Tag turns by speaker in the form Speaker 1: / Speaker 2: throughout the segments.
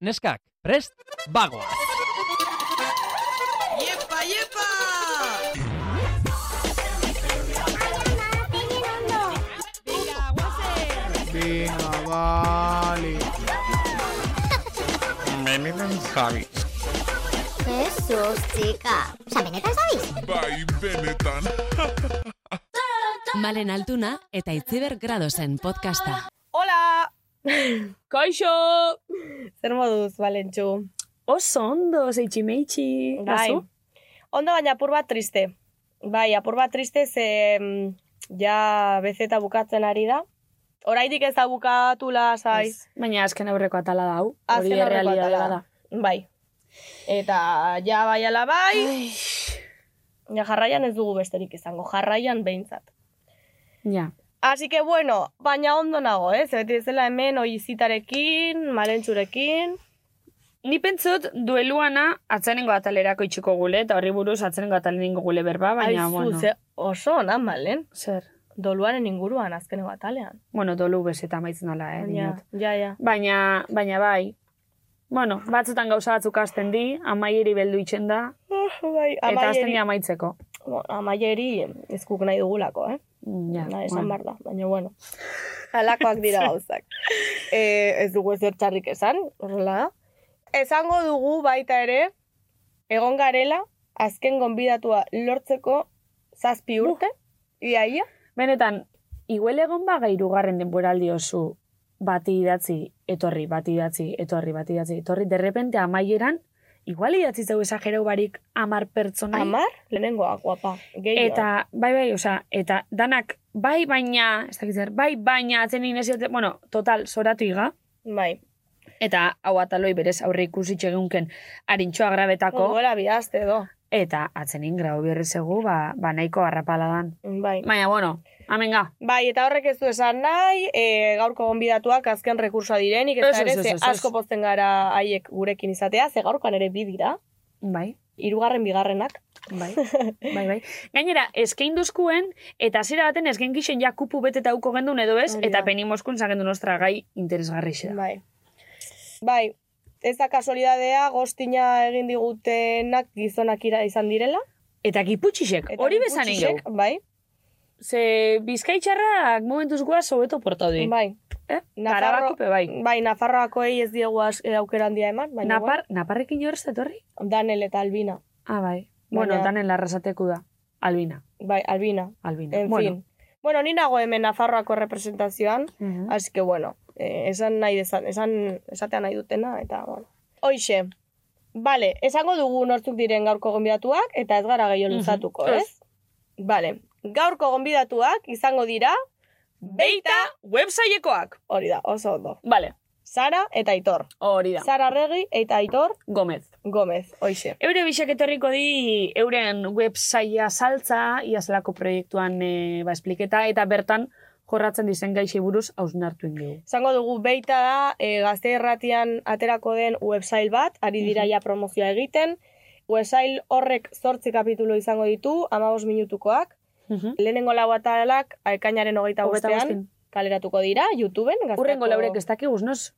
Speaker 1: neskak, prest, bagoa!
Speaker 2: Iepa, iepa!
Speaker 3: Venga, vale.
Speaker 4: Benetan Javi.
Speaker 5: Jesus, txika. Osa, benetan zabiz?
Speaker 4: Bai, benetan.
Speaker 6: Malen Altuna eta Itziber Gradosen podcasta.
Speaker 7: Hola!
Speaker 8: Kaixo!
Speaker 7: Zer moduz, Balentxu?
Speaker 8: Oso ondo, zeitximeitxi. Bai.
Speaker 7: Ondo baina apur bat triste. Bai, apur bat triste ze mm, ja bezeta bukatzen ari da. Oraindik ez da bukatu lasai.
Speaker 8: Baina azken aurreko atala da, hau.
Speaker 7: Bai. Azken
Speaker 8: Hori
Speaker 7: aurreko
Speaker 8: errealitatea
Speaker 7: atala.
Speaker 8: da.
Speaker 7: Bai. Eta ja bai ala bai. Ja jarraian ez dugu besterik izango, jarraian behintzat.
Speaker 8: Ja.
Speaker 7: Así que bueno, baina ondo nago, eh? Zebeti bezala hemen oizitarekin, malentzurekin.
Speaker 8: Ni pentsot dueluana atzanengo atalerako itxiko gule, eta horri buruz atzanengo atalenengo gule berba, baina,
Speaker 7: Aizu,
Speaker 8: bueno.
Speaker 7: ze oso ona, malen.
Speaker 8: Zer?
Speaker 7: Doluaren inguruan, azkeneko atalean.
Speaker 8: Bueno, dolu bezeta maitzen dala, eh,
Speaker 7: Ja,
Speaker 8: dinot.
Speaker 7: ja, ja.
Speaker 8: Baina, baina bai. Bueno, batzutan gauza batzuk hasten di, amaieri beldu itxen da,
Speaker 7: bai,
Speaker 8: eta hasten
Speaker 7: amaieri,
Speaker 8: di amaitzeko.
Speaker 7: Bueno, amaieri ezkuk nahi dugulako, eh?
Speaker 8: Mm, Ja,
Speaker 7: Na, esan
Speaker 8: bueno.
Speaker 7: behar da, baina bueno. Alakoak dira gauzak. e, ez dugu ez txarrik esan, horrela da. Esango dugu baita ere, egon garela, azken gonbidatua lortzeko zazpi urte, iaia.
Speaker 8: Benetan, iguel egon ba gairugarren denboraldi oso bati idatzi, etorri, bati idatzi, etorri, bati idatzi, etorri, derrepente amaieran, igual idatzi zeu esagero barik amar pertsonai.
Speaker 7: Amar, lehenengoa, guapa. Gehiago.
Speaker 8: Bai. Eta, bai, bai, osea, eta danak, bai, baina, ez dakit zer, bai, baina, atzen inesiote, bueno, total, zoratu iga,
Speaker 7: bai.
Speaker 8: eta hau ataloi berez aurre ikusi txegunken arintxoa grabetako,
Speaker 7: Gogoela bihazte edo.
Speaker 8: eta atzenin grau berriz egu, ba, ba nahiko harrapaladan.
Speaker 7: Bai.
Speaker 8: Baina, bueno, amenga,
Speaker 7: Bai, eta horrek ez du esan nahi, e, gaurko gonbidatuak azken rekursa direnik,
Speaker 8: Ez,
Speaker 7: eta
Speaker 8: ez,
Speaker 7: ere,
Speaker 8: ez,
Speaker 7: ze
Speaker 8: ez, ez.
Speaker 7: asko pozten gara haiek gurekin izatea, ze gaurkoan ere bi dira,
Speaker 8: bai.
Speaker 7: hirugarren bigarrenak.
Speaker 8: Bai, bai, bai. Gainera, eskein duzkuen, eta hasiera baten eskein gixen ja kupu beteta uko gendun edo ez,
Speaker 7: Hori da.
Speaker 8: eta peni moskun zagendu nostra gai interesgarri xera.
Speaker 7: Bai. Bai, ez da kasualidadea, gostina egin digutenak gizonak ira izan direla.
Speaker 8: Eta giputxixek,
Speaker 7: Eta
Speaker 8: hori bezan egin.
Speaker 7: gutxixek, Bai,
Speaker 8: Ze bizkaitxarrak momentuz guaz hobeto portaudi. Bai.
Speaker 7: bai.
Speaker 8: Eh?
Speaker 7: Nafarro-
Speaker 8: Garabakope bai.
Speaker 7: Bai, Nafarroakoei ez diegu az- e, aukera handia eman, baina
Speaker 8: Napar, naparrekin jo ez da etorri?
Speaker 7: bueno, Danel eta Albina.
Speaker 8: Ah, bai. Bueno,
Speaker 7: Baina-
Speaker 8: danen larrasateku da. Albina,
Speaker 7: Bai, Albina.
Speaker 8: albina.
Speaker 7: En
Speaker 8: bueno.
Speaker 7: fin. Bueno, ni nago hemen Nafarroako representazioan,
Speaker 8: Mhm.
Speaker 7: Mm. Así que, bueno, eh, esan nahi dezan, esan, esatea nahi dutena, eta, bueno. Hoixe, bale, esango dugu nortzuk diren gaurko gonbidatuak, eta ez gara gehiago
Speaker 8: Mhm,
Speaker 7: luzatuko,
Speaker 8: ez.
Speaker 7: ez? Bale, gaurko gonbidatuak izango dira,
Speaker 8: Beita websaiekoak.
Speaker 7: hori da, oso ondo.
Speaker 8: Vale,
Speaker 7: Sara eta Aitor.
Speaker 8: hori da.
Speaker 7: Sara Regi eta Aitor
Speaker 8: Gomez.
Speaker 7: Gomez, hoixe.
Speaker 8: Eure bisak etorriko di euren websaia saltza, iazelako proiektuan e, ba, espliketa, eta bertan jorratzen dizen gaixi buruz hausnartu dugu.
Speaker 7: Esango dugu beita da, e, gazte erratian aterako den website bat, ari dira ja promozioa egiten, website horrek zortzi kapitulo izango ditu, amabos minutukoak, Lehenengo lau atalak ekainaren hogeita
Speaker 8: Hogeita
Speaker 7: bostean
Speaker 8: bostean.
Speaker 7: kaleratuko dira, YouTubeen. Gazteako...
Speaker 8: Urrengo laurek ez dakigu, noz?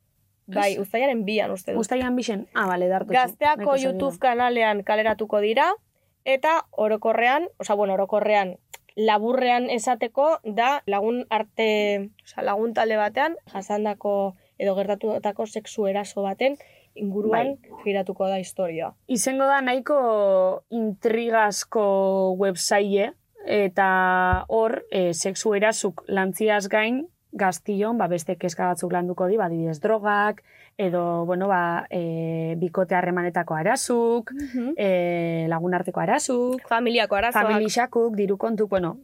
Speaker 7: Bai, uztailaren bian uste dut.
Speaker 8: Guztaian bixen? Ah, bale, dartu.
Speaker 7: Gazteako YouTube kanalean kaleratuko dira, eta orokorrean, oza, bueno, orokorrean, laburrean esateko da lagun arte, oza, lagun talde batean, jasandako edo gertatutako sexu eraso baten inguruan giratuko da historia.
Speaker 8: Izengo da nahiko intrigasko websaie, eta hor, e, sexu erazuk lantziaz gain, gaztion, ba, beste keska batzuk landuko di, badidez drogak, edo, bueno, ba, e, bikote harremanetako arazuk, e, lagunarteko arazuk,
Speaker 7: Familiako arazoak.
Speaker 8: familixakuk, diru kontuk, bueno,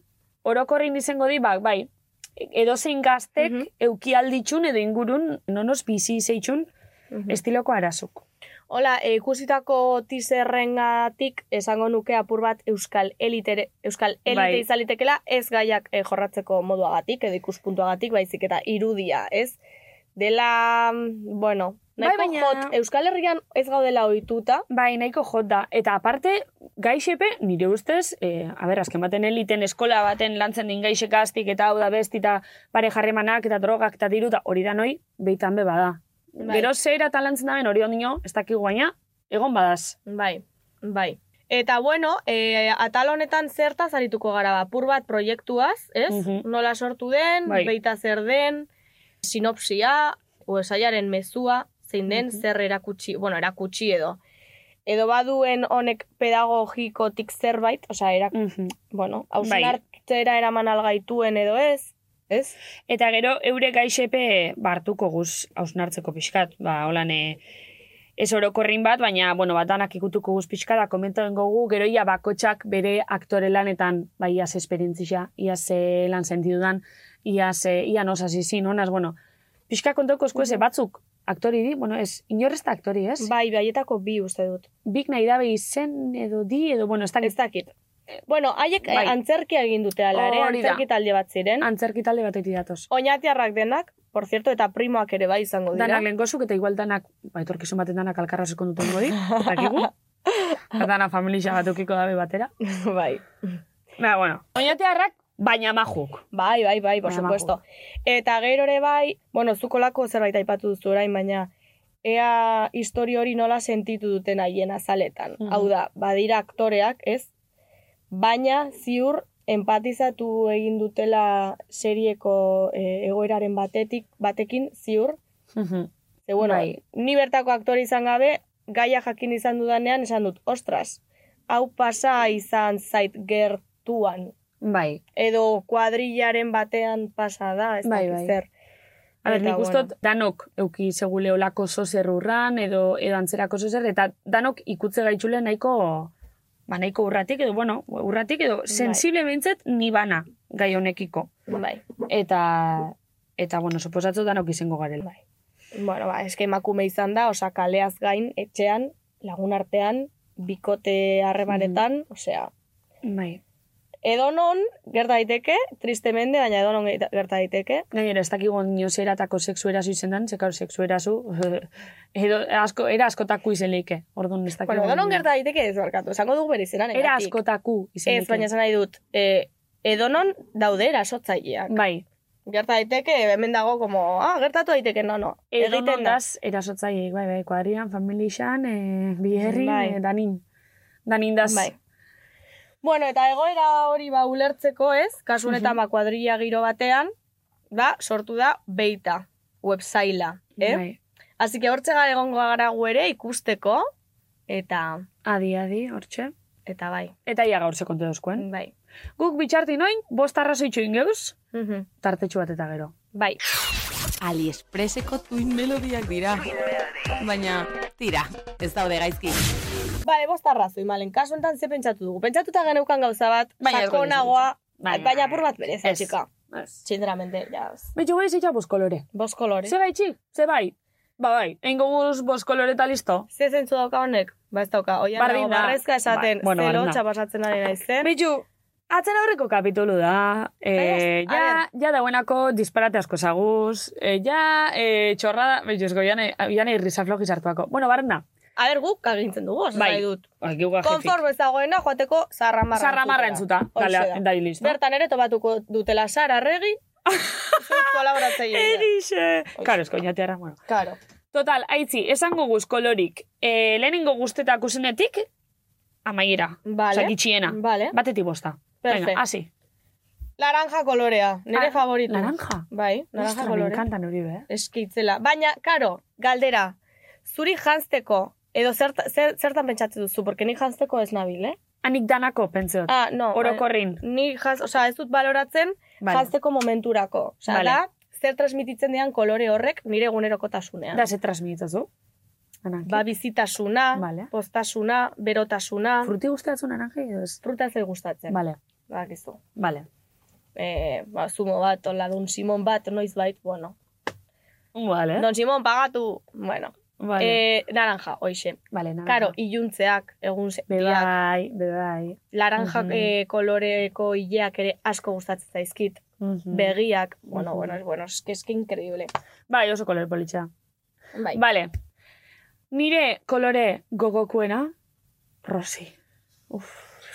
Speaker 8: orokorrin izango di, ba, bai, edozein gaztek
Speaker 7: Mhm.
Speaker 8: euki alditxun edo ingurun nonos bizi zeitzun
Speaker 7: Mhm.
Speaker 8: estiloko arazuk.
Speaker 7: Hola, e, ikusitako teaserrengatik esango nuke apur bat euskal elitere, euskal elite
Speaker 8: Bai.
Speaker 7: izalitekela ez gaiak eh, jorratzeko moduagatik edo ikuspuntuagatik baizik eta irudia, ez? Dela, mm, bueno,
Speaker 8: Bai,
Speaker 7: nahiko
Speaker 8: baina-
Speaker 7: hot, Euskal Herrian ez gaudela ohituta,
Speaker 8: Bai, nahiko jot da. Eta aparte, gaixepe, nire ustez, e, a ber, azken baten eliten eskola baten lantzen din gaixek aztik, eta hau da besti, eta pare jarremanak, eta drogak, eta diru, eta hori da noi, beitan be bada.
Speaker 7: Bai.
Speaker 8: Gero zer eta lantzen daben hori ondino, ez dakigu baina, egon badaz.
Speaker 7: Bai, bai. Eta bueno, e, atal honetan zertaz arituko gara, bapur bat proiektuaz, ez?
Speaker 8: Mhm.
Speaker 7: Nola sortu den,
Speaker 8: Bai.
Speaker 7: beita zer den, sinopsia, o esaiaren mezua, zein den,
Speaker 8: Mhm.
Speaker 7: zer erakutsi, bueno, erakutsi edo. Edo baduen honek pedagogikotik zerbait, osea, erak,
Speaker 8: Mhm.
Speaker 7: bueno,
Speaker 8: Bai.
Speaker 7: ausenartera eraman algaituen edo ez, ez?
Speaker 8: Eta gero eure gaixepe bartuko guz hausnartzeko pixkat. Ba, holan, e, ez orokorrin bat, baina, bueno, bat danak ikutuko guz pixkat, da komentoen gogu, gero ia bakotxak bere aktore lanetan, ba, iaz esperientzia, iaz e, lan sentidudan, iaz, e, ia nos hasi zin, honaz, bueno, pixka kontoko eskuese batzuk, aktori di, bueno, ez, inorrez da aktori, ez?
Speaker 7: Bai, baietako bi uste dut.
Speaker 8: Bik nahi dabe izen, edo di, edo, bueno, ez
Speaker 7: Ez
Speaker 8: dakit,
Speaker 7: dakit. Bueno, haiek eh,
Speaker 8: Bai. Oh,
Speaker 7: antzerkia egin dute ala ere,
Speaker 8: Hori da.
Speaker 7: antzerkitalde bat ziren.
Speaker 8: antzerki talde batetik datoz.
Speaker 7: Oñatiarrak denak, por cierto, eta primoak ere bai izango dira.
Speaker 8: Danak lehenkosuk eta igual danak, ba, etorkizun baten danak alkarra sekon duten godi, dakigu. Eta dana familia bat ukiko dabe batera.
Speaker 7: bai.
Speaker 8: Ba, bueno. Oñate harrak, baina majuk.
Speaker 7: Bai, bai, bai, por
Speaker 8: Baina
Speaker 7: supuesto. Eta gero ere bai, bueno, zukolako zerbait aipatu duzu orain, baina ea historio hori nola sentitu duten haien azaletan.
Speaker 8: Mhm.
Speaker 7: Hau da, badira aktoreak, ez? Baina ziur empatizatu egin dutela serieko eh, egoeraren batetik, batekin ziur. Ze, bueno,
Speaker 8: Bai.
Speaker 7: ni bertako aktore izan gabe, gaia jakin izan dudanean esan dut, ostras, hau pasa izan zait gertuan.
Speaker 8: Bai.
Speaker 7: edo kuadrillaren batean pasa da, ez
Speaker 8: Bai,
Speaker 7: dakit
Speaker 8: bai.
Speaker 7: zer.
Speaker 8: A ber,
Speaker 7: Eta,
Speaker 8: nik ustot danok euki segule olako zozer urran, edo, edo antzerako zozer, eta danok ikutze gaitzule nahiko, ba, nahiko urratik, edo, bueno, urratik, edo, sensible behintzet, ni bana gai honekiko.
Speaker 7: Bueno, bai.
Speaker 8: Eta, eta, bueno, suposatzu danok izango garela.
Speaker 7: Bai. Bueno, ba, eske emakume izan da, osea, kaleaz gain, etxean, lagun artean, bikote harremanetan,
Speaker 8: Mhm.
Speaker 7: osea,
Speaker 8: Bai.
Speaker 7: edonon gerta daiteke, tristemente, baina edonon geita- gerta daiteke.
Speaker 8: Gainera, ez dakigu nio zeratako seksu erazu izen den, zekar seksu erazu, edo, asko, era askotako izen leike. Orduan, ez dakigu.
Speaker 7: Bueno, edonon
Speaker 8: nio.
Speaker 7: gerta daiteke ez barkatu, esango dugu bere izena
Speaker 8: Ba, Era askotako izen
Speaker 7: Ez, baina esan nahi dut, e, edonon daude erasotzaileak.
Speaker 8: Bai,
Speaker 7: Gerta daiteke, hemen dago, como, ah, gertatu daiteke, no, no.
Speaker 8: edonon
Speaker 7: Egiten da.
Speaker 8: daz erasotzaile, bai, bai, kuadrian, familixan, e, biherrin,
Speaker 7: Bai.
Speaker 8: eh, danin. Danin daz.
Speaker 7: Bai. Bueno, eta egoera hori ba ulertzeko, ez? Kasu honetan ba kuadrilla giro batean, da sortu da Beita websaila, eh?
Speaker 8: Bai.
Speaker 7: Así que hortze gara egongo gara gu ere ikusteko eta
Speaker 8: Adi, adi, hortxe.
Speaker 7: eta bai,
Speaker 8: Eta ia gaur kontu dauzkoen.
Speaker 7: bai.
Speaker 8: Guk bitxarti noin, bost arrazo itxuin geuz,
Speaker 7: Mhm.
Speaker 8: tartetxu bat eta gero.
Speaker 7: Bai.
Speaker 2: Aliexpreseko tuin melodiak dira. Baina, tira, ez daude gaizki.
Speaker 7: Vale, bost arrazoi, malen. Kasu honetan ze pentsatu dugu? Pentsatuta geneukan gauza bat,
Speaker 8: Bai,
Speaker 2: Baina ez
Speaker 7: sakonagoa,
Speaker 8: Baina-
Speaker 7: baina apur bat berez,
Speaker 8: Bai, Ez.
Speaker 7: chica.
Speaker 8: Ez.
Speaker 7: Sinceramente, ya.
Speaker 8: Betxu bai, zeitza bost kolore.
Speaker 7: Bost kolore.
Speaker 8: Ze gaitxik, ze bai. Ba, bai, eingo guz bost kolore eta listo.
Speaker 7: Ze zentzu dauka honek? Ba ez dauka. Oian
Speaker 8: Bardin
Speaker 7: dago
Speaker 8: da.
Speaker 7: barrezka esaten,
Speaker 8: Ba, bueno,
Speaker 7: zelo
Speaker 8: bardin da.
Speaker 7: txapasatzen ari naizen.
Speaker 8: Bitu, atzen aurreko kapitulu da. E,
Speaker 7: Bai, ez? A
Speaker 8: ja, ja dauenako disparate asko zaguz. E, ja, e, txorra, bitu, esko, jane, jane irrizaflojiz hartuako. Bueno, barren da.
Speaker 7: A ber, guk agintzen dugu, oso
Speaker 8: Bai.
Speaker 7: nahi dut.
Speaker 8: Oikiu
Speaker 7: Konforme ez dagoena joateko zarramarra
Speaker 8: Zarramarra entzuta.
Speaker 7: Horixe
Speaker 8: Dale,
Speaker 7: da.
Speaker 8: dai, listo.
Speaker 7: Bertan ere topatuko dutela Sara Regi, zuek kolaboratzaile.
Speaker 8: Egixe! Karo, esko, jateara, bueno.
Speaker 7: Claro.
Speaker 8: Total, aitzi, esango guz kolorik. E, lehenengo guztetak usenetik, amaiera.
Speaker 7: Vale.
Speaker 8: Osa, Ba- gitxiena.
Speaker 7: Vale.
Speaker 8: Batetik bosta.
Speaker 7: Perfect.
Speaker 8: Venga, hasi.
Speaker 7: Laranja kolorea, nire
Speaker 8: Ah,
Speaker 7: favoritu.
Speaker 8: laranja?
Speaker 7: Bai, laranja
Speaker 8: Ostra, Me
Speaker 7: kolorea.
Speaker 8: encanta nori, eh?
Speaker 7: Eskitzela. Baina, karo, galdera, zuri jantzteko, edo zerta- zer, zertan pentsatzen duzu, porque ni jantzteko ez nabil, eh?
Speaker 8: Anik danako, pentseot.
Speaker 7: Ah, no.
Speaker 8: Orokorrin.
Speaker 7: Ni jaz, osea, ez dut baloratzen
Speaker 8: Vale.
Speaker 7: jantzteko momenturako. Osea,
Speaker 8: Vale.
Speaker 7: da, zer transmititzen dian kolore horrek nire egunerokotasunean.
Speaker 8: Da, ze transmitizazu? Anaki.
Speaker 7: Ba, bizitasuna,
Speaker 8: Vale.
Speaker 7: postasuna, berotasuna,
Speaker 8: Fruti gustatzen ananji edo ez?
Speaker 7: fruta ez zait gustatzen.
Speaker 8: Vale,
Speaker 7: Bakizu.
Speaker 8: vale.
Speaker 7: E, ba, zumo bat, hola, don Simon bat, noiz bait, bueno.
Speaker 8: Vale,
Speaker 7: Don Simon pagatu, bueno.
Speaker 8: Eh? vale.
Speaker 7: E, naranja, hoixe.
Speaker 8: vale, nada.
Speaker 7: Karo, iluntzeak, egun sentiak,
Speaker 8: Bebai, bebai.
Speaker 7: laranja
Speaker 8: Mhm.
Speaker 7: eh, koloreko hileak ere asko gustatzen zaizkit.
Speaker 8: Mhm.
Speaker 7: Begiak, bueno,
Speaker 8: Mhm.
Speaker 7: bueno, bueno, es que, es que increíble.
Speaker 8: Bai, oso kolore politxea.
Speaker 7: Bai.
Speaker 8: Vale. Nire kolore gogokuena, rosi. Uf,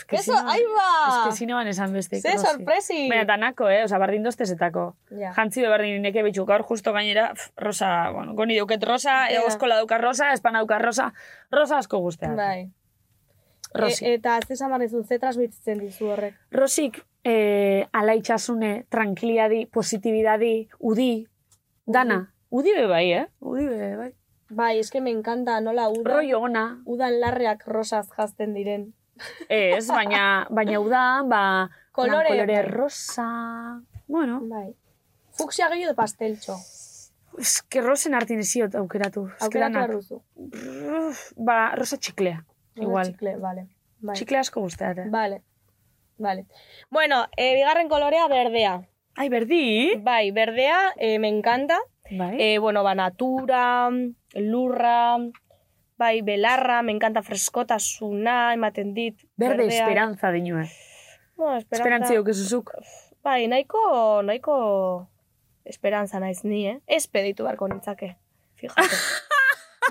Speaker 8: que
Speaker 7: Eso,
Speaker 8: zineman-
Speaker 7: ahí ba!
Speaker 8: Eske zineman esan beste.
Speaker 7: Ze sorpresi!
Speaker 8: Baina danako, eh? Osa, berdin doztezetako.
Speaker 7: Ja.
Speaker 8: Jantzi do berdin neke bitxu. Gaur justo gainera, pf, rosa, bueno, goni duket rosa,
Speaker 7: Ja.
Speaker 8: yeah. euskola dauka rosa, espana dauka rosa. Rosa asko guztea.
Speaker 7: Bai.
Speaker 8: Rosi.
Speaker 7: E, eta ze esan barrizu, ze transmititzen dizu horrek?
Speaker 8: Rosik, eh, ala itxasune, tranquilidadi, positibidadi, udi, dana. Udi be bai, eh? Udi be bai.
Speaker 7: Bai, eske me encanta nola udan,
Speaker 8: Rollo ona,
Speaker 7: udan larreak rosaz jazten diren.
Speaker 8: ez, baina, baina udan, ba,
Speaker 7: Kolore.
Speaker 8: udan kolore rosa, bueno,
Speaker 7: Bai. Fuksia gehiago pasteltxo.
Speaker 8: eske rosen hartin eziot aukeratu. eske
Speaker 7: Aukeratu
Speaker 8: danak.
Speaker 7: behar duzu.
Speaker 8: Brrr, Ba, rosa txiklea,
Speaker 7: Rosa
Speaker 8: igual.
Speaker 7: Txikle, vale. Bai.
Speaker 8: Txikle asko guzteat, eh?
Speaker 7: Vale. Vale. Bueno, eh, bigarren kolorea berdea.
Speaker 8: Ai, berdi!
Speaker 7: Bai, berdea, eh, me encanta.
Speaker 8: Bai.
Speaker 7: Eh, bueno, ba, natura, lurra, bai, belarra, me encanta freskotasuna, ematen dit.
Speaker 8: Berde
Speaker 7: berdea.
Speaker 8: esperantza dinue.
Speaker 7: Bueno, esperantza.
Speaker 8: Esperantza dukizuzuk.
Speaker 7: Bai, nahiko, nahiko esperantza naiz ni, eh? Espe deitu beharko nintzake, fijate.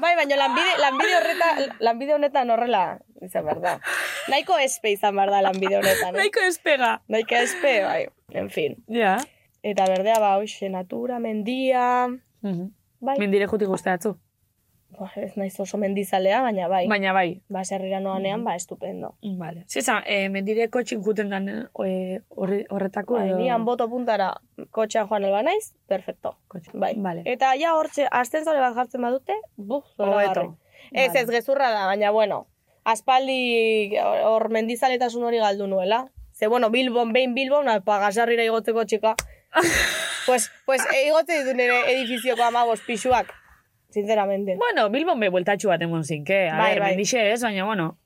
Speaker 7: bai, baina lanbide, lanbide, horreta, lanbide honetan horrela izan behar da. Nahiko espe izan behar da lanbide honetan, eh?
Speaker 8: Naiko espega.
Speaker 7: Nahiko espe, bai, en fin.
Speaker 8: Ja.
Speaker 7: Eta berdea, ba, hoxe, natura, mendia,
Speaker 8: Mhm.
Speaker 7: bai.
Speaker 8: Mendire jutik guzteatzu.
Speaker 7: Buah, ez naiz oso mendizalea, baina bai.
Speaker 8: Baina bai.
Speaker 7: Ba, serrira noanean, ba, estupendo.
Speaker 8: Vale. Zizan, eh, mendireko txinkuten dan eh, horre- horretako.
Speaker 7: Bai,
Speaker 8: edo-
Speaker 7: nian boto puntara kotxean joan alba naiz, perfecto.
Speaker 8: Kotxe.
Speaker 7: Bai.
Speaker 8: Vale.
Speaker 7: Eta ja hortxe, ascensore bat jartzen badute, buf, zoragarri.
Speaker 8: Hobeto.
Speaker 7: Ez,
Speaker 8: Vale.
Speaker 7: ez, gezurra da, baina bueno, aspaldi hor mendizaletasun hori galdu nuela. Ze, bueno, Bilbon, behin Bilbon, pagasarrira igotzeko txika. pues, pues, e, igotze ditu nire edifizioko amabos pixuak, sinceramente.
Speaker 8: Bueno, Bilbon be bueltatxu bat emon zinke. A
Speaker 7: Bai,
Speaker 8: ber,
Speaker 7: bai.
Speaker 8: mendixe ez, baina bueno.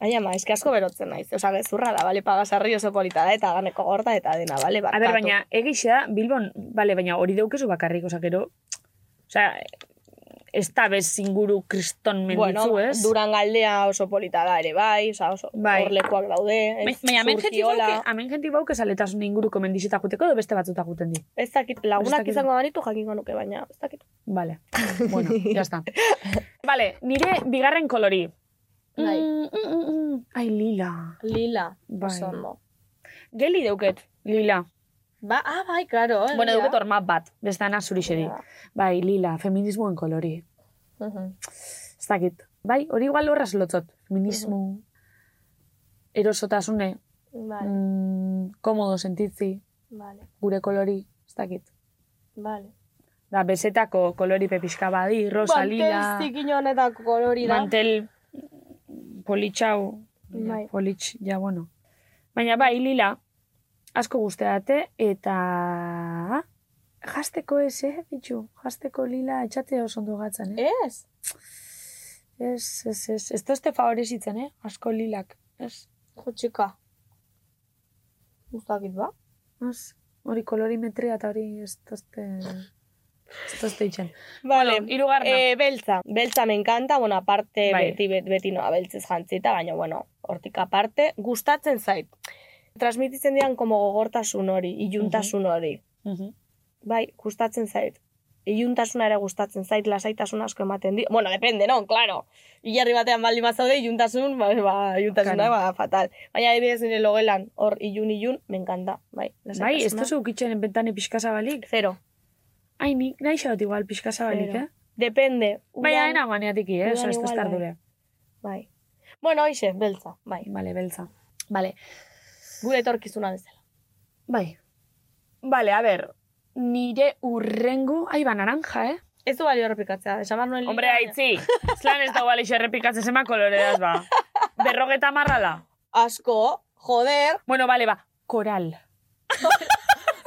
Speaker 7: Aia, ma, eski asko berotzen naiz. Osa, gezurra da, bale, pagasarri oso polita da, eta ganeko gorda, eta dena, bale,
Speaker 8: A
Speaker 7: barkatu.
Speaker 8: ber, baina egixe da, Bilbon, vale, baina hori deukezu bakarrik, osa, gero, osa, ez da bez inguru kriston menditzu,
Speaker 7: bueno,
Speaker 8: ez?
Speaker 7: Durangaldea oso polita da ere bai, oza, oso
Speaker 8: Bai.
Speaker 7: horlekuak daude, ez,
Speaker 8: Ba- Baina hemen jenti
Speaker 7: Zurkiola.
Speaker 8: bauke, hemen jenti bauke saletasun inguruko mendixeta juteko edo beste batzuta juten di.
Speaker 7: Ez dakit, lagunak
Speaker 8: Ez dakit.
Speaker 7: izango banitu jakingo nuke, baina ez dakit.
Speaker 8: Vale. Bueno, ya está. Vale, nire bigarren kolori.
Speaker 7: Bai.
Speaker 8: Mm, mm, mm, mm. Ai, lila.
Speaker 7: Lila,
Speaker 8: Bai.
Speaker 7: oso ondo.
Speaker 8: Geli deuket, lila.
Speaker 7: Ba, ah, bai, claro. Eh, lila.
Speaker 8: Bueno, deuket orma bat, bestana zuri xedi.
Speaker 7: Ja.
Speaker 8: Bai, lila, feminismoen kolori.
Speaker 7: Mhm.
Speaker 8: Ez dakit. Bai, hori igual horraz lotzot. Feminismo, erosotasune,
Speaker 7: Vale,
Speaker 8: mm, komodo sentitzi,
Speaker 7: vale,
Speaker 8: gure kolori, ez dakit.
Speaker 7: vale.
Speaker 8: Da, bezetako kolori pepixka badi, rosa, lila,
Speaker 7: zikin honetako kolori da.
Speaker 8: mantel, mm, politxau,
Speaker 7: Bai.
Speaker 8: politx, ja, bueno. Baina bai, lila, asko guzteate, eta... Jasteko ez, eh, bitxu? Jasteko lila etxatea oso ondo gatzan, eh?
Speaker 7: Ez?
Speaker 8: Ez, ez, ez. Ez tozte favoresitzen, eh? Asko lilak. Ez,
Speaker 7: Jo, txika. Ez dakit, ba?
Speaker 8: ez. Hori kolorimetria eta hori ez tozte... Ez tozte itxen.
Speaker 7: Vale,
Speaker 8: Bueno, hirugarna.
Speaker 7: Eh, beltza. Beltza me encanta, bueno, aparte
Speaker 8: Bai.
Speaker 7: beti, bet- beti noa beltzez jantzita, baina, bueno, hortik aparte, gustatzen zait. Transmititzen dian como gogortasun hori, iluntasun hori. Bai, gustatzen zait. Iluntasuna ere gustatzen zait, lasaitasun asko ematen di. Bueno, depende, no, claro. Ilarri batean baldin bazaude, iluntasun, ba, ba, iluntasuna,
Speaker 8: Claro.
Speaker 7: ba, fatal. Baina, adibidez, nire logelan, hor, ilun, ilun, me encanta. Bai,
Speaker 8: Bai, ez
Speaker 7: lasaitasuna.
Speaker 8: tozu ukitzen bentane pixka zabalik.
Speaker 7: Zero.
Speaker 8: Ai, nik nahi xaot igual pixka zabalik,
Speaker 7: Zero.
Speaker 8: eh?
Speaker 7: Depende.
Speaker 8: Baina,
Speaker 7: Udan-
Speaker 8: ena maniatiki, eh?
Speaker 7: udan
Speaker 8: Oso, ez
Speaker 7: igual,
Speaker 8: tozte
Speaker 7: bai.
Speaker 8: ardure.
Speaker 7: Bai. Bueno, hoxe, beltza, bai.
Speaker 8: Vale, beltza. Vale.
Speaker 7: Gure etorkizuna bezala.
Speaker 8: Bai. Vale, a ber. Nire urrengo... Ai, ba, naranja, eh?
Speaker 7: Ez du balio errepikatzea, esan behar nuen lila,
Speaker 8: Hombre,
Speaker 7: baina-
Speaker 8: haitzi. Zlan ez da guali xerrepikatzen zema koloreaz, ba. Berrogeta marrala.
Speaker 7: Asko, joder,
Speaker 8: Bueno, vale, ba. Koral.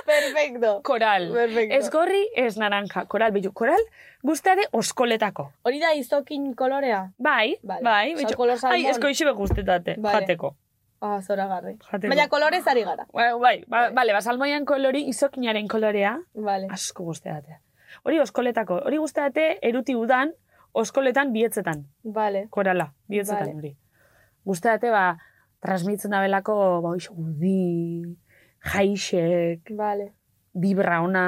Speaker 7: perfecto.
Speaker 8: Koral.
Speaker 7: Perfecto.
Speaker 8: Ez gorri, ez naranja. Koral, bitu. Koral, guztare oskoletako.
Speaker 7: Hori da izokin kolorea?
Speaker 8: Bai,
Speaker 7: Vale.
Speaker 8: bai.
Speaker 7: Osa,
Speaker 8: Betxo.
Speaker 7: kolor salmon.
Speaker 8: Ai, esko ixe beguztetate,
Speaker 7: Vale.
Speaker 8: jateko.
Speaker 7: Ah, zora garri.
Speaker 8: Jateko.
Speaker 7: Baina kolorez ari gara.
Speaker 8: Bai, bai, ba, vale, basalmoian kolori, izokinaren kolorea,
Speaker 7: Vale.
Speaker 8: asko guztetate. Hori oskoletako, hori guztetate eruti udan, oskoletan bihetzetan.
Speaker 7: Vale.
Speaker 8: korala, bihotzetan
Speaker 7: Vale.
Speaker 8: hori. Guztate, ba, transmitzen da belako, ba, hoxe, udi, jaixek,
Speaker 7: Vale.
Speaker 8: vibra ona,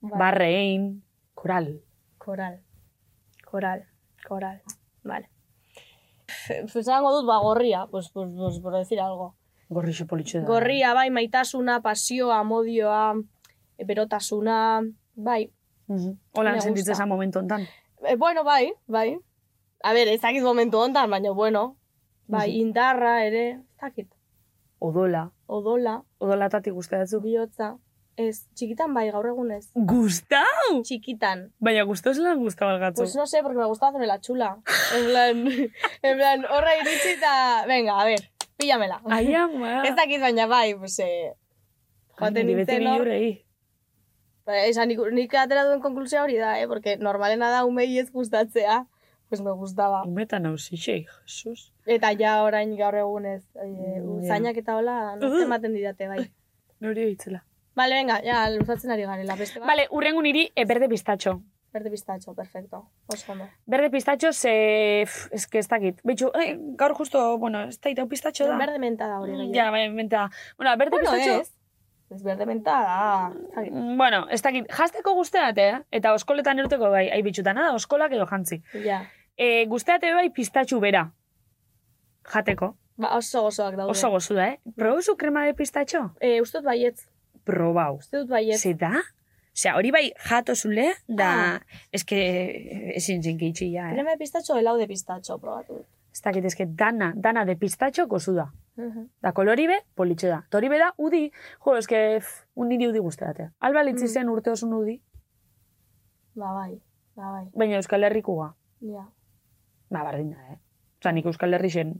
Speaker 7: Vale.
Speaker 8: barrein, koral.
Speaker 7: Koral. Koral. Koral. Vale. Zango dut, ba, gorria, pues, pues, pues, por decir algo.
Speaker 8: Gorrixo politxo da.
Speaker 7: Gorria, bai, maitasuna, pasioa, amodioa, berotasuna, bai.
Speaker 8: Mhm.
Speaker 7: Me
Speaker 8: Hola,
Speaker 7: gusta.
Speaker 8: sentitzen zan momentu ontan.
Speaker 7: E, bueno, bai, bai. A ber, ez dakit momentu hontan, baina, bueno, bai, indarra ere, ez dakit,
Speaker 8: Odola.
Speaker 7: odola,
Speaker 8: Odolatatik gustatzu.
Speaker 7: bihotza, ez, txikitan bai, gaur egunez,
Speaker 8: Gustau!
Speaker 7: txikitan.
Speaker 8: Baina gustau zelan gustau algatzu.
Speaker 7: Pues no sé, porque me gustaba hacerme la chula. Bai. En plan, en plan, horra iritsi eta, venga, a ver, píllamela.
Speaker 8: Ai, ama.
Speaker 7: Ez dakit baina bai, pues, eh, joaten
Speaker 8: Ai, niri beti
Speaker 7: nintzen hor.
Speaker 8: bilurei.
Speaker 7: Ba, Esa, nik, nik atera duen konklusioa hori da, eh? Porque normalena da umei ez gustatzea, pues me gustaba.
Speaker 8: Umetan hau zitxei, Jesus.
Speaker 7: Eta ja orain gaur egunez, eh,
Speaker 8: Mm, ja.
Speaker 7: zainak eta hola, no
Speaker 8: Uh.
Speaker 7: ematen didate, bai.
Speaker 8: Nori horitzela.
Speaker 7: Vale, venga, ja, luzatzen ari garela, beste bat.
Speaker 8: Vale, urrengo niri e, berde pistatxo.
Speaker 7: Berde pistatxo, perfecto. Oso ondo.
Speaker 8: Berde pistatxo ze... pff, Ez que ez dakit. Betxu, eh, gaur justo, bueno, ez da itau pistatxo da.
Speaker 7: Berde menta da hori gehiago.
Speaker 8: Ja, bai, menta. Bueno, berde
Speaker 7: bueno,
Speaker 8: pistatxo...
Speaker 7: ez. Ez berde menta da. Zagit.
Speaker 8: mm, Bueno, ez dakit, jazteko guzteate, eh? eta oskoletan eruteko bai, ahi bitxutana da, oskolak edo jantzi.
Speaker 7: Ja.
Speaker 8: E, guzteate bai pistatxu bera, jateko.
Speaker 7: Ba, oso gozoak daude.
Speaker 8: Oso gozu da, eh? Probozu krema de pistatxo?
Speaker 7: Eh, uste dut baietz.
Speaker 8: Probau.
Speaker 7: Uste dut baietz.
Speaker 8: Ze da? Osea, hori bai jato zule,
Speaker 7: Ah.
Speaker 8: da... Ez que eh, ezin zinki itxi ja, eh?
Speaker 7: Crema de pistatxo, helau de pistatxo, probatu dut.
Speaker 8: Ez dakit, ez que dana, dana de pistatxo gozu da.
Speaker 7: Mhm.
Speaker 8: Da koloribe, politxe da. Toribe da, udi, jo, ez que pff, un niri udi guzteate. Alba litzi zen urte osun udi,
Speaker 7: Ba, bai. Ba, bai.
Speaker 8: baina Euskal Herrikua.
Speaker 7: Ja.
Speaker 8: Ba, bardin da, eh? Osa, nik Euskal Herri zen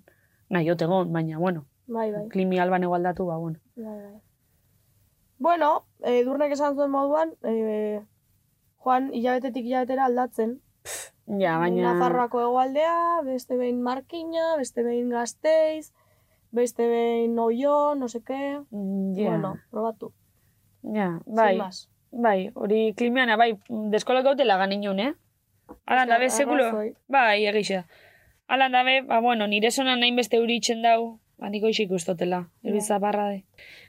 Speaker 8: nahi otegon, baina, bueno,
Speaker 7: Bai, bai.
Speaker 8: klimi alban egualdatu, ba, bueno.
Speaker 7: Bai, bai. Bueno, e, durnek esan zuen moduan, e, joan hilabetetik hilabetera aldatzen.
Speaker 8: Ja, baina...
Speaker 7: Nafarroako hegoaldea, beste behin Markina, beste behin Gasteiz, beste behin Oio, no seke.
Speaker 8: Ja,
Speaker 7: Bueno, probatu.
Speaker 8: ja,
Speaker 7: Sin
Speaker 8: bai,
Speaker 7: más.
Speaker 8: bai, hori klimiana, bai, deskolak gautela ganinun, eh? Alan dabe,
Speaker 7: Osea,
Speaker 8: sekulo.
Speaker 7: arrazoi.
Speaker 8: Bai, egixe. Alan dabe, ba, bueno, nire sonan nahin beste hori itxen dau, ba, niko isik ustotela, hori zaparra de.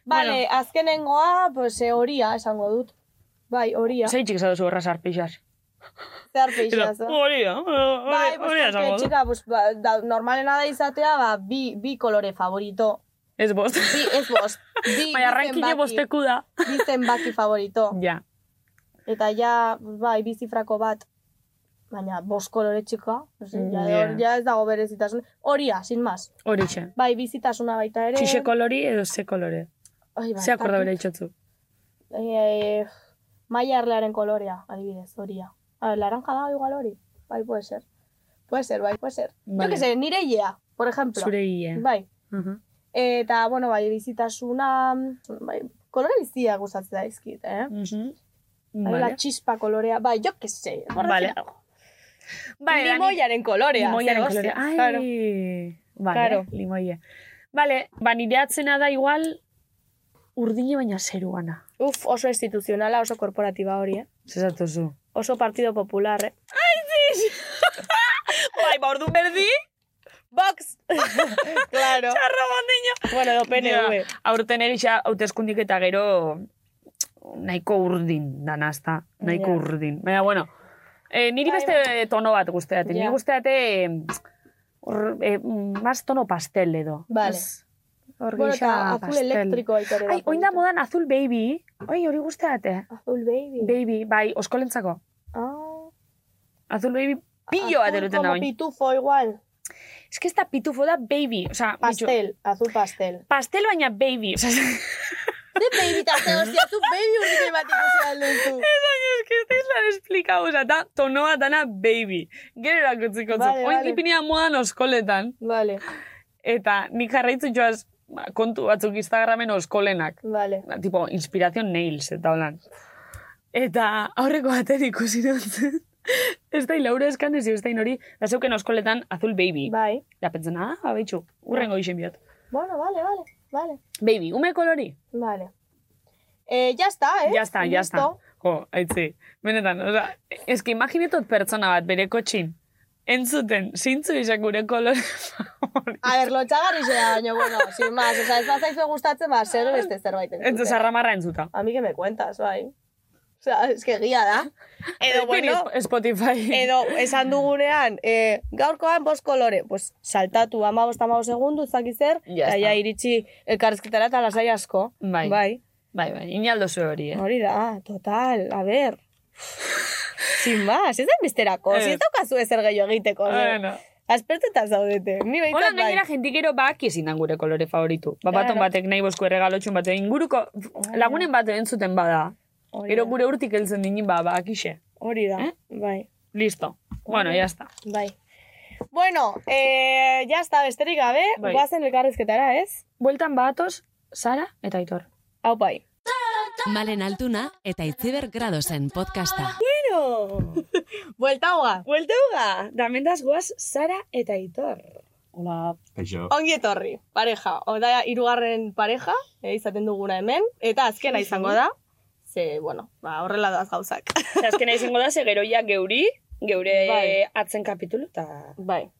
Speaker 7: Bale, azkenengoa, pues, eh, horia esango dut. Bai, horia.
Speaker 8: Zei txik zadozu horra zarpixar.
Speaker 7: Zer
Speaker 8: Eta,
Speaker 7: pixaz.
Speaker 8: Hori da, hori
Speaker 7: eh? Bai, pues,
Speaker 8: hori da,
Speaker 7: porque,
Speaker 8: esango dut.
Speaker 7: txika, pues, ba, da, normalena da izatea, ba, bi, bi kolore favorito.
Speaker 8: Ez bost.
Speaker 7: Bi, ez bost. Bi,
Speaker 8: Baina
Speaker 7: bi
Speaker 8: rankine
Speaker 7: zenbaki.
Speaker 8: bosteku da.
Speaker 7: bi zenbaki favorito.
Speaker 8: Ja.
Speaker 7: Eta ja, pues, bai, bi zifrako bat, baina bost kolore txika, no sé, ja,
Speaker 8: Ja.
Speaker 7: hor- ja ez dago berezitasun. Horia, sin más.
Speaker 8: Horixe.
Speaker 7: Bai, bizitasuna baita ere.
Speaker 8: Txixe kolori edo ze kolore.
Speaker 7: Ai, ba,
Speaker 8: Ze akorda
Speaker 7: ez
Speaker 8: bere
Speaker 7: dakit.
Speaker 8: itxotzu.
Speaker 7: Eh, maia erlearen kolorea, adibidez, horia. A ver, laranja da igual hori. Bai, puede ser. Puede ser, bai, puede ser. Yo
Speaker 8: Vale.
Speaker 7: que sé, nire ilea, por ejemplo.
Speaker 8: Zure hile.
Speaker 7: Bai.
Speaker 8: Mhm.
Speaker 7: Eta, bueno, bai, bizitasuna, bai, kolore bizia gustatzen daizkit, eh? Vale.
Speaker 8: Mhm.
Speaker 7: Bai, La
Speaker 8: Vale.
Speaker 7: chispa kolorea, bai, yo que sé. por
Speaker 8: Vale.
Speaker 7: decir algo.
Speaker 8: Bai, Dani.
Speaker 7: limoiaren kolorea.
Speaker 8: Limoiaren
Speaker 7: zer
Speaker 8: kolorea.
Speaker 7: hostia,
Speaker 8: Ai,
Speaker 7: claro.
Speaker 8: vale,
Speaker 7: Claro.
Speaker 8: limoia. Vale, ba, nire atzena da igual urdine baina zeruana.
Speaker 7: Uf, oso instituzionala, oso korporatiba hori, eh?
Speaker 8: Zezatu zu.
Speaker 7: Oso partido popular, eh?
Speaker 8: Bai, ba, ordu berdi,
Speaker 7: Box! claro.
Speaker 8: arro bandino.
Speaker 7: bueno, do PNV.
Speaker 8: Aurten egisa, hauteskundik eta gero nahiko urdin, danazta. Nahiko
Speaker 7: Ja.
Speaker 8: urdin. Baina, bueno, eh, niri
Speaker 7: Bai,
Speaker 8: beste tono bat
Speaker 7: Ja.
Speaker 8: guzteate. Niri guzteate, hor, eh, mm, más tono pastel edo.
Speaker 7: Vale.
Speaker 8: Ez, Hor
Speaker 7: Bueno,
Speaker 8: gisa
Speaker 7: eta azul
Speaker 8: pastel.
Speaker 7: elektrikoa aitor
Speaker 8: Ai, oin da modan azul baby. Oi, hori guzteate.
Speaker 7: Azul baby.
Speaker 8: Baby, bai, oskolentzako.
Speaker 7: ah,
Speaker 8: Azul baby pillo bat
Speaker 7: azul
Speaker 8: eruten da
Speaker 7: como
Speaker 8: oin.
Speaker 7: pitufo igual.
Speaker 8: Ez que ez da pitufo da baby. Osa,
Speaker 7: Pastel, azul pastel.
Speaker 8: pastel baina baby. Osa,
Speaker 7: Ze baby tazte, hostia, zu baby urdin bat ikusi alduzu.
Speaker 8: Es que ez lan esplikau, oza, da tonoa dana baby. Gero erakutziko zu.
Speaker 7: Vale,
Speaker 8: Oin
Speaker 7: vale.
Speaker 8: ipinea modan oskoletan.
Speaker 7: Vale,
Speaker 8: Eta nik jarraitzu joaz ba, kontu batzuk Instagramen oskolenak.
Speaker 7: vale.
Speaker 8: Ba, Tipo, inspiración nails, eta holan. Eta aurreko baten ikusi dut. ez da, Laura eskanez, ez da, hori, da zeuken oskoletan azul baby.
Speaker 7: Bai.
Speaker 8: Da pentsen, ah, abetxu, urrengo
Speaker 7: Ba.
Speaker 8: izen biot.
Speaker 7: Bueno, vale, vale, vale.
Speaker 8: Baby, ume kolori?
Speaker 7: Vale. Eh, ya está, eh?
Speaker 8: Ya está, ya está.
Speaker 7: Listo.
Speaker 8: Jo, aitzi, benetan, oza, eski imaginetot pertsona bat bere kotxin, entzuten, zintzu izan gure kolor
Speaker 7: A ber, lotxagarri da, baina, bueno, sin más, o sea, ez bazaizu gustatzen, ba, zer beste zerbait
Speaker 8: Entzuz,
Speaker 7: entzuten.
Speaker 8: arramarra entzuta.
Speaker 7: A mí que me cuentas, bai. Osa, eske egia da. Edo, bueno,
Speaker 8: Spotify.
Speaker 7: edo esan dugunean, eh, gaurkoan bost kolore, pues saltatu ama bost ama segundu, zaki zer,
Speaker 9: Ya
Speaker 7: eta
Speaker 9: está.
Speaker 7: ja iritsi elkarrezketara eta lasai asko.
Speaker 9: Bai.
Speaker 7: bai.
Speaker 9: Bai, bai, inaldo zue hori, eh?
Speaker 7: Hori da, total, a ber. Sin más, ez da besterako,
Speaker 9: Ez.
Speaker 7: si ez daukazu ezer gehiago egiteko. Eh,
Speaker 9: Bueno.
Speaker 7: Aspertuta zaudete,
Speaker 9: Hola,
Speaker 7: ni behintzat bai.
Speaker 9: gainera, jentik ero baki ezin dan gure kolore favoritu. Ba, baton
Speaker 7: Claro.
Speaker 9: batek nahi bosku erregalotxun batek inguruko lagunen bat entzuten bada.
Speaker 7: bai. Hori
Speaker 9: Gero
Speaker 7: da,
Speaker 9: gure urtik heltzen dinin ba, bakixe.
Speaker 7: Hori da, bai.
Speaker 9: Listo. Bueno, ya está.
Speaker 7: Bai. Bueno, eh, ya está, besterik gabe,
Speaker 9: Bai.
Speaker 7: guazen elkarrizketara, ez?
Speaker 8: Bueltan batoz, Sara eta Aitor.
Speaker 7: Hau bai.
Speaker 6: Malen Altuna eta Itziber Gradosen podcasta.
Speaker 7: Pero... Buelta hoga. Buelta
Speaker 8: Ah,
Speaker 7: hoga. Damendaz guaz, Sara eta Itor.
Speaker 8: Hola.
Speaker 10: Kaixo.
Speaker 7: Ongi etorri, pareja. Oda, irugarren pareja, eh, izaten duguna hemen. Eta azkena izango da. Ze, bueno, ba, horrela doaz gauzak.
Speaker 8: Azkena izango da, ze gero ja geuri, geure
Speaker 9: eh,
Speaker 7: Bai.
Speaker 8: atzen kapitulu, eta
Speaker 7: Bai.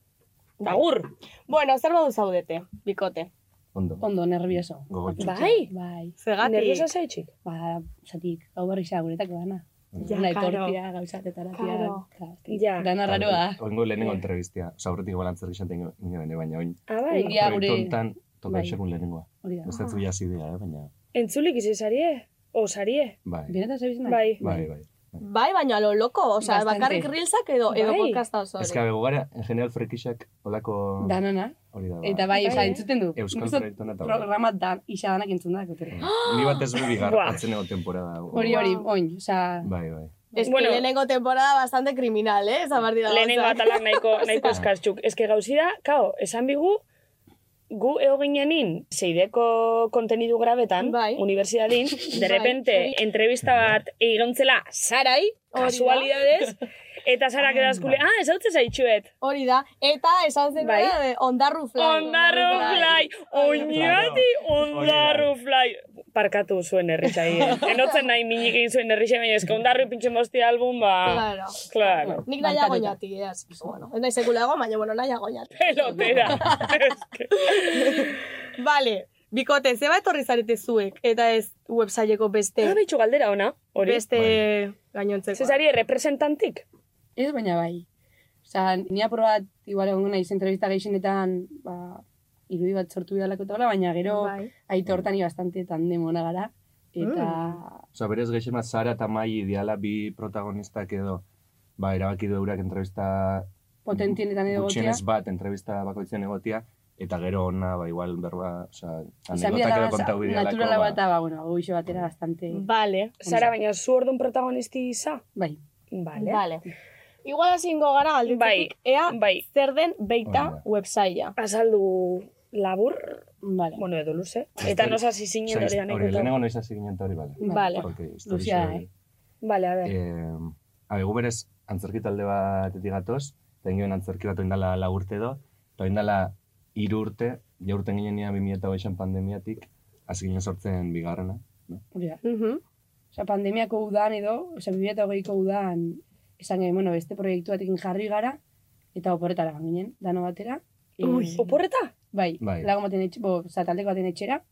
Speaker 8: agur.
Speaker 7: Bueno, zer badu zaudete, bikote.
Speaker 10: Ondo.
Speaker 11: Ondo, nervioso.
Speaker 10: Gogotxu.
Speaker 8: Bai.
Speaker 11: Bai.
Speaker 7: Zergatik.
Speaker 8: Nerviosa zaitxik.
Speaker 11: Ba, zatik, hau berri xa guretako gana.
Speaker 7: Ja,
Speaker 11: Una
Speaker 7: karo.
Speaker 11: etortia, gauzat, etaratia.
Speaker 7: Karo.
Speaker 8: Ja.
Speaker 11: Gana raroa.
Speaker 10: Oingo lehenengo entrevistia. Osa, horretik igual antzer gizan tengo inoen, baina oin.
Speaker 8: Ah, bai.
Speaker 11: Ongia
Speaker 10: Proiektu
Speaker 11: gure...
Speaker 10: honetan, toka
Speaker 11: Bai.
Speaker 10: esekun lehenengoa.
Speaker 11: Hori da.
Speaker 10: Ez da zuia zidea, eh, baina...
Speaker 8: Entzulik izi zarie? O zarie?
Speaker 10: Bai,
Speaker 11: Benetan zabiz nahi?
Speaker 8: Bai.
Speaker 10: bai, bai.
Speaker 7: Bai, baina lo loko, osea,
Speaker 11: Bastante.
Speaker 7: bakarrik reelsak edo, edo
Speaker 8: Bai.
Speaker 7: podcasta oso.
Speaker 10: Ez que begu gara, en general frikixak olako...
Speaker 11: Danana.
Speaker 10: Hori da,
Speaker 11: Eta bai,
Speaker 8: Bai,
Speaker 11: oza,
Speaker 8: eh?
Speaker 11: entzuten du.
Speaker 10: Euskal
Speaker 11: Gusto
Speaker 10: proiektu honetan. bai.
Speaker 11: Programa dan, isa danak entzun da, gotere.
Speaker 10: Ni bat ez bigar,
Speaker 8: Buah.
Speaker 10: atzen ego temporada. o-
Speaker 11: Hori, hori, oin, oza...
Speaker 10: Bai, bai.
Speaker 7: Es que
Speaker 8: Bueno.
Speaker 7: lehenengo temporada bastante kriminal, eh? Esa partida
Speaker 8: Lehenengo atalak nahiko, nahiko eskartxuk. Ez que gauzi da, kao, esan bigu, gu eo ginenin, zeideko kontenidu grabetan,
Speaker 7: Bai.
Speaker 8: universidadin, de
Speaker 7: Bai.
Speaker 8: repente, entrevista bat egontzela Sarai,
Speaker 7: Hori da. bai.
Speaker 8: kasualidades, eta Sarak edazkule, ah, ez hautze zaitxuet.
Speaker 7: Hori da. Eta esan zen
Speaker 8: Bai.
Speaker 7: bai. ondarru fly.
Speaker 8: Ondarru
Speaker 7: bai.
Speaker 8: fly, oinati ondarru fly. Parkatu zuen erritxai. eh? Enotzen nahi minik egin zuen erritxai, baina eska ondarru pintxe mozti album, ba...
Speaker 7: Claro.
Speaker 8: Claro.
Speaker 7: Nik nahiago oinati, eh? así que, Bueno, ez nahi sekulago, baina, bueno, nahiago oinati.
Speaker 8: Pelotera. Eske.
Speaker 7: Vale, bikote, zeba etorri zarete zuek, eta ez websaileko beste,
Speaker 8: Ah, bitxu galdera ona, hori. Bai.
Speaker 7: beste gainontzeko.
Speaker 8: Zezari, representantik?
Speaker 11: Ez baina bai. Oza, ni aprobat, igual egon naiz entrevista gehienetan, ba, irudi bat sortu bidalako eta hola, baina gero
Speaker 7: Bai.
Speaker 11: aite hortan ni bastante tandemona gara. Eta...
Speaker 10: Osa, berez gehixema Sara eta Mai ideala bi protagonistak edo ba, erabaki du eurak entrevista
Speaker 11: potentienetan edo gotia.
Speaker 10: gutxienez bat entrevista bakoitzen egotia, eta gero ona, ba, igual berba, oza,
Speaker 11: Izan bia
Speaker 10: anekdotak edo kontau bidealako.
Speaker 11: naturala
Speaker 10: ba.
Speaker 11: bat, ba, bueno, goixo batera bastante,
Speaker 7: Mm.
Speaker 8: Bai.
Speaker 7: Vale.
Speaker 8: Zara, baina zu orduan protagonisti isa?
Speaker 11: bai.
Speaker 8: Vale.
Speaker 7: Vale. Igual hasingo gara galdetzetik, ea
Speaker 8: Bai,
Speaker 7: zer den beita
Speaker 10: Vale.
Speaker 7: websaila.
Speaker 8: azaldu labur,
Speaker 11: Vale.
Speaker 8: bueno, edo luze.
Speaker 10: Historia-
Speaker 8: Eta nos hasi zinen
Speaker 10: Osa,
Speaker 8: hori
Speaker 10: hori,
Speaker 8: anekdota.
Speaker 10: lehenengo noiz hasi ginen eta hori, bale.
Speaker 7: Vale.
Speaker 10: Porque
Speaker 11: Luzea,
Speaker 10: historia...
Speaker 11: eh?
Speaker 8: Vale, a ver.
Speaker 10: Eh, abe, gu berez, antzerki talde batetik gatoz, eta ginen antzerki bat oindala la urte edo, eta oindala iru urte, ja urten ginen ia 2008an pandemiatik, hasi ginen sortzen bigarrena.
Speaker 11: Hori da.
Speaker 7: Mhm.
Speaker 11: Osa, pandemiako udan edo, osa, 2008ko udan, esan genuen, bueno, beste proiektu batekin jarri gara, eta oporretara gan ginen, dano batera. Eh,
Speaker 8: Ui, oporreta?
Speaker 11: Bai,
Speaker 10: Bai.
Speaker 11: lagun baten etxe, bo, osa, taldeko baten etxera,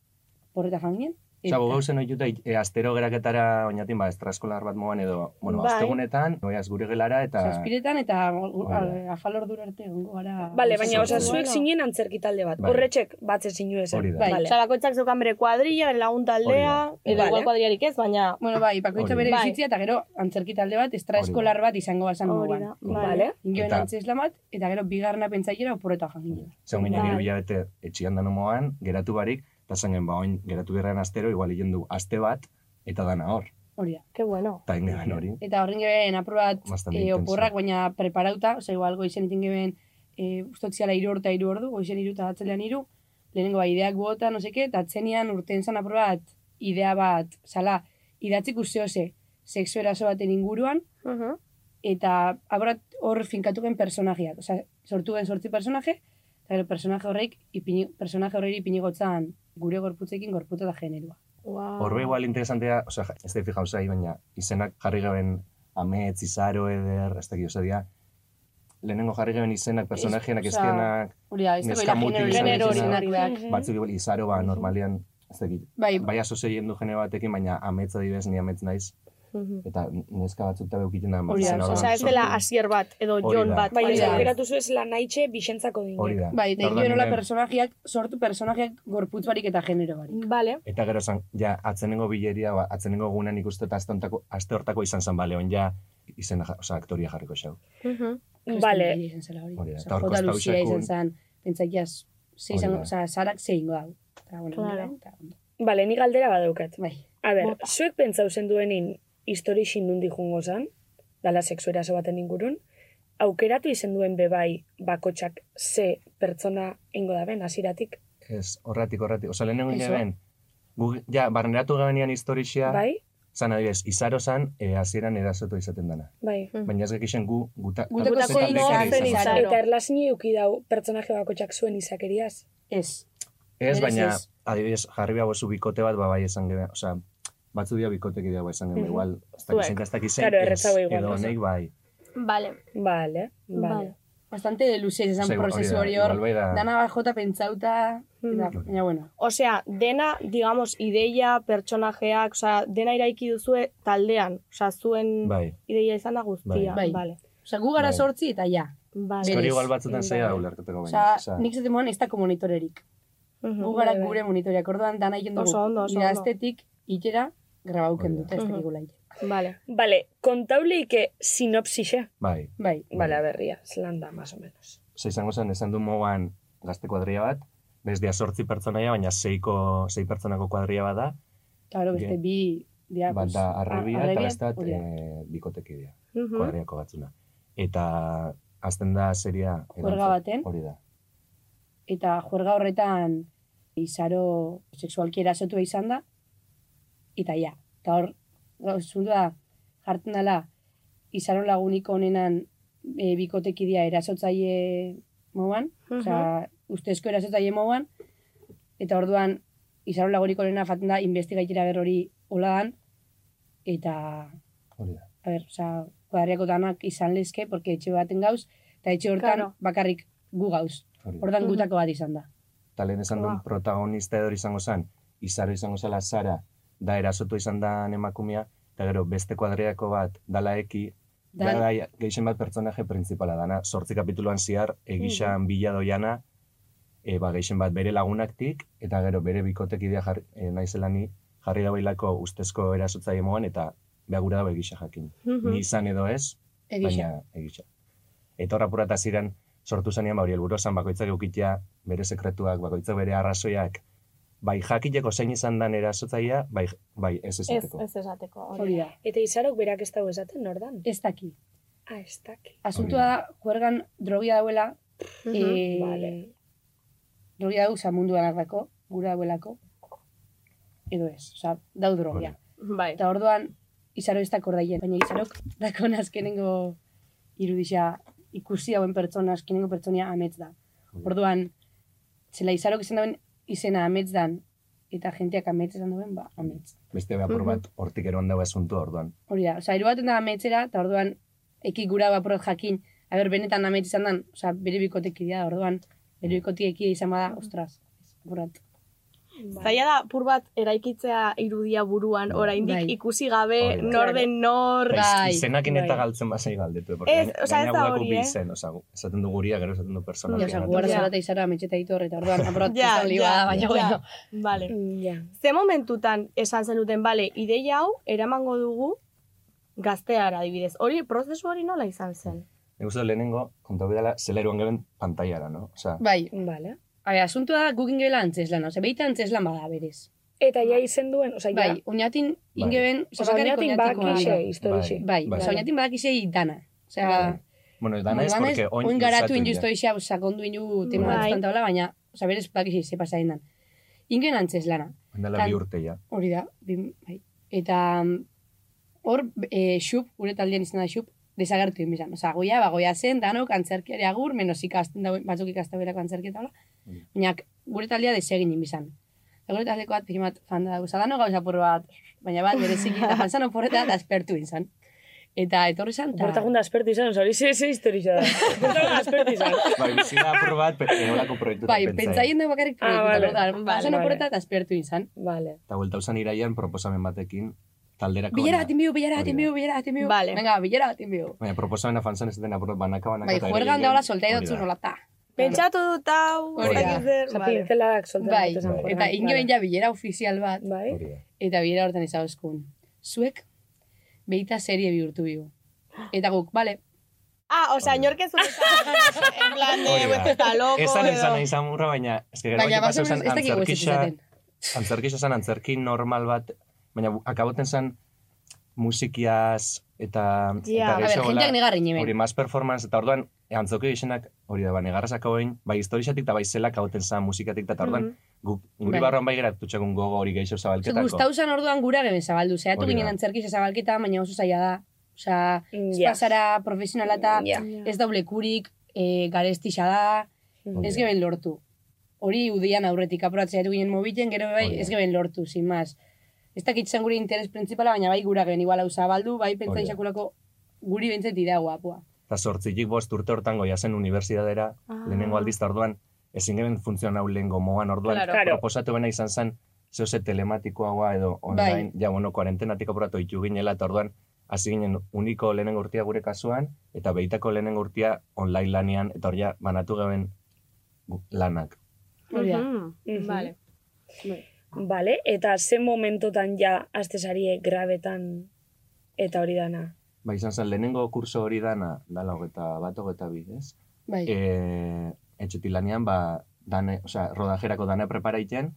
Speaker 11: oporreta jan ginen.
Speaker 10: Osa, gogau zen oituta, e, astero geraketara oinatin, ba, estraskolar bat moan edo, bueno,
Speaker 7: Bai.
Speaker 10: astegunetan, oiaz gure gelara, eta...
Speaker 11: Zazpiretan eta
Speaker 10: Hori da.
Speaker 11: afalor dura arte gongo gara.
Speaker 8: Vale, baina osa
Speaker 10: Bueno.
Speaker 8: zuek zinen antzerki talde bat.
Speaker 10: Bai.
Speaker 8: Horretxek batze zinu esan.
Speaker 10: Hori da.
Speaker 11: Bai.
Speaker 8: Vale.
Speaker 7: Osa, bakoitzak zeukan bere kuadrilla, bere lagun taldea,
Speaker 10: Hori
Speaker 7: edo
Speaker 8: Vale.
Speaker 7: igual kuadrillarik ez, baina
Speaker 11: Bueno, bai, bakoitza
Speaker 10: Hori da.
Speaker 11: bere
Speaker 7: Bai.
Speaker 11: bizitzia eta gero antzerki talde bat, estraeskolar bat izango bazan
Speaker 7: hori da.
Speaker 11: moduan.
Speaker 7: Vale.
Speaker 8: Vale.
Speaker 11: Ingoen
Speaker 10: Eta-
Speaker 11: antzeslan bat, eta gero bigarna pentsailera oporreta jan ginen.
Speaker 10: Zer ginen
Speaker 7: Bai.
Speaker 10: hiru hilabete etxian da nomoan, geratu barik, eta zangen ba, oin, geratu gerran astero, igual egin du aste bat, eta dana hor.
Speaker 11: Hori da.
Speaker 7: Qué bueno.
Speaker 10: Eta egin geben
Speaker 7: Ah.
Speaker 10: hori.
Speaker 11: Eta horren geben aprobat
Speaker 10: Bastante
Speaker 11: e,
Speaker 10: intenso.
Speaker 11: oporrak, baina preparauta, oza, igual goizen iten geben e, ustotziala iru orta iru ordu, goizen iru eta atzelean iru, lehenengo bai, ideak bota, no seke, eta atzenian urten zan aprobat idea bat, zala, idatzik usteose, sexu eraso baten inguruan,
Speaker 7: Mhm.
Speaker 11: eta aprobat hor finkatu gen personajeak, oza, sortu gen sortzi personaje, eta gero personaje horreik, ipini, personaje horreik ipinigotzan gure gorputzekin gorputa da generua.
Speaker 7: Wow.
Speaker 10: Horbe igual interesantea, oza, ez da fija osai, baina izenak jarri gaben ametz, izaro, eder, ez dakit, oza, dia, lehenengo jarri gaben izenak, personajeenak,
Speaker 11: osea,
Speaker 10: izkenak,
Speaker 11: Hori da, ez dago
Speaker 10: Neska
Speaker 11: genero,
Speaker 10: mutil izan
Speaker 11: genero,
Speaker 10: daitezela.
Speaker 11: izenak dak.
Speaker 7: mm.
Speaker 10: batzuk igual izaro, ba, normalian, ez dakit,
Speaker 11: Bai,
Speaker 10: bai asozeien du gene batekin, baina ametza dibes, ni ametz naiz,
Speaker 7: Mhm.
Speaker 10: Eta neska batzuk tabe ukiten da.
Speaker 7: Hori da,
Speaker 10: zena
Speaker 7: osea, ez
Speaker 10: sortu.
Speaker 7: dela asier bat, edo
Speaker 10: Hori
Speaker 7: jon
Speaker 10: da.
Speaker 7: bat.
Speaker 10: Bai,
Speaker 7: Hori
Speaker 10: ez
Speaker 7: da.
Speaker 10: aukeratu
Speaker 9: zu ez lanaitxe bixentzako dinek.
Speaker 10: Hori da.
Speaker 11: Bai, eta
Speaker 10: Orduan
Speaker 11: ikio nola
Speaker 10: nire-
Speaker 11: personajeak, sortu personajeak gorputz barik eta genero barik.
Speaker 7: Vale.
Speaker 10: Eta gero zan, ja, atzenengo bileria, ba, atzenengo egunan ikustu eta aste hontako- aste hortako izan zan, bale, on ja, izena, ja- osea, aktoria jarriko xau.
Speaker 8: Vale.
Speaker 11: Izan zela hori.
Speaker 10: Hori da,
Speaker 11: Osa,
Speaker 10: eta hor
Speaker 11: Jota
Speaker 10: Costa
Speaker 11: Lucia
Speaker 10: Uxakun-
Speaker 11: izan zen, pentsakia, ze
Speaker 10: Hori
Speaker 11: izan,
Speaker 10: da.
Speaker 11: oza, zarak ze ingo hau. Eta, bueno,
Speaker 9: Claro.
Speaker 11: claro. eta,
Speaker 9: Bale, ni galdera badaukat.
Speaker 11: Bai.
Speaker 9: A ber, zuek pentsauzen duenin histori xindundi jungo zan, dala sexu eraso baten ingurun, aukeratu izen duen bebai bakotxak ze pertsona ingo da ben, hasiratik.
Speaker 10: Ez, horratik, horratik. Osa, lehenengo
Speaker 9: Eso.
Speaker 10: ginen, gu, ja, barneratu gabenian historixia,
Speaker 9: Bai?
Speaker 10: zan adibidez, izaro zan, eh, hasieran erasotu izaten dana.
Speaker 9: Bai.
Speaker 10: Baina ez gekixen gu, guta,
Speaker 11: Gutako
Speaker 10: taldekan
Speaker 11: zein
Speaker 10: taldeka
Speaker 11: izan zen
Speaker 10: izan zen.
Speaker 9: Eta erlazini euki dau pertsonaje bakotxak zuen izakeriaz.
Speaker 11: Ez. Berez
Speaker 10: Ez, baina,
Speaker 11: ez.
Speaker 10: adibidez, jarri behar bozu bikote bat, ba, bai esan gera, oza, batzu dira bikotek dira, bai esan gera,
Speaker 9: Mhm.
Speaker 10: igual, ez
Speaker 9: Zuek.
Speaker 10: dakizen, ez dakizen,
Speaker 9: Claro,
Speaker 10: ez,
Speaker 9: erretzago igual,
Speaker 10: edo
Speaker 9: oso.
Speaker 10: honek, bai.
Speaker 2: Vale.
Speaker 9: Vale, vale.
Speaker 11: Bastante luze izan
Speaker 10: Osa, igual-
Speaker 11: prozesu
Speaker 10: hori
Speaker 11: hori
Speaker 10: da,
Speaker 11: hor.
Speaker 10: igual bai da-
Speaker 11: Dana bajota pentsauta, eta,
Speaker 7: Mhm.
Speaker 11: baina bueno.
Speaker 7: Osea, dena, digamos, ideia, pertsonajeak, osea, dena iraiki duzue taldean. Osea, zuen
Speaker 10: Bai.
Speaker 7: ideia izan da guztia.
Speaker 11: Bai.
Speaker 7: Vale.
Speaker 11: Osa, gu gara
Speaker 10: Bai.
Speaker 11: sortzi eta ja.
Speaker 7: Vale.
Speaker 10: Ez hori igual batzutan
Speaker 11: Bai.
Speaker 10: zaila da ulerketeko baina.
Speaker 11: Osa,
Speaker 10: Osa,
Speaker 11: nik zaten moan ez dako monitorerik.
Speaker 7: Mhm.
Speaker 11: Gu gara
Speaker 9: Bai, bai.
Speaker 11: gure monitoreak. Orduan dana egin dugu.
Speaker 7: Oso ondo, oso ondo.
Speaker 11: Iraztetik, itera, grabauken
Speaker 10: Hori da.
Speaker 11: dute, ez dakigula ite.
Speaker 7: Vale.
Speaker 9: Vale, kontauleike sinopsixe.
Speaker 10: bai.
Speaker 11: Bai.
Speaker 9: Vale, a berria, zelan da, más o menos.
Speaker 10: Osa, izango zen, esan du mogan gazte kuadria bat, bez dia sortzi pertsonaia, baina seiko, sei pertsonako kuadria bat da,
Speaker 11: Claro, beste
Speaker 10: Bien.
Speaker 11: bi diaguz.
Speaker 10: bat da arrebia eta bestat
Speaker 11: hori da.
Speaker 10: eh, bikotekidea,
Speaker 7: Mhm.
Speaker 10: kuadriako batzuna. Eta azten da seria...
Speaker 11: Juerga
Speaker 10: erantzun-
Speaker 11: baten.
Speaker 10: Hori da.
Speaker 11: Eta juerga horretan izaro sexualki erasotua izan da, eta ja. Eta hor, gauzundu da, jartzen dela, izaro laguniko honenan e, bikotekidea erasotzaile moan, osea, ustezko erasotzaile moan, eta orduan, izaro laguniko honena jaten da, investigaitera ber hori oladan, eta
Speaker 10: Hori da.
Speaker 11: a ber, oza, kuadriako danak izan lezke, porque etxe baten gauz, eta etxe hortan
Speaker 7: Claro.
Speaker 11: bakarrik gu gauz.
Speaker 10: Hori da.
Speaker 11: Hortan
Speaker 7: Mhm.
Speaker 11: gutako bat izan da.
Speaker 10: Eta lehen esan duen
Speaker 7: Ba.
Speaker 10: protagonista edo izango zen, Izaro izango zela Sara, da erasotu izan da emakumea, eta gero beste kuadriako bat, dala eki, da,
Speaker 11: Dan-
Speaker 10: da geixen bat pertsonaje principala dana, sortzi kapituluan zihar, egixan bila doiana, e, ba, geixen bat bere lagunaktik, eta gero bere bikotekidea jar, e, naizela ni, jarri da bailako ustezko erasotza emoan, eta beagura da egisa jakin.
Speaker 7: Mhm.
Speaker 10: Ni izan edo ez,
Speaker 11: Egisa.
Speaker 10: baina egisa. Eta horra purata ziren, sortu zanean, ba, hori helburu zen bakoitzak eukitea, bere sekretuak, bakoitzak bere arrazoiak, bai jakiteko zein izan den erasotzaia, bai, bai ez
Speaker 7: Ez,
Speaker 10: ezateko.
Speaker 7: ez esateko.
Speaker 11: Hori da.
Speaker 9: Eta izarok berak ez dago esaten, nordan?
Speaker 11: Ez daki.
Speaker 9: Ah, ez daki.
Speaker 11: Asuntua da, juergan drogia dauela,
Speaker 7: Mhm.
Speaker 11: e,
Speaker 9: Vale.
Speaker 11: drogia dau zamunduan ardako, gura dauelako, edo ez, oza, dau drogia.
Speaker 7: Bai.
Speaker 11: Eta orduan, izaro ez dako ordaien, baina izarok dakon azkenengo irudisa ikusi hauen pertsona, azkenengo pertsonia amets da. Orduan, zela izarok izan dauen izena amets dan, eta jenteak amets izan dauen, ba, amets.
Speaker 10: Beste behapur bat, hortik eroan dago asuntu orduan.
Speaker 11: Hori da, oza, irubaten da ametzera, eta orduan, eki gura baporot jakin, aber benetan ametz izan dan, oza, bere bikotekidea, orduan, bere bikotekidea izan bada,
Speaker 7: Mm.
Speaker 11: ostras, apurat.
Speaker 7: Zaila da, pur bat eraikitzea irudia buruan, oraindik
Speaker 11: Bai.
Speaker 7: ikusi gabe,
Speaker 10: Hori da.
Speaker 7: nor den nor,
Speaker 11: Bai,
Speaker 10: Bai, Izenakin eta
Speaker 11: bai.
Speaker 10: galtzen bazai galdetu. eh, porque
Speaker 7: Ez, osea,
Speaker 10: gaina-
Speaker 7: ez
Speaker 10: gaina
Speaker 7: da
Speaker 10: guaku
Speaker 7: hori,
Speaker 10: bi
Speaker 7: eh?
Speaker 10: izen, osea, gu- esaten du guria, gero esaten du
Speaker 11: Ja,
Speaker 10: personalia.
Speaker 11: oza, gugara
Speaker 7: Ja.
Speaker 11: zara eta izara ametxeta ditor, eta orduan, apurat,
Speaker 7: Ja,
Speaker 11: ja,
Speaker 7: ja,
Speaker 11: baina,
Speaker 7: ja.
Speaker 11: bueno.
Speaker 10: Bai.
Speaker 7: Vale.
Speaker 9: Ja.
Speaker 7: Ze momentutan esan zenuten, bale, ideia hau eramango dugu gazteara adibidez. Hori, prozesu hori nola izan zen?
Speaker 10: Nik uste dut lehenengo, konta bidala, zela eruan garen pantailara, no? Osea,
Speaker 11: Bai,
Speaker 9: Vale.
Speaker 11: a ber, asuntua da, guk ingela antzeslan, oza, behita antzeslan bada, berez.
Speaker 9: Eta ja izen duen, oza, ja.
Speaker 11: Bai, oinatin
Speaker 10: Bai.
Speaker 11: ingeben, oza,
Speaker 9: Osa,
Speaker 11: bakarrik
Speaker 9: oinatik
Speaker 11: oinatikoa
Speaker 9: bakixe,
Speaker 11: da.
Speaker 9: historixe.
Speaker 11: Bai,
Speaker 10: Bai.
Speaker 11: oza, oinatin badakizei dana. Oza,
Speaker 10: Bai. bueno, dana ez, porque oin
Speaker 11: oin garatu
Speaker 10: luzatu
Speaker 11: inu
Speaker 10: dira.
Speaker 11: iztoizia, sakondu inu tema
Speaker 7: Bai.
Speaker 11: bat tantabla, baina, oza, berez bakixe, ze pasa den dan. Ingen antzes lana,
Speaker 10: Oin dela
Speaker 11: Tan-
Speaker 10: bi urte ja.
Speaker 11: hori da, bi, bai. Eta mm, hor, e, xup, gure taldean izan da xup, desagertu egin bizan. Osa, goia, ba, goia zen, danok, antzerkiari agur, menos ikasten dauen, batzuk ikasten berako antzerki eta hola.
Speaker 10: Mm.
Speaker 11: Baina, gure taldea desegin egin bizan. Eta gure taldeko bat, pixin bat, fan da, osa, danok gauza apur bat, baina bat, bereziki, eta fan zan oporreta, eta aspertu egin zan. Eta etorri zan, eta...
Speaker 9: Porta junta aspertu izan, hori ze ze historixa da. Porta junta aspertu izan.
Speaker 10: Bai, bizina apur bat, pe- egolako proiektu
Speaker 11: Bai, pentsaien dugu bakarrik
Speaker 9: Ah, vale.
Speaker 11: proiektu. Ah,
Speaker 9: Vale,
Speaker 11: Zan
Speaker 9: vale.
Speaker 11: oporreta, eta aspertu egin zan.
Speaker 9: Vale.
Speaker 10: Eta buelta usan iraian proposamen batekin, talderako.
Speaker 11: Bilera
Speaker 10: baina-
Speaker 11: bat inbiu, bilera bat
Speaker 10: Hori da.
Speaker 11: inbiu, bilera bat inbiu.
Speaker 7: Vale.
Speaker 11: Venga, bilera bat inbiu.
Speaker 10: Baina, proposamena fanzan ez dena apur- banaka, banaka.
Speaker 11: Bai,
Speaker 10: eta
Speaker 11: juergan
Speaker 10: eragin-
Speaker 11: daola soltai
Speaker 10: hori
Speaker 11: dotzu
Speaker 10: da.
Speaker 11: nolata.
Speaker 7: Pentsatu dut hau,
Speaker 11: Hori da.
Speaker 7: ez dakit zer,
Speaker 9: Osa,
Speaker 7: vale.
Speaker 9: pincelak soltan
Speaker 11: Bai,
Speaker 9: dut esan
Speaker 10: Bai.
Speaker 9: joan.
Speaker 11: eta
Speaker 9: Vale.
Speaker 11: ingoen ja bilera ofizial bat.
Speaker 9: Bai.
Speaker 10: Hori da.
Speaker 11: Eta bilera hortan izan eskun. Zuek, behita serie bihurtu bigu. Eta guk, bale,
Speaker 7: Ah, o sea, inork ez dut esan, en plan, de,
Speaker 10: Hori da.
Speaker 7: "Pues, está loco,
Speaker 10: Esan
Speaker 7: edo...
Speaker 10: esan nahi zamurra, baina... Ez que gero
Speaker 11: baina
Speaker 10: hori
Speaker 11: más o
Speaker 10: pasau
Speaker 11: menos
Speaker 10: zen
Speaker 11: ez dakik guezetz
Speaker 10: antzerkixa-
Speaker 11: izaten.
Speaker 10: antzerkixa zen, antzerki normal bat, baina bu- akaboten zen musikiaz eta...
Speaker 7: Ja.
Speaker 10: eta
Speaker 11: A ber,
Speaker 10: gehiago
Speaker 11: jenteak
Speaker 10: hola,
Speaker 11: negarri
Speaker 10: Hori,
Speaker 11: nimen.
Speaker 10: más performance, eta orduan, antzoki izenak, hori da, ba, negarrazak hauen, bai historixatik eta bai zelak hauten zen musikatik, eta orduan,
Speaker 7: Mhm.
Speaker 10: guk, guri
Speaker 11: Bai.
Speaker 10: barruan bai geratu txakun gogo hori geixo zabalketako.
Speaker 11: Gustau zan orduan gura geben zabaldu, zehatu
Speaker 10: Hori da.
Speaker 11: ginen antzerkixa zabalketa, baina oso zaila da. Osa, ez
Speaker 9: Ja.
Speaker 11: pasara profesionala eta
Speaker 9: Ja.
Speaker 11: ez doblekurik, e, garestixa da,
Speaker 10: Hori
Speaker 11: ez
Speaker 10: da.
Speaker 11: geben lortu. Hori udian aurretik aprobatzea etu ginen mobilen, gero bai,
Speaker 10: Hori da.
Speaker 11: ez geben lortu, sin más. Ez dakit zen gure interes principala, baina bai gura geben igual hau zabaldu, bai pentsa
Speaker 10: Hori da.
Speaker 11: isakulako guri bentzet idea guapua.
Speaker 10: Eta sortzilik bost urte hortan goia zen unibertsitatera,
Speaker 7: Ah.
Speaker 10: lehenengo
Speaker 11: Ah.
Speaker 10: aldiz, eta orduan, ezin geben funtzionau lehen gomoan, orduan,
Speaker 7: Claro.
Speaker 9: Claro.
Speaker 10: proposatu bena izan zen, zeo ze telematikoagoa edo online,
Speaker 11: Bai.
Speaker 10: ja, bueno, kuarentenatik apuratu itu ginela, eta orduan, hasi ginen uniko lehenengo urtia gure kasuan, eta behitako lehenengo urtia online lanean, eta hori ja, banatu gaben gu- lanak.
Speaker 11: Hori da.
Speaker 9: Mhm.
Speaker 7: Vale.
Speaker 9: Vale, eta ze momentotan ja astesarie grabetan eta hori dana.
Speaker 10: Ba, izan zen, lehenengo kurso hori dana, dala hogeta bat, hogeta bi, ez?
Speaker 11: Bai.
Speaker 10: E, etxetik lanean, ba, dane, osea, rodajerako dana preparaiten,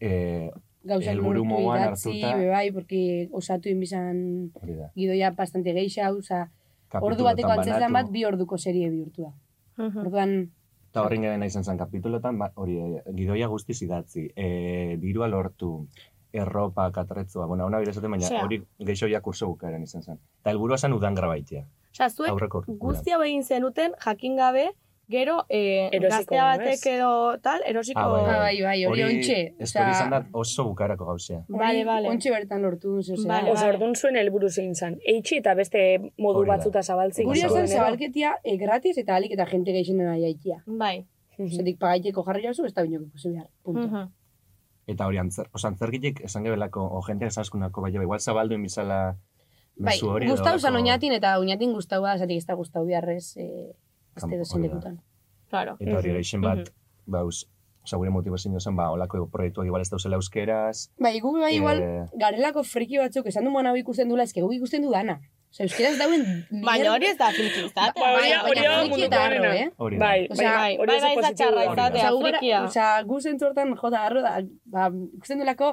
Speaker 10: e,
Speaker 11: Gauzak
Speaker 10: helburu
Speaker 11: lortu,
Speaker 10: moduan
Speaker 11: idatzi,
Speaker 10: hartuta.
Speaker 11: be bai, porque osatu inbizan
Speaker 10: hori da,
Speaker 11: gidoia bastante geisha, oza, ordu
Speaker 10: kapitulotan
Speaker 11: bateko antzeslan bat
Speaker 10: banatu.
Speaker 11: bi orduko serie bihurtu da.
Speaker 7: Mm-hmm.
Speaker 11: Orduan,
Speaker 10: Eta horren garen izan zen kapitulotan, ba, hori, eh, gidoia guztiz idatzi, e, dirua lortu, erropa, katretzua, bueno, hona bire esaten, baina
Speaker 7: Osea.
Speaker 10: hori geixo ja kurso bukaren izan zen. Eta helburua zen udan grabaitia,
Speaker 7: Osa, zuek
Speaker 10: aurreko urtean.
Speaker 7: guztia egin zenuten, jakin gabe, gero eh,
Speaker 9: Erosiko,
Speaker 7: gaztea
Speaker 9: ez?
Speaker 7: batek edo tal, erosiko...
Speaker 10: Ah, bai,
Speaker 11: ba, bai, bai, hori ontxe.
Speaker 10: Hori izan da oso bukarako gauzea.
Speaker 7: Vale, vale.
Speaker 11: Ontxe bertan lortu duen zeu zera.
Speaker 7: Vale,
Speaker 9: Osa, orduan zuen helburu zein zan. Eitxi eta beste modu
Speaker 10: Hori da.
Speaker 9: batzuta zabaltzik.
Speaker 11: Guri
Speaker 10: Oso
Speaker 11: esan
Speaker 10: ondo.
Speaker 11: zabalketia e, gratis eta alik eta jente gehien nahi aikia.
Speaker 7: Bai.
Speaker 11: Zetik pagaiteko jarri jauzu, ez da binok ikusi behar. Punto.
Speaker 7: Mhm.
Speaker 10: Eta hori, antzer, osa, antzerkitik esan gebelako, o jenteak esan askunako, bai, bai, igual zabaldu inbizala
Speaker 11: Bai,
Speaker 10: mezu hori. edo
Speaker 11: gustau zan
Speaker 10: holako-
Speaker 11: oinatin eta oinatin gustau da, zatik ez da gustau biharrez eh, ez
Speaker 10: Kanpo,
Speaker 11: da dozen
Speaker 10: hori da.
Speaker 11: lekutan.
Speaker 7: Claro.
Speaker 10: Eta hori, geixen bat,
Speaker 7: Mhm.
Speaker 10: ba, us, osa, gure motivazio zen, ba, olako proiektuak igual ez dauzela euskeraz.
Speaker 11: Bai, gu bai igual,
Speaker 10: eh,
Speaker 11: garelako friki batzuk esan du moan hau ikusten dula, ezke gu ikusten du dana. Osa, euskera ez dauen...
Speaker 7: Baina hori ez da filtrista.
Speaker 9: Ba, hori da- hori da munduko onena.
Speaker 11: eh?
Speaker 10: hori da.
Speaker 9: Bai,
Speaker 11: Osea,
Speaker 9: bai,
Speaker 7: bai,
Speaker 9: hori oso
Speaker 7: bai, ez da
Speaker 9: positiboa da.
Speaker 7: txarra
Speaker 10: izatea.
Speaker 11: Osea, gu gara-
Speaker 7: frikia.
Speaker 11: Osea, gu zentzu hortan jota harro da, ba, ikusten dulako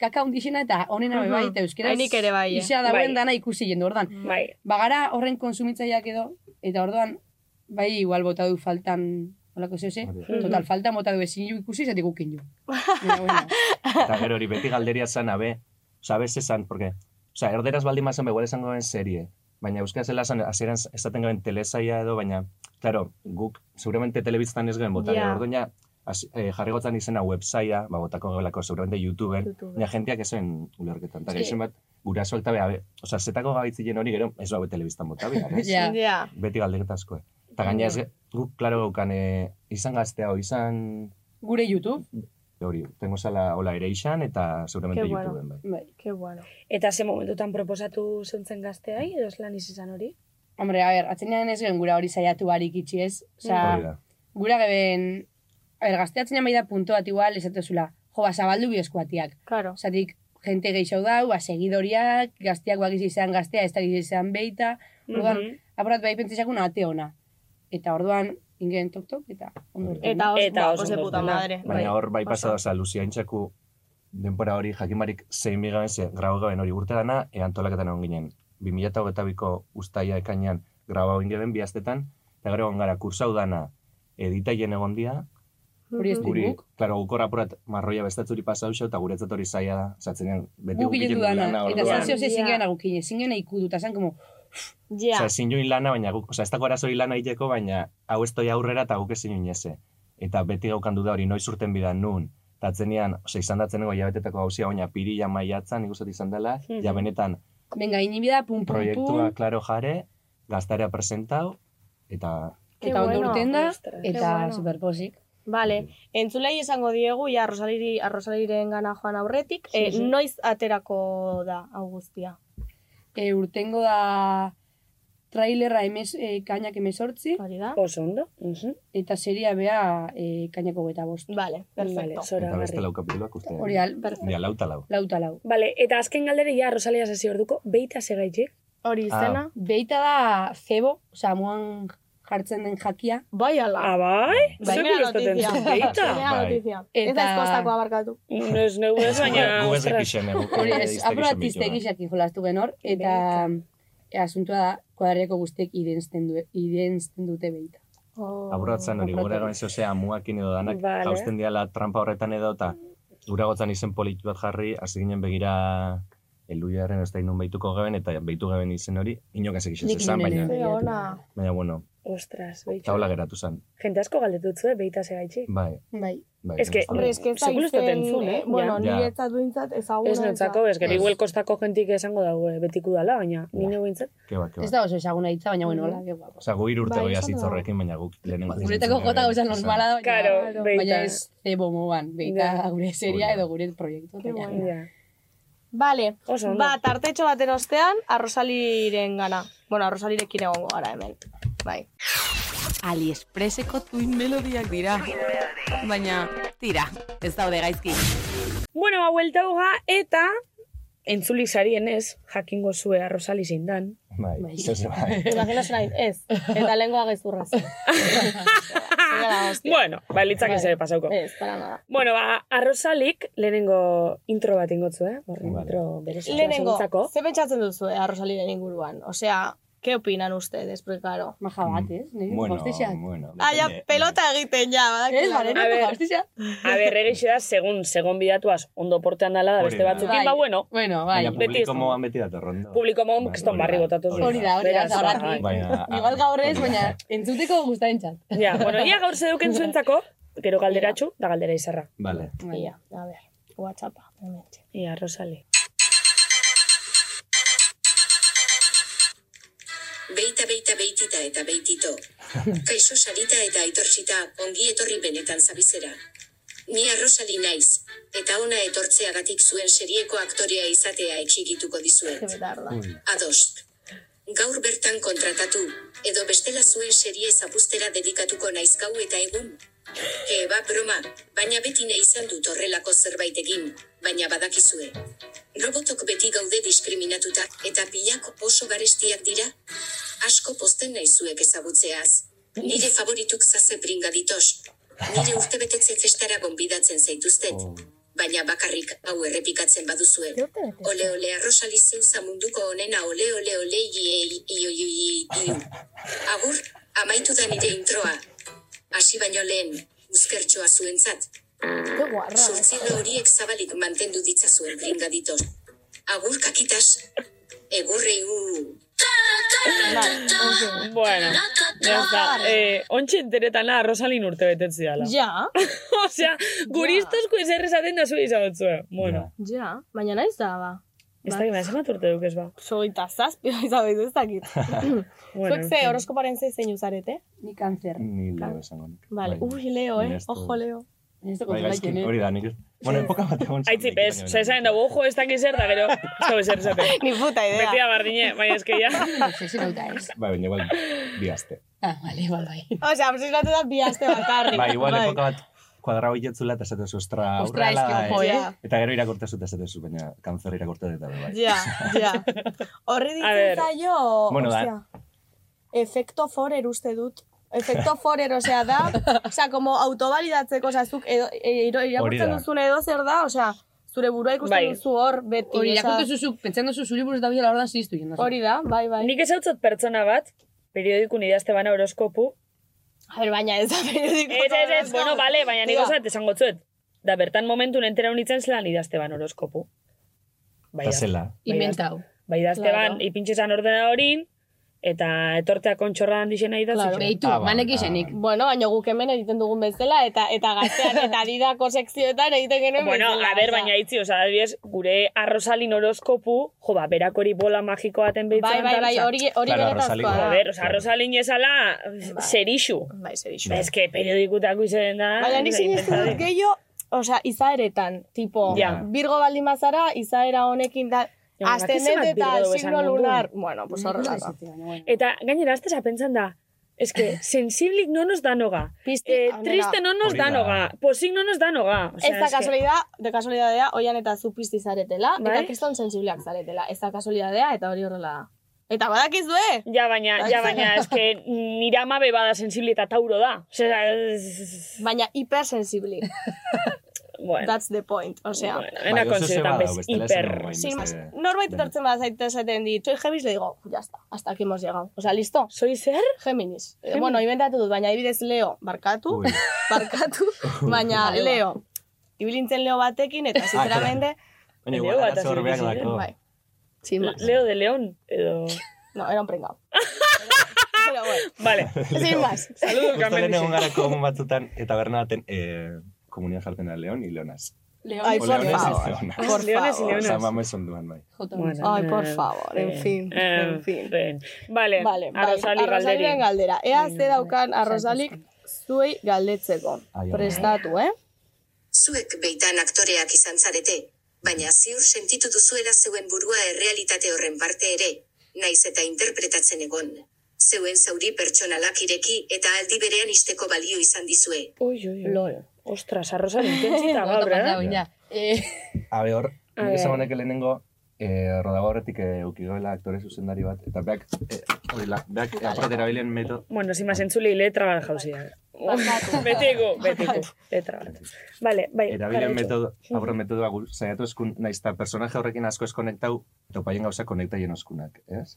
Speaker 11: kaka hundixena eta honena be bai,
Speaker 7: Mhm.
Speaker 11: eta euskera
Speaker 7: Hainik ere bai, eh.
Speaker 11: isa dauen
Speaker 9: Bai.
Speaker 11: dana ikusi jendu ordan.
Speaker 9: Bai,
Speaker 11: Bagara Ba, horren konsumitzaileak edo, eta orduan, bai, igual bota du faltan, holako zeu ze,
Speaker 10: Hori da.
Speaker 11: total, faltan bota du ezin ju ikusi, zatik gukin ju. Baina, bueno,
Speaker 10: Eta gero hori, beti galderia zan, abe, oza, bez esan, porque, oza, erderaz baldin ba, mazen, begual esango ben serie, baina euskara zela zan, azeran esaten gaben telesaia edo, baina, claro, guk, seguramente telebiztan ez gaben botan,
Speaker 7: Ja.
Speaker 10: yeah. orduan ja, hasi- eh, jarri gotzan izena websaia, ba, botako gebelako, seguramente YouTubeen,
Speaker 7: YouTube.
Speaker 10: baina jenteak ezen ulerketan, eta
Speaker 11: Eske-
Speaker 10: geixen bat, guraso alta beha, be, oza, zetako gabitzilen hori gero, ez babe telebiztan bota behar, ez?
Speaker 11: Ja.
Speaker 7: Ja.
Speaker 10: Beti galdeketa asko, eh. Eta gaina ez, ge- guk, klaro, gaukan, eh, izan gaztea, o izan,
Speaker 11: Gure YouTube,
Speaker 10: hori, tengo sala, hola, ere izan, eta seguramente
Speaker 7: Qué bueno.
Speaker 10: YouTubeen, bai.
Speaker 11: bai.
Speaker 7: Qué bueno.
Speaker 9: Eta ze momentutan proposatu zentzen gazteai, edo lan izan hori?
Speaker 11: Hombre, a ber, atzenean ez gen gura hori saiatu barik itxi ez.
Speaker 10: Hori
Speaker 11: Osea,
Speaker 10: da.
Speaker 11: gura geben, a ber, gazteatzen bai da puntu bat igual, esatezula, jo, ba, zabaldu bieskuatiak.
Speaker 7: Claro.
Speaker 11: Osatik, jente gehiago dau, ba, segidoriak, gazteak bakiz izan gaztea, ez da izan beita. Orduan, mm
Speaker 9: Mhm.
Speaker 11: apurat bai pentsesakun ate ona. Eta orduan, ingen tok-tok, eta ondo.
Speaker 10: Hori da.
Speaker 7: Eta os,
Speaker 9: Eta
Speaker 7: ba,
Speaker 9: oso
Speaker 7: pues de
Speaker 9: ondo
Speaker 7: puta
Speaker 9: dela.
Speaker 7: madre.
Speaker 10: Baina hor bai
Speaker 7: oso.
Speaker 10: pasada, oza, Lucia Intxaku denpora hori jakin barik zein bigaben, ze grau gaben hori urte dana, e, antolaketan egon ginen. 2008ko ustaia ekainan grau hau ingeben bihaztetan, eta gero egon gara kursau dana editaien egon dia,
Speaker 11: Hori ez
Speaker 10: guri,
Speaker 11: guk.
Speaker 10: klaro, gukor apurat marroia bestatzuri pasau xo, eta guretzat hori zaila da, zatzenean, beti
Speaker 11: Guk
Speaker 10: gukilen
Speaker 11: biletu
Speaker 10: du
Speaker 11: dana. Eta
Speaker 10: orduan.
Speaker 11: zan zeo ze
Speaker 7: Ja.
Speaker 11: zingean agukine, zingean eikudu, eta zan como,
Speaker 7: Ja.
Speaker 10: Osea, ezin join lana, baina guk, osea, ez dago arazoi lana egiteko, baina hau ez doi aurrera eta guk ezin join eze. Eta beti gaukan du da hori, noiz urten bidan nun. Eta atzenean, osea, izan datzenego jabetetako hauzia, baina pirila maiatzan, ikusat izan dela,
Speaker 11: Hmm.
Speaker 9: Mhm.
Speaker 10: ja benetan,
Speaker 11: venga, inibida, pum, pum,
Speaker 10: proiektua,
Speaker 11: pum,
Speaker 10: klaro jare, gaztarea presentau, eta
Speaker 11: eta ondo
Speaker 7: bueno.
Speaker 11: urten da,
Speaker 9: Ostras.
Speaker 11: eta
Speaker 7: bueno.
Speaker 11: superposik.
Speaker 7: Bale, entzulei esango diegu, ja, Rosaliri, a Rosaliren gana joan aurretik,
Speaker 11: Sí,
Speaker 7: eh,
Speaker 11: sí.
Speaker 7: noiz aterako da hau guztia?
Speaker 11: E, urtengo da trailerra emez, e, kainak emezortzi.
Speaker 7: Hori da.
Speaker 8: Oso ondo.
Speaker 11: Eta seria bea e, kainak hogeita bost.
Speaker 7: Vale,
Speaker 8: perfecto.
Speaker 10: Eta beste lau kapituloak uste.
Speaker 11: Hori al, perfecto.
Speaker 10: Ja, lauta lau.
Speaker 11: Lauta lau.
Speaker 8: Bale, eta azken galdere ja Rosalia sasi orduko, beita segaitik.
Speaker 7: Hori izena.
Speaker 10: Ah.
Speaker 11: Beita da cebo, osea, moan jartzen den jakia.
Speaker 7: Bai, ala.
Speaker 8: Ah, bai?
Speaker 11: Bai,
Speaker 8: Seguro
Speaker 7: mera
Speaker 8: ez dut
Speaker 7: notizia.
Speaker 8: entzun,
Speaker 7: Zena
Speaker 8: Beita?
Speaker 10: Bai.
Speaker 7: notizia.
Speaker 11: Eta-
Speaker 7: Eta... Ez da izkostakoa barkatu.
Speaker 8: No ez neu ez, baina...
Speaker 10: Gu ez
Speaker 8: ostras.
Speaker 10: ekixen.
Speaker 11: Hori ez, apurat iztegizak jolastu genor, eta e, asuntua da, kuadriako guztiek irensten, du, irensten dute beita.
Speaker 7: Oh.
Speaker 10: Aburratzen hori, gora egon zeo zea muakin edo danak,
Speaker 8: Vale.
Speaker 10: jausten diala trampa horretan edo, eta uragotzan izen politu bat jarri, hasi ginen begira eluiaren ez da inun behituko geben, eta behitu geben izen hori, inok ez egizaz
Speaker 11: Nik
Speaker 10: esan,
Speaker 11: nire
Speaker 10: baina,
Speaker 7: Ze ona.
Speaker 10: baina, bueno,
Speaker 8: Ostras, beita.
Speaker 10: taula geratu zen.
Speaker 8: Jente asko galdetutzu, eh, beita segaitik.
Speaker 10: Bai,
Speaker 11: Bai.
Speaker 10: bai.
Speaker 8: Ez que-
Speaker 7: Hombre, ez que ez da
Speaker 8: Sekulo ez dut
Speaker 7: izen,
Speaker 8: entzun, eh?
Speaker 7: eh, bueno,
Speaker 10: Ja.
Speaker 7: niretzat duintzat ezaguna.
Speaker 8: Ez notzako, ez gero
Speaker 10: Ez.
Speaker 8: igual kostako jentik esango dago eh, betiku dala, baina nino bintzat.
Speaker 10: Ke ba, ke
Speaker 11: Ez
Speaker 10: ba.
Speaker 11: da oso ezaguna hitza, baina bueno, hola, que guapo.
Speaker 10: Osa, gu irurte
Speaker 7: Bai,
Speaker 10: goi
Speaker 7: esan da.
Speaker 10: azitzorrekin, baina guk lehenengo aldiz
Speaker 11: Guretako
Speaker 10: entzun
Speaker 11: Ba, jota
Speaker 10: genuen.
Speaker 11: gauza
Speaker 10: Osea,
Speaker 11: normala da,
Speaker 8: Karo,
Speaker 7: Claro.
Speaker 8: beita.
Speaker 11: baina ez cebo moan,
Speaker 8: Ja.
Speaker 11: beita gure seria
Speaker 10: Hori da.
Speaker 11: edo gure proiektu.
Speaker 7: Qué guay.
Speaker 8: Ja.
Speaker 7: Vale,
Speaker 8: Oso ondo.
Speaker 7: ba, tartetxo baten ostean, arrosaliren gana. Bueno, arrosalirekin egongo gara hemen. Bai.
Speaker 2: AliExpresseko tuin melodiak dira. Baina, tira, ez daude gaizki.
Speaker 8: Bueno, ba, buelta hoga, eta entzulik zarien ez, jakingo zue arrozali zindan.
Speaker 10: Bai, zeu ze bai.
Speaker 7: Imaginatzen nahi, ez. Eta lehenkoa gaizurra zen. Zera da hostia.
Speaker 8: Bueno, ba, litzak ez ere pasauko.
Speaker 7: Ez, para nada.
Speaker 8: Bueno, ba, arrozalik lehenengo intro bat ingotzu, eh? Horren
Speaker 10: Vale.
Speaker 8: intro berezia.
Speaker 7: Lehenengo,
Speaker 8: seguntzako.
Speaker 7: ze pentsatzen duzu eh, arrosaliren inguruan? Osea, ke opinan ustedes, porque claro.
Speaker 11: Maja bat,
Speaker 7: Mm,
Speaker 11: ez? Nire,
Speaker 10: Bueno,
Speaker 11: gauztexeak.
Speaker 10: bueno.
Speaker 7: Ah, ja,
Speaker 10: depende.
Speaker 7: pelota egiten, ja, badakit.
Speaker 11: Ez, bale,
Speaker 8: A ver.
Speaker 11: nire, gauztexeak.
Speaker 8: A ber, egixe da, segun, segun bidatuaz, ondo portean dala da beste
Speaker 10: Hori da.
Speaker 8: batzukin,
Speaker 11: Bai.
Speaker 8: ba, bueno,
Speaker 11: Bueno, bai.
Speaker 10: Baina
Speaker 8: beti
Speaker 10: publiko
Speaker 8: ez-
Speaker 10: moan beti datorren do.
Speaker 8: publiko maun
Speaker 10: Bai,
Speaker 8: keston
Speaker 10: hori da,
Speaker 8: barri botatu zuen.
Speaker 11: Hori da, hori da,
Speaker 8: Beraz,
Speaker 11: da,
Speaker 8: ba,
Speaker 7: bai.
Speaker 11: horretik.
Speaker 10: Baina...
Speaker 11: Igual gaur ez,
Speaker 10: hori da.
Speaker 11: baina entzuteko guztain txat.
Speaker 8: Ja, bueno, ia gaur zeuken zuentzako, gero galderatxu, da galdera izarra.
Speaker 10: Vale.
Speaker 7: Ia, a ver, whatsappa. hementxe.
Speaker 8: Ia, Rosali.
Speaker 12: Beita, beita, beitita eta beitito. Kaixo sarita eta aitortzita, ongi etorri benetan zabizera. Ni arrosali naiz, eta ona etortzeagatik zuen serieko aktorea izatea etxigituko dizuet.
Speaker 7: Ze betarda.
Speaker 12: Ados. Gaur bertan kontratatu, edo bestela zuen serie zapustera dedikatuko naiz gau eta egun. Eba broma, baina beti nahi izan dut horrelako zerbait egin, baina badakizue. Robotok beti gaude diskriminatuta, eta pilak oso garestiak dira. Asko posten naizuek ezagutzeaz. Nire favorituk zaze pringaditos. Nire urtebetetze festara gonbidatzen zaituztet. Baina bakarrik hau errepikatzen baduzue. Ole ole arrosali zeuza munduko onena ole ole ole iei ioi ioi iu. Agur, amaitu da nire introa. Hasi baino lehen, uzkertxoa zuentzat.
Speaker 7: Ke guarra.
Speaker 12: Surtzido horiek zabalik mantendu ditzazuen pringaditos. Agur kakitas, egurrei uu.
Speaker 7: Vale, ok.
Speaker 8: Bueno, ya está. Eh, ontsi enteretana Rosalin urte betetzi dala.
Speaker 7: Ja,
Speaker 8: Osea, guri iztozko ezer esaten da zuen izan dutzue. Bueno,
Speaker 7: ja, baina naiz da, ba.
Speaker 8: ez da gina, zenbat urte duk ez ba.
Speaker 7: Soita zazpi, izan ez dakit.
Speaker 8: Bueno,
Speaker 7: Zuek ze, horoskoparen ze zein uzarete?
Speaker 11: Ni kanzer.
Speaker 7: Mm.
Speaker 10: Ni leo esango nik.
Speaker 7: Vale.
Speaker 10: Bai.
Speaker 7: Ui, Leo, eh?
Speaker 10: Nire ez du-
Speaker 7: Ojo, Leo.
Speaker 11: Ni ez
Speaker 10: Bai,
Speaker 11: dut
Speaker 10: gaizki,
Speaker 11: kontratzen, eh?
Speaker 10: hori da, nik... Bueno, epoka bat egon bai. zen.
Speaker 8: Aitzi pez, osea, esan dugu, ojo, ez dakiz zer da gero, ez dago ezer esaten.
Speaker 7: Ni puta
Speaker 8: Betia
Speaker 7: idea.
Speaker 8: bardine, baina ez que ya.
Speaker 11: Obsesionauta ez.
Speaker 10: Bai, baina igual, bi aste.
Speaker 11: Ah, bale, bai, bai.
Speaker 7: Osea, obsesionatu da bi aste bakarrik.
Speaker 10: Bai, igual epoka bat kuadra hori jetzula eta esatu zu ostra
Speaker 11: Ostra,
Speaker 10: aurrela,
Speaker 11: ez que ojo,
Speaker 10: eh?
Speaker 11: eh?
Speaker 7: Ja.
Speaker 10: Eta gero irakorte zu eta esatu zu, baina kanzer irakorte dut, bai.
Speaker 7: Ja, ja. Horri
Speaker 8: A ver.
Speaker 7: ditzen zaio,
Speaker 10: Bueno, da-
Speaker 7: ostia, efekto forer uste dut. Efekto forer, osea, da, osea, como autobalidatzeko, osea, zuk edo, e, iro-
Speaker 10: Hori
Speaker 7: irakurtzen
Speaker 10: da.
Speaker 7: duzun edo zer da, osea, zure burua ikusten
Speaker 8: Bai.
Speaker 7: duzu hor, beti,
Speaker 11: Hori
Speaker 7: osea,
Speaker 11: irakurtu zuzuk, pentsan duzu zuri buruz da bila ordan ziztu jendu.
Speaker 7: hori da, bai, bai.
Speaker 8: Nik ez hau zot pertsona bat, periodikun idazte bana horoskopu.
Speaker 7: A ver, baina ez da periodiko.
Speaker 8: Ez, ez, ez, bueno, bale, baina nik
Speaker 7: Tía.
Speaker 8: osat esango zuet. Da, bertan momentu entera unitzen zelan idazte ban horoskopu. Bai,
Speaker 10: Eta zela.
Speaker 11: Inventau.
Speaker 8: Bai, idazte
Speaker 7: Claro.
Speaker 8: ban, ipintxe zan ordena horin, Eta etortea kontxorra handi nahi da.
Speaker 7: Claro,
Speaker 8: zituen.
Speaker 7: behitu, Ah, vale, manek izenik. ah, vale. Bueno, baina guk hemen egiten dugun bezala, eta eta gaztean eta didako sekzioetan egiten genuen
Speaker 8: Bueno,
Speaker 7: bezala,
Speaker 8: a ber,
Speaker 7: osea.
Speaker 8: baina itzi, oza, adibidez, gure arrosalin horoskopu, jo, ba, berak hori bola magiko baten behitzen.
Speaker 7: Bai, bai, bai, hori- hori Claro, benetakoa Arrosalin. da.
Speaker 8: A ber, oza, arrosalin ezala, zerixu.
Speaker 7: Bai, zerixu.
Speaker 8: Ba, eske periodikutako izan da.
Speaker 7: Baina nik sinestu dut gehiago, osea, izaeretan, tipo,
Speaker 8: Ja.
Speaker 7: Virgo baldin bazara, izaera honekin da,
Speaker 8: Ja,
Speaker 7: ascendente
Speaker 8: badakizu bat
Speaker 7: eta
Speaker 8: Virgo dugu esan Mm, bai,
Speaker 7: signo
Speaker 8: munduan.
Speaker 7: lunar, bueno, pues horrela.
Speaker 8: Eta gainera, azte zapentzan da, eske, sensiblik no nos danoga, eh,
Speaker 7: onena.
Speaker 8: triste no nos
Speaker 7: Hori da.
Speaker 8: danoga, posik no nos danoga.
Speaker 7: Ez da kasualidad, de kasualidadea, oian eta zu pizti zaretela,
Speaker 8: Bai.
Speaker 7: eta kriston sensibleak zaretela. Ez da kasualidadea, eta hori horrela da. Eta badakizue!
Speaker 8: Ja, baina, ja,
Speaker 7: Bai.
Speaker 8: baina, eske nire amabe bada sensibli eta tauro da. Osea,
Speaker 7: Baina hipersensibli. That's the point, osea.
Speaker 8: Bueno, ena Bai, oso kontzeptu zeba bez, dau, bestela hiper. esan nuen,
Speaker 7: Sin más,
Speaker 8: beste-
Speaker 7: norbait etortzen bat zaite esaten dit, soy Géminis, le digo, ya está, hasta aquí hemos llegado. O sea, listo.
Speaker 8: Soy zer?
Speaker 7: Géminis. Eh,
Speaker 8: Géminis.
Speaker 7: bueno, inventatu dut, baina adibidez Leo, barkatu, barkatu, baina
Speaker 8: Bai, ba.
Speaker 7: Leo. Ibilintzen Leo batekin, eta sinceramente...
Speaker 10: Baina igual arazo horbeak dako.
Speaker 7: Bai. Sin más.
Speaker 8: Leo de León, edo...
Speaker 7: No, era un pringao. Pero bueno.
Speaker 8: Vale.
Speaker 7: Sin más.
Speaker 8: Saludos,
Speaker 10: Justo lehen
Speaker 8: Carmen.
Speaker 10: egon gara komun batzutan, eta berna baten eh, komunian jartzen da León y Leonas.
Speaker 7: Leones. Ay,
Speaker 10: O
Speaker 7: por
Speaker 10: Leones y
Speaker 7: favor.
Speaker 10: Leonas.
Speaker 7: Por Leones y favor. Leonas.
Speaker 10: Osa, mama esan duan, bai.
Speaker 7: Ay, por favor, en fin, en
Speaker 8: fin. Vale,
Speaker 7: Vale, bai,
Speaker 8: Arrosali
Speaker 7: Arrosaliren
Speaker 8: galderi.
Speaker 7: galdera. Ea ze daukan arrozalik zuei galdetzeko.
Speaker 12: Ai, ama.
Speaker 7: Prestatu, eh?
Speaker 12: Zuek beitan aktoreak izan zarete, baina ziur sentitu duzuela zeuen burua errealitate horren parte ere, naiz eta interpretatzen egon. Zeuen zauri pertsonalak ireki eta aldi berean isteko balio izan dizue.
Speaker 8: Oi, oi, oi. Lol. Ostras, arrosali intentsita gaur, eh?
Speaker 11: Ja.
Speaker 10: Habe hor,
Speaker 8: A
Speaker 10: nik
Speaker 8: ver.
Speaker 10: esan honek lehenengo, eh, rodagorretik eh, eukigela aktore zuzendari bat, eta beak, eh, hori la, beak aprat erabilen meto,
Speaker 8: Bueno, sin más entzulei letra bat jauzia. Betiko, betiko, letra bat.
Speaker 11: Eh,
Speaker 8: Vale, bai.
Speaker 10: erabilen
Speaker 8: jarraitu.
Speaker 10: metodo, aurre metodoa gu, saiatu eskun, nahiz eta personaje horrekin asko eskonektau, eta opaien gauza konektaien oskunak, ez?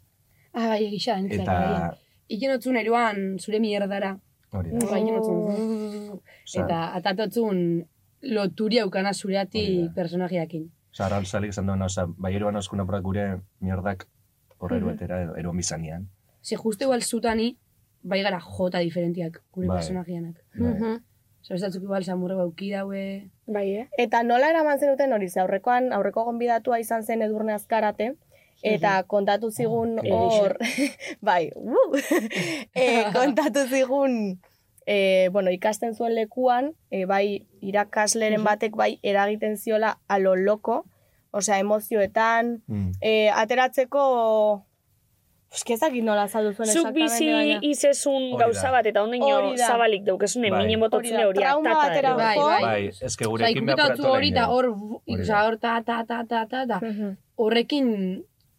Speaker 11: Ah, bai, egisa, entzak.
Speaker 10: Eta,
Speaker 11: Eta... Iken otzun eruan zure mierdara.
Speaker 10: hori da.
Speaker 11: Horra,
Speaker 7: Oh.
Speaker 11: iken
Speaker 7: Mm.
Speaker 11: otzun.
Speaker 10: Osea-
Speaker 11: Mm, Eta atatotzun loturia ukana zureati personajeakin.
Speaker 10: Osa, arralzalik esan duena, osa, bai eroan oskun apurak gure mierdak horre
Speaker 11: Mm-hmm.
Speaker 10: eruetera, edo eroan bizanean.
Speaker 11: Ze justu igual zutani, bai gara jota diferentiak gure
Speaker 10: Bai.
Speaker 11: personajeanak.
Speaker 10: Bai.
Speaker 11: Zer ez datzuk igual zamurre bauki daue.
Speaker 7: Bai, eh? Eta nola eraman zenuten hori, ze aurrekoan, aurreko gonbidatua izan zen edurne azkarate, eta kontatu zigun
Speaker 11: Egixe.
Speaker 7: hor, bai, uh, e, kontatu zigun, e, bueno, ikasten zuen lekuan, e, bai irakasleren batek bai eragiten ziola alo loko, osea emozioetan,
Speaker 10: Mm.
Speaker 7: e, ateratzeko, eske ez dakit nola azaldu zuen
Speaker 8: Zuk bizi
Speaker 7: exactamente, baina-
Speaker 8: izezun
Speaker 10: Hori da.
Speaker 8: gauza bat eta ondaino
Speaker 7: Hori da.
Speaker 8: zabalik daukesune
Speaker 10: Bai.
Speaker 8: minen bototzune
Speaker 7: Hori
Speaker 8: hori eh.
Speaker 7: da, trauma
Speaker 8: atata
Speaker 7: batera
Speaker 8: ere.
Speaker 11: Bai, bai.
Speaker 10: Bai, eske
Speaker 11: Osa,
Speaker 10: gurekin
Speaker 11: ikutatu hori eta hor,
Speaker 10: eh. Hori da.
Speaker 11: osa, hor ta, ta, ta, ta, ta, ta.
Speaker 7: Mhm,
Speaker 11: Horrekin,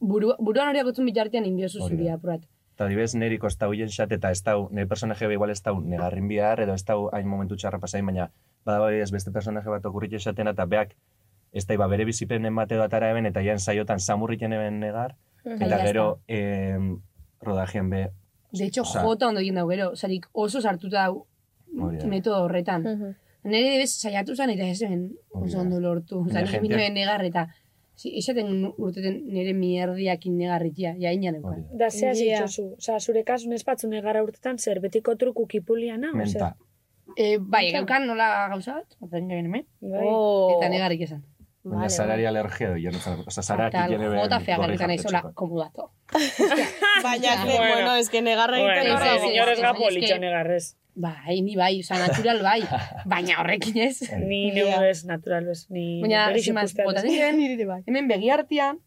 Speaker 11: buru, buruan horiak gotzun bitartean inbiozu
Speaker 10: Hori da.
Speaker 11: zuria apurat.
Speaker 10: Eta dibes, neriko ez da huien xat, eta ez da, hu- nire personaje be igual ez da, hu negarrin bihar, edo ez da hu hain momentu txarra pasain, baina bada bai ez beste personaje bat okurritu esaten, eta beak ez da, iba bere bizipen enbate datara eben, eta jan saiotan samurriken eben negar,
Speaker 11: Mhm.
Speaker 10: eta
Speaker 11: Ahí
Speaker 10: gero em, rodajean be,
Speaker 11: De hecho,
Speaker 10: Osea-
Speaker 11: jota ondo egin dau gero, osarik oso sartuta dau
Speaker 10: Hori da.
Speaker 11: metodo horretan.
Speaker 7: mhm.
Speaker 11: Nere debes saiatu zan eta ezen oso ondo lortu. Osa,
Speaker 10: Baina
Speaker 11: nire
Speaker 10: jendeak-
Speaker 11: binoen negar eta si- esaten urteten nire mierdiakin negarritia, ja ina neukan.
Speaker 8: Da zea
Speaker 11: Ja.
Speaker 8: zitxosu. Osa, zure kasun espatzune gara urtetan zer, betiko truku kipuliana, osea.
Speaker 10: menta.
Speaker 11: Eh, bai, gaukan nola gauza bat, atzen garen hemen, Oh.
Speaker 8: Bai.
Speaker 7: Oh,
Speaker 11: eta negarrik esan.
Speaker 10: Baina sarari alergia do, jan ezan, oza, saraki
Speaker 11: Tal,
Speaker 10: jene ben
Speaker 11: jota fea
Speaker 10: gorri
Speaker 11: garrikan
Speaker 10: jartetxeko.
Speaker 11: aizola, komodato.
Speaker 7: Baina,
Speaker 11: Bueno.
Speaker 7: bueno, bueno eske negarra egiten
Speaker 11: Bueno,
Speaker 7: hor
Speaker 11: ez,
Speaker 7: dago.
Speaker 11: inor ez ga politxo
Speaker 8: negarrez.
Speaker 11: Bai, ni bai, osa, natural bai, baina horrekin ez.
Speaker 8: Ni neu ez, natural bez, ni...
Speaker 11: Baina,
Speaker 8: berriz
Speaker 11: sin más,
Speaker 8: ikustean
Speaker 11: botan
Speaker 8: ez.
Speaker 11: diren, hemen begiartian,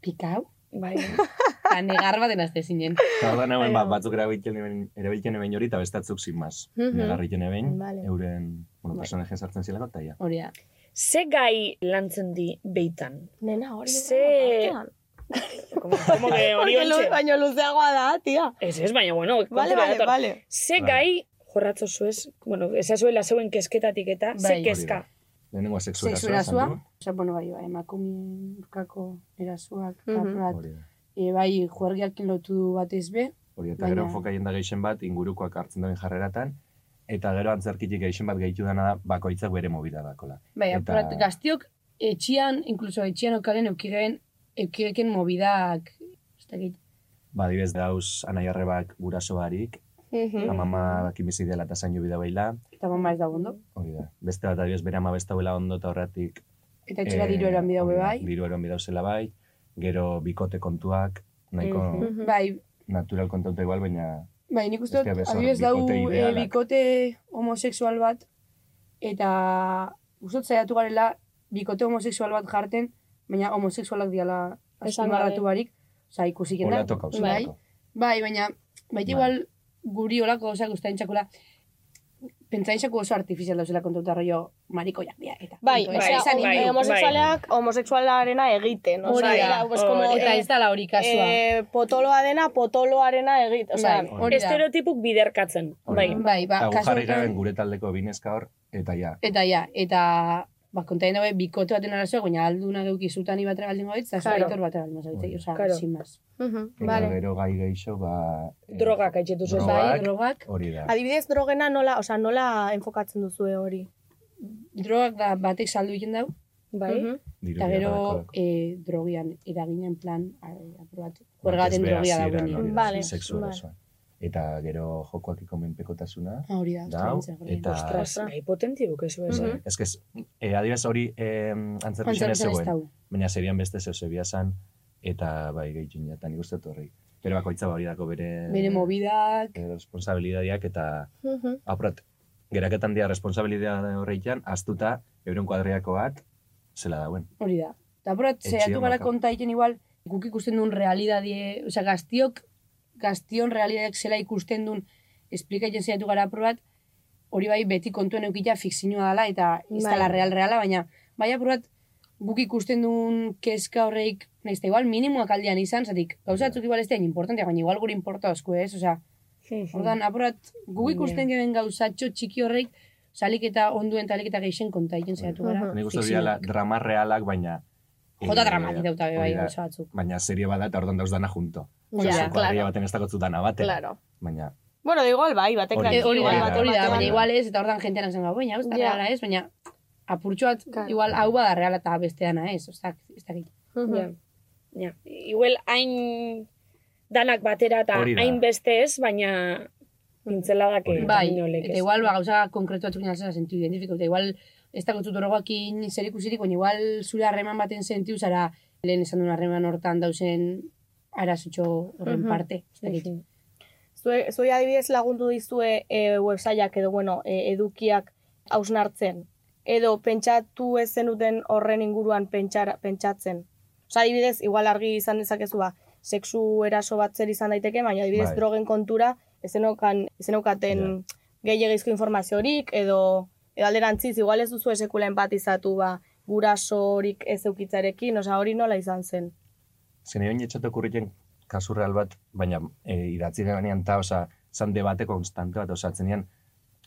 Speaker 11: pikau,
Speaker 8: bai,
Speaker 11: eta negar baten azte zinen.
Speaker 10: Eta ordan hemen, ba, batzuk erabiltzen eben, erabiltzen eben hori, eta bestatzuk sin mas.
Speaker 11: Mhm.
Speaker 10: Negarriken eben,
Speaker 11: Vale.
Speaker 10: euren, bueno, personaje sartzen zilako, eta ja.
Speaker 11: Hori da.
Speaker 8: Ze gai lantzen di beitan?
Speaker 7: Nena, hori
Speaker 8: Ze... Como que hori
Speaker 7: Porque lu-
Speaker 8: ontxe?
Speaker 7: Baina luzeagoa da, tia.
Speaker 8: Ez, ez, baina, bueno,
Speaker 7: Vale,
Speaker 8: kontura
Speaker 7: vale,
Speaker 8: dator.
Speaker 7: vale.
Speaker 8: Ze
Speaker 10: Vale.
Speaker 8: gai jorratzo zuez, bueno, ezazuela zeuen kesketatik eta, ze
Speaker 11: Bai.
Speaker 8: keska.
Speaker 10: Lehenengo sexu
Speaker 11: Sexu
Speaker 10: erasoa,
Speaker 11: erasua,
Speaker 10: esan du.
Speaker 11: oza, bueno, bai, bai, emakumien urkako erasuak,
Speaker 10: Mhm.
Speaker 11: apurat,
Speaker 10: Hori da.
Speaker 11: e, bai, juergiakin lotu du batez be,
Speaker 10: Hori, eta gero
Speaker 11: Baina-
Speaker 10: foka jenda geixen bat ingurukoak hartzen duen jarreratan, eta gero antzerkitik geixen bat gehitu dana da bakoitzak bere mobila dakola.
Speaker 11: bai,
Speaker 10: Eta-
Speaker 11: apurat, gaztiok, etxian, inkluso etxian okaren eukigeen, eukigeken mobidak, ez dakit,
Speaker 10: Badibez dauz anai arrebak guraso barik,
Speaker 11: Mhm.
Speaker 10: amama bakin bizi dela eta zainu bida baila,
Speaker 11: Eta mama ez da ondo.
Speaker 10: hori da. Beste bat adibidez bere ama besta bela ondo eta horretik...
Speaker 11: Eta etxera diru eroan bidau be
Speaker 10: Eh, hori da,
Speaker 11: bai.
Speaker 10: Diru eroan bidau zela bai, gero bikote kontuak, nahiko
Speaker 11: Mhm. Bai,
Speaker 10: natural kontauta igual, baina
Speaker 11: bai, nik uste
Speaker 10: Ez
Speaker 11: dut,
Speaker 10: que bezor,
Speaker 11: adibidez dau
Speaker 10: bikote
Speaker 11: eh,
Speaker 10: idealak.
Speaker 11: bikote homosexual bat, eta uste dut saiatu garela bikote homosexual bat jarten, baina homosexualak diala
Speaker 7: Esan gabe.
Speaker 11: azpimarratu barik, oza, ikusik
Speaker 10: Hola toka, oso
Speaker 11: bai,
Speaker 10: toka.
Speaker 11: bai, baina, baita igual guri olako osak ustein txakula, pentsaintzako oso artifizial dauzela kontauta rollo marikoiak dira, eta
Speaker 7: Bai,
Speaker 11: punto,
Speaker 7: o
Speaker 11: ez
Speaker 7: sea,
Speaker 11: izan
Speaker 7: hom-
Speaker 11: inguru.
Speaker 7: eh, homosexualak homosexualarena egiten, o
Speaker 11: Hori
Speaker 7: sea,
Speaker 11: da,
Speaker 7: era, pues,
Speaker 11: hori
Speaker 7: como,
Speaker 11: da. Eta
Speaker 7: eh,
Speaker 11: ez dala hori kasua.
Speaker 7: eh, potoloa dena, potoloarena egiten, o sea,
Speaker 10: Bai, hori da.
Speaker 7: estereotipuk biderkatzen.
Speaker 10: Hori da.
Speaker 11: Bai, ba,
Speaker 10: Eta gu
Speaker 11: kasu
Speaker 10: jarri
Speaker 11: honetan-
Speaker 10: garen gure taldeko bineska hor, eta ja,
Speaker 11: Eta ja, eta ba, kontain dabe, bikote baten arazoa, baina alduna deukizutan ibatre baldin goit, eta
Speaker 9: Claro.
Speaker 11: claro. zaitor batera baldin goit, oza,
Speaker 9: Claro.
Speaker 11: sin más.
Speaker 10: eta gero gai geixo, ba... eh,
Speaker 9: Drogak aitzetu zuen.
Speaker 10: drogak,
Speaker 11: Bai, drogak.
Speaker 10: Hori da.
Speaker 7: Adibidez, drogena nola, o sea, nola enfokatzen duzue hori?
Speaker 11: Drogak da batek saldu egin dau,
Speaker 7: Bai.
Speaker 11: eta gero eh, drogian eraginen plan aprobatu. Juergaten
Speaker 10: Batez be
Speaker 11: drogia
Speaker 10: ba, hasieran,
Speaker 11: dagoen.
Speaker 10: hori da,
Speaker 7: Vale,
Speaker 10: sexu
Speaker 7: vale.
Speaker 10: erosoan. Eta gero jokoakiko menpekotasuna.
Speaker 11: Ah, Hori da,
Speaker 10: dau,
Speaker 11: ostras,
Speaker 10: eta...
Speaker 9: Ostras, nahi potenti duk ez
Speaker 10: Ez,
Speaker 9: bezala.
Speaker 10: ez, ez, eh, adibidez hori eh, antzerkizan
Speaker 11: Antzerkian
Speaker 10: ez
Speaker 11: ez
Speaker 10: zegoen,
Speaker 11: dago.
Speaker 10: baina serian beste zeu zebia zan, eta bai gehiagin jata nik uste dut horri. Pero bakoitza ba hori dako bere...
Speaker 11: Bere mobidak,
Speaker 10: eh, responsabilidadiak eta aprat, geraketan dia responsabilidade horreitan, aztuta euren kuadriakoak zela dauen.
Speaker 11: hori da. Eta apurat,
Speaker 10: Etxean
Speaker 11: zehatu gara
Speaker 10: bakar.
Speaker 11: konta egin igual, guk ikusten duen realidadie, oza, gaztiok, gaztion realidadeak zela ikusten duen, esplikatzen zehatu gara apurat, hori bai beti kontuen eukita fikzioa dela, eta ez
Speaker 7: Bai.
Speaker 11: dela real reala, baina, bai apurat, guk ikusten duen keska horreik, nahiz eta igual minimoak aldean izan, zatik, gauzatzuk igual ez da hain importantea, baina igual gure importa osku ez, oza,
Speaker 8: eh.
Speaker 11: ordan apurat, guk ikusten diren gauzatxo txiki horreik, salik eta onduen talik eta geixen konta egiten zehatu gara.
Speaker 10: Nik uste dut
Speaker 11: fikzioak.
Speaker 10: diala drama realak, baina...
Speaker 11: Jota
Speaker 10: eh,
Speaker 11: dramatik dauta be bai,
Speaker 10: hori da,
Speaker 11: gauza batzuk.
Speaker 10: Baina serie bat da eta orduan dauz dana junto.
Speaker 11: Ja,
Speaker 10: Osa,
Speaker 11: claro.
Speaker 10: kuadrilla baten ez dakotzu dana bate.
Speaker 7: Claro.
Speaker 10: Baina,
Speaker 7: Bueno, de igual bai, batek
Speaker 10: Hori da,
Speaker 7: daki,
Speaker 11: Hori da,
Speaker 7: igual
Speaker 10: bat-
Speaker 11: hori da,
Speaker 10: bat-
Speaker 11: baina
Speaker 10: bat-
Speaker 11: igual ez, eta ordan jentean zen gau, baina, ez da
Speaker 7: Ja.
Speaker 11: reala ez, baina apurtxo bat,
Speaker 7: Claro.
Speaker 11: igual hau bada reala eta besteana ez, ez dakit, ez dakit.
Speaker 9: Ja. Ja. Igual hain danak batera eta
Speaker 11: Hori da.
Speaker 9: hain beste ez, baina pintzeladak
Speaker 11: Bai, eta igual, ba, gauza konkretu batzuk nalzera sentiu identifikatu, eta igual, ez da kontzut horregoakin zer ikusirik, baina igual zure harreman baten sentiu zara, lehen esan duen harreman hortan dauzen arazutxo horren
Speaker 7: Mhm.
Speaker 11: parte, ez dakit.
Speaker 7: Zue, zuei adibidez lagundu dizue e, websaiak edo, bueno, e, edukiak hausnartzen. Edo pentsatu ez zenuten horren inguruan pentsara, pentsatzen. Osa, adibidez, igual argi izan dezakezu ba, sexu eraso bat zer izan daiteke, baina adibidez
Speaker 11: Bai.
Speaker 7: drogen kontura ezenokan, ezenaukaten gehiagizko informaziorik, edo, edo alderantziz, igual ez duzu esekula empatizatu ba, gurasorik ez eukitzarekin, osa hori nola izan zen.
Speaker 10: zene oin etxat okurriken kasu real bat, baina e, idatzi ganean ta, oza, zan debate konstante bat, oza, atzenean,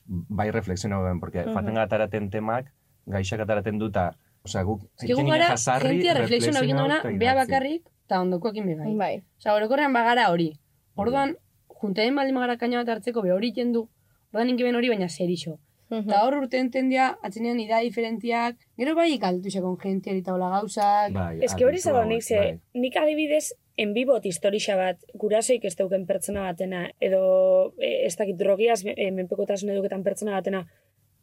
Speaker 10: bai reflexiono ben, porque
Speaker 11: Mhm.
Speaker 10: faten gataraten temak, gaixak ataraten duta, oza, guk...
Speaker 11: Eskegu
Speaker 10: ekin
Speaker 11: gara,
Speaker 10: jazarri,
Speaker 11: jentia reflexiona
Speaker 10: reflexionau
Speaker 11: egin duena,
Speaker 10: eta
Speaker 11: bea
Speaker 10: idatzi.
Speaker 11: bakarrik, eta ondokoekin bebai.
Speaker 7: Bai.
Speaker 11: Osa, orokorrean bagara hori. Orduan, juntain baldin bagara kaina bat hartzeko, be hori egiten du, orduan inkiben hori, baina zer iso. Eta hor urte entendia, atzenean ida diferentiak, gero bai ikaltu kon jentia eta hola gauzak.
Speaker 10: Bai,
Speaker 9: Ez que hori zago nik ze, nik adibidez, enbibot historixa bat, gurasoik ez dauken pertsona batena, edo e, ez dakit drogiaz e, menpekotasun eduketan pertsona batena,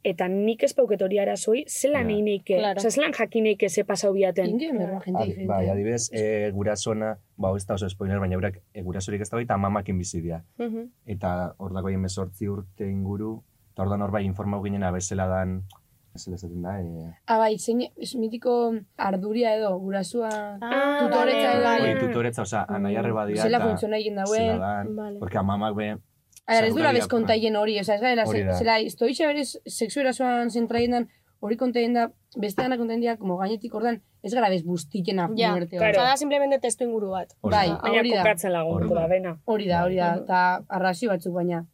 Speaker 9: eta nik ez pauket hori arazoi, zelan
Speaker 10: Ja.
Speaker 9: yeah. eineike,
Speaker 10: Claro.
Speaker 9: claro. zelan jakineike ze pasau biaten.
Speaker 11: Ingin, berba,
Speaker 10: Ad- Bai, adibidez, e, gurasona, ba, ez da oso spoiler, baina berak e, gurasorik ez da eta mamakin bizi dira.
Speaker 7: Mhm.
Speaker 10: Eta hor dago hien bezortzi urte inguru, eta ordan hor bai informau ginen abezela dan, bezala esaten da, e,
Speaker 11: Ah, bai, zein, ez mitiko arduria edo, gurasua,
Speaker 7: ah,
Speaker 11: tutoretza edo.
Speaker 10: Hori tutoretza, oza, anaiarre badia.
Speaker 11: Bai. Mm, Zela
Speaker 10: eta
Speaker 11: funtziona egin dauen.
Speaker 10: Zela dan, porque amamak be...
Speaker 11: A ver, ez dura
Speaker 10: Zarduraria-
Speaker 11: bez konta hien hori, oza, ez gara,
Speaker 10: Hori da.
Speaker 11: zela, iztoitxe berez, seksu erasoan zentraien dan, hori kontain da, beste dana kontain dira, como gainetik ordan, ez gara bez bustikena
Speaker 7: Ja,
Speaker 11: muerte hori.
Speaker 7: claro. da simplemente testu inguru bat.
Speaker 11: Bai, hori da.
Speaker 9: lagundu da, bena.
Speaker 11: Hori da, hori da, eta arrazio batzuk baina.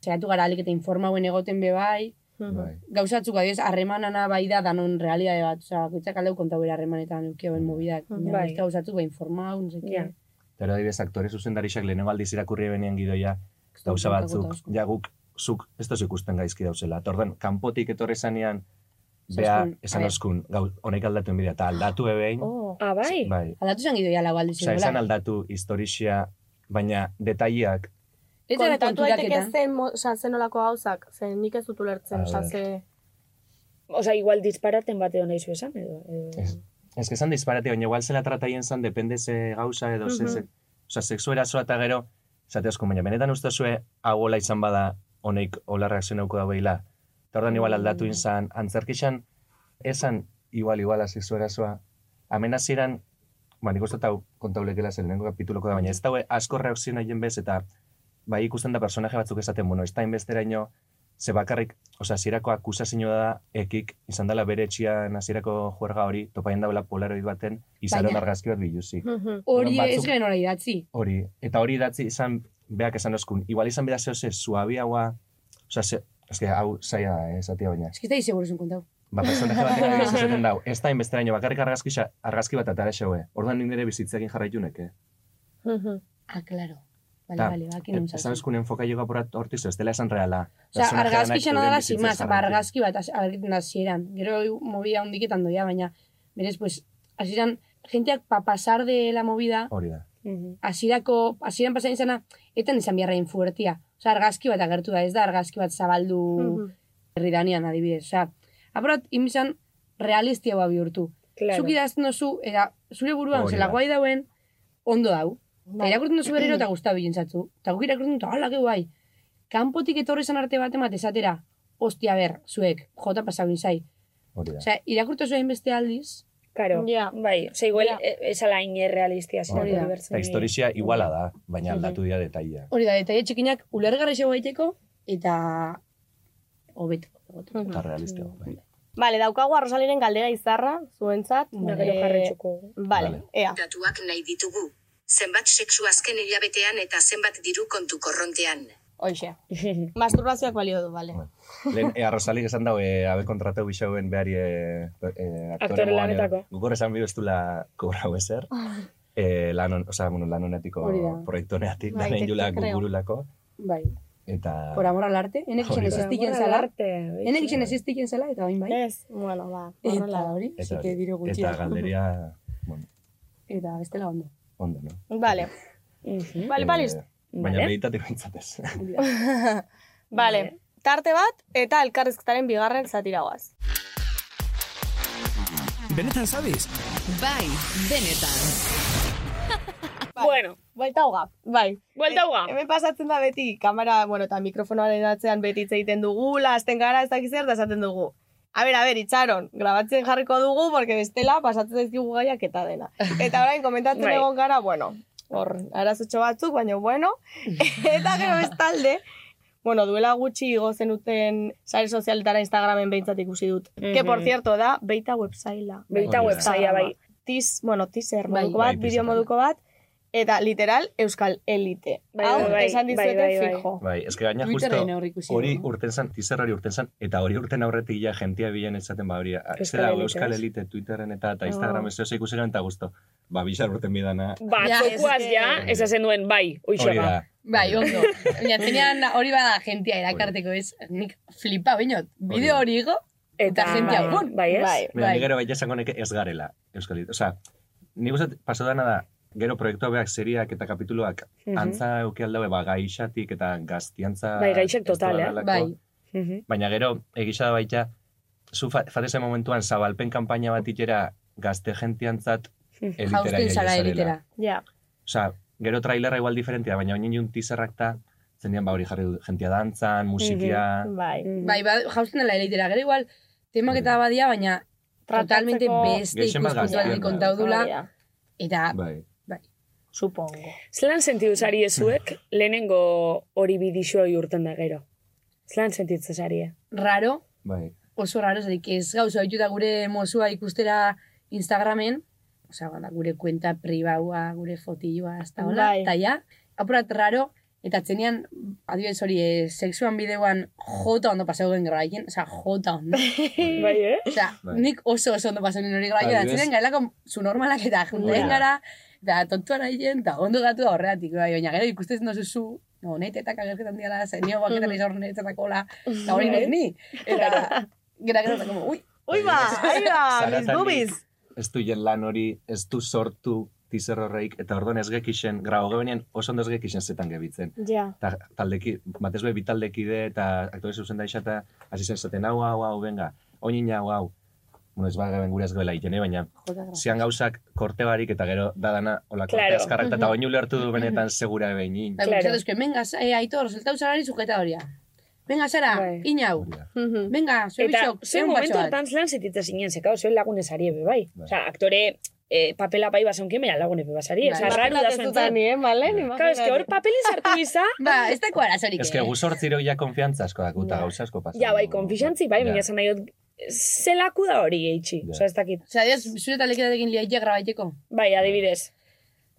Speaker 11: Zeratu gara alik eta informauen egoten be bai,
Speaker 10: Bai.
Speaker 11: gauzatzuk adibidez, harremanana bai da danon realidade bat, oza, bakoitzak aldeu konta bera harremanetan eukioen mobidak,
Speaker 7: Mm,
Speaker 11: baina
Speaker 9: Bai.
Speaker 11: beste gauzatzuk bai informau, no seke.
Speaker 9: Ja.
Speaker 10: Eta hori adibidez, aktore zuzendarixak lehenengo aldiz irakurri benien gidoia, gauza batzuk, ja guk, zuk, ez tozu ikusten gaizki dauzela. Eta ordan, kanpotik etorri zanean, bea,
Speaker 11: Zaskun,
Speaker 10: esan
Speaker 11: bai.
Speaker 10: oskun, gau, honek
Speaker 8: Oh,
Speaker 10: aldatu
Speaker 11: Oh.
Speaker 10: enbidea, eta aldatu ebein.
Speaker 9: Ah, bai?
Speaker 10: Bai.
Speaker 11: Aldatu zen gidoia lau aldiz.
Speaker 10: Osa, esan aldatu historixia baina detaileak
Speaker 11: Eta da
Speaker 7: Kontatu
Speaker 11: konturaketa.
Speaker 7: daiteke zen, mo- osea, zen olako gauzak, zen nik ez dut ulertzen,
Speaker 10: A
Speaker 7: osea,
Speaker 10: ber.
Speaker 7: ze...
Speaker 9: Osa, igual disparaten bat edo nahi zu esan, edo...
Speaker 8: Mm.
Speaker 9: edo...
Speaker 10: Ez. Ez que esan disparate, baina igual zela trataien zan, depende ze gauza edo ze...
Speaker 9: Mhm.
Speaker 10: ze Osa, seksu erasoa eta gero, zateozko, baina benetan uste zue, hau hola izan bada, honeik hola reakzionauko da behila. Eta ordan igual aldatu izan, antzerkixan, esan igual, igual, seksu erasoa. Amenaziran, ba, nik uste eta kontaulekela zen, lehenko kapituloko da, baina ez daue asko reakzionaien bez, eta bai ikusten da personaje batzuk esaten, bueno, ez da inbesteraino, ze bakarrik, oza, zirako akusazio da, ekik, izan dela bere etxian azirako juerga hori, topaien daula polaroid baten, izaron
Speaker 11: Baina-
Speaker 10: argazki bat biluzik.
Speaker 11: Hori
Speaker 10: Batzuk-
Speaker 11: ez genuen hori idatzi.
Speaker 10: Hori, eta hori idatzi izan, beak esan oskun, igual izan bera zeo ze suabiagoa, oza, ze, eske, hau zaila da, eh, esatia baina.
Speaker 11: Ez que ez da izeguro zen kontau.
Speaker 10: Ba, personaje baten ari esaten dau, ez da inbesteraino, bakarrik argazki, xa- argazki bat atara xaue. Orduan nire bizitzekin jarraitunek, eh?
Speaker 11: Ah, claro. Bale,
Speaker 10: Ta,
Speaker 11: bale, bakin
Speaker 10: e- Esan eskun enfoka joka porat hortiz, ez dela esan reala.
Speaker 11: Osa,
Speaker 10: Pertsona
Speaker 11: argazki
Speaker 10: jadanak
Speaker 11: xana
Speaker 10: euren
Speaker 11: dala
Speaker 10: bizitzaz
Speaker 11: simaz, ba,
Speaker 10: jarraitu.
Speaker 11: argazki bat az- argiten da zieran. Gero movida hundiketan doia, baina, berez, pues, hasieran, jenteak pa pasar de la movida,
Speaker 10: Hori da.
Speaker 9: Mhm,
Speaker 11: hasierako, hasieran pasain izana, etan izan biarrain fuertia. Osa, argazki bat agertu da, ez da argazki bat zabaldu
Speaker 9: Mhm.
Speaker 11: herri danian adibidez. Osa, apurat, imizan, realistiagoa bihurtu.
Speaker 9: Claro.
Speaker 11: Zuk idazten duzu, eta zure buruan,
Speaker 9: Hori
Speaker 11: zela
Speaker 9: da.
Speaker 11: guai dauen, ondo dau.
Speaker 9: Bai,
Speaker 11: Eta irakurtzen duzu berriro eta guztabi jentzatzu. Eta guk irakurtzen dut, ala, que guai. Kanpotik etorri zan arte bat emat esatera, ostia ber, zuek, jota pasau inzai.
Speaker 10: Hori
Speaker 11: Osea, irakurtu zuen beste aldiz.
Speaker 9: Claro, bai, ose, igual yeah. ez ala inerrealistia zera
Speaker 10: Hori da. Eta historia iguala da, baina aldatu dira detaia.
Speaker 11: Hori da, detaile txikinak ulergarri zego egiteko eta hobeto. Mm.
Speaker 10: Eta realistia. bai.
Speaker 7: Vale, daukagu arrosaliren galdera izarra, zuentzat.
Speaker 9: Da, gero
Speaker 11: Bai.
Speaker 7: Eh,
Speaker 9: jarraitzuko.
Speaker 7: Vale, ea.
Speaker 12: Datuak nahi ditugu. Zenbat sexu azken hilabetean eta zenbat diru kontu korrontean.
Speaker 7: Hoxe. Masturbazioak balio du, vale.
Speaker 11: Mm.
Speaker 10: Lehen, e, arrozalik esan dago, e, haber kontratau bisauen behari e, e,
Speaker 7: Aktore
Speaker 10: aktore moan edo.
Speaker 7: lanetako.
Speaker 10: Guk hor esan bidu ez dula kobrau ezer. E, lan, on, oza, bueno, lan honetiko
Speaker 11: Ah. Hori da.
Speaker 10: proiektu honetik,
Speaker 11: Bai,
Speaker 10: danen jula
Speaker 11: tekte, creo.
Speaker 10: gugurulako.
Speaker 11: Bai.
Speaker 10: Eta...
Speaker 11: Por amor al arte, enek izan
Speaker 10: Hori
Speaker 11: ez
Speaker 10: da.
Speaker 11: estiken
Speaker 9: Por amor al
Speaker 11: zela.
Speaker 9: arte, bai.
Speaker 11: Enek izan ez estiken zela, eta bain bai.
Speaker 7: Ez, bueno, ba.
Speaker 11: Eta hori,
Speaker 10: Eta,
Speaker 11: zike diru
Speaker 10: hori.
Speaker 11: gutxi.
Speaker 10: eta galderia
Speaker 11: Eta bestela ondo.
Speaker 10: ondo, no?
Speaker 7: Vale. Vale, vale.
Speaker 10: Eh, Baina
Speaker 7: Vale.
Speaker 10: meditatiko entzatez.
Speaker 7: Vale, tarte bat eta elkarrizketaren bigarren zatiragoaz.
Speaker 1: Benetan zabiz?
Speaker 2: Bai, benetan.
Speaker 7: Bueno. Buelta hoga, bai. Buelta hoga. Hemen pasatzen da beti, kamera, bueno, eta mikrofonoaren atzean beti hitz egiten dugu, lasten gara ez dakiz zer, da esaten dugu. A ber, a ber, itxaron, grabatzen jarriko dugu, porque bestela pasatzen zaizkigu gaiak eta dena. Eta orain komentatzen
Speaker 9: Bai.
Speaker 7: egon gara, bueno, hor, arazutxo batzuk, baina bueno, eta gero bestalde, Bueno, duela gutxi igo zenuten sare sozialetara Instagramen behintzat ikusi dut. Que, por
Speaker 9: Mhm.
Speaker 7: cierto, da, beita webzaila.
Speaker 9: Beita Hori da. webzaila, bai.
Speaker 7: Tiz, bueno, teaser
Speaker 9: Bai.
Speaker 7: moduko
Speaker 9: Bai,
Speaker 7: bat,
Speaker 9: teaser
Speaker 7: bideo moduko bat, eta literal Euskal Elite.
Speaker 9: Bai,
Speaker 7: Hau,
Speaker 9: bai, bai,
Speaker 7: esan
Speaker 9: bai,
Speaker 7: dizuete
Speaker 9: bai, bai.
Speaker 7: fijo.
Speaker 10: Bai, ez que gaina justo
Speaker 7: Twitterren hor ikusi
Speaker 10: hori
Speaker 7: dugu.
Speaker 10: urten zan, teaser hori urten zan, eta hori urten aurretik ja jentia bilen esaten ba hori, a-
Speaker 9: Euskal
Speaker 10: zera
Speaker 9: Elite,
Speaker 10: Euskal
Speaker 9: ez?
Speaker 10: Elite, Twitteren eta, eta
Speaker 9: Oh.
Speaker 10: Instagram ez oso ikusi eta guztu. Ba, bizar urten bidana.
Speaker 9: Ba,
Speaker 11: Ja,
Speaker 9: txokoaz
Speaker 11: ez-
Speaker 9: ja, ez azen duen, bai, oixo
Speaker 10: Hori da.
Speaker 11: Bai, ondo. Baina tenian hori bada jentia erakarteko ez. Nik flipa, bainot. Bideo hori igo, eta jentia
Speaker 9: bai,
Speaker 11: bun.
Speaker 9: bai, ez?
Speaker 10: Baina, ni gero baita esango neke ez garela Euskal Elite. Osa, nik uste paso dana da, gero proiektua behar seriak eta kapituluak
Speaker 9: Mhm.
Speaker 10: antza eukial daue, ba, gaixatik eta gaztiantza...
Speaker 9: Bai, gaixek total, eh?
Speaker 10: estualako.
Speaker 11: Bai,
Speaker 9: Mhm.
Speaker 10: Baina gero, egisa da baita, zu fa- fatese momentuan zabalpen kanpaina bat itera gazte jentiantzat elitera
Speaker 11: Jausten
Speaker 10: iria
Speaker 11: zara
Speaker 10: zarela.
Speaker 11: elitera.
Speaker 7: Ja.
Speaker 10: Osa, gero trailerra igual diferentia, baina oinen jun teaserrak ta, zenean ba hori jarri du, jentia dantzan, musikia...
Speaker 7: Bai.
Speaker 11: Bai, ba- jausten dela elitera. Gero igual, temak eta
Speaker 10: Bai.
Speaker 11: badia, baina totalmente beste
Speaker 10: Gehixen bat
Speaker 11: ikuspuntu alde
Speaker 10: gaztean da.
Speaker 11: kontau dula.
Speaker 9: Hori da.
Speaker 11: Eta,
Speaker 10: Bai.
Speaker 11: bai.
Speaker 7: Bai, Supongo.
Speaker 9: Zelan sentidu zari ezuek lehenengo hori bidixoi urten da gero? Zelan sentitzen eh? zari,
Speaker 11: Raro,
Speaker 10: Bai.
Speaker 11: oso raro, zerik ez gauza bituta gure mozua ikustera Instagramen, osea, bada, gure kuenta pribaua, gure fotilloa, hasta hola,
Speaker 7: Bai.
Speaker 11: eta ja, apurat raro, eta atzenean, adibidez hori, eh, sexuan bideoan jota ondo pasau gen graien, osea, jota ondo.
Speaker 9: bai, eh?
Speaker 11: Osea,
Speaker 9: Bai.
Speaker 11: nik oso oso ondo pasau gen hori graien,
Speaker 9: Adibidez-
Speaker 11: atzenean gailako zu normalak eta
Speaker 9: Hori da.
Speaker 11: jundain gara, eta tontua naien, eta ondo gatu da horregatik, bai, baina gero ikustezen dozu zu, no, nahi tetak agerketan diala, zen nio baketan
Speaker 9: Mm.
Speaker 11: izan horretetak hola, eta
Speaker 9: Bai.
Speaker 11: hori nahi ni. Eta, Gera, gero, eta como, ui.
Speaker 7: Ui ba, ahí ba,
Speaker 10: Zaratanik
Speaker 7: mis boobies.
Speaker 10: Ez du jen lan hori, ez du sortu teaser horreik, eta orduan ez gekixen, grabo gebenien oso ondo ez gekixen zetan gebitzen.
Speaker 7: Ja.
Speaker 10: Ta, taldeki, batez be, bi taldekide eta aktore zuzen da eta hasi zen zaten, hau, hau, hau, benga, oinin hau, hau. Bueno, ez bagaben gure ez goela egiten, eh, baina zian gauzak korte barik eta gero dadana olako
Speaker 11: Claro.
Speaker 10: claro. azkarrak eta oinu lertu du benetan segura behin.
Speaker 11: Bai, claro. que venga, eh, aitor, zeltau zarari sujetadoria. Venga, Sara, inau. Venga,
Speaker 9: Bai. Eta,
Speaker 11: zerbizok,
Speaker 9: ze momentu hartan lan zititza zinen, zekau, zuen lagunez ari ebe, bai. Osa, aktore eh, papela bai basonkien, baina lagunez ebe basari.
Speaker 11: Bai.
Speaker 9: Osa, raro da
Speaker 11: Imaginatzen
Speaker 9: zuen
Speaker 11: zutan ni, eh, Malen,
Speaker 9: Claro, eske hor
Speaker 11: imaginatzen.
Speaker 9: papelin sartu biza.
Speaker 11: ba, ez dako arazorik.
Speaker 10: Ez que guzortziro ja konfiantza asko dakuta, gauza asko pasa.
Speaker 9: Ja, bai, konfixantzi, bai, baina esan nahi dut, zelaku da hori eitxi. Osa, ez dakit.
Speaker 11: Osa, adiaz, zure taleketatekin liaitia grabaiteko.
Speaker 9: Bai, adibidez.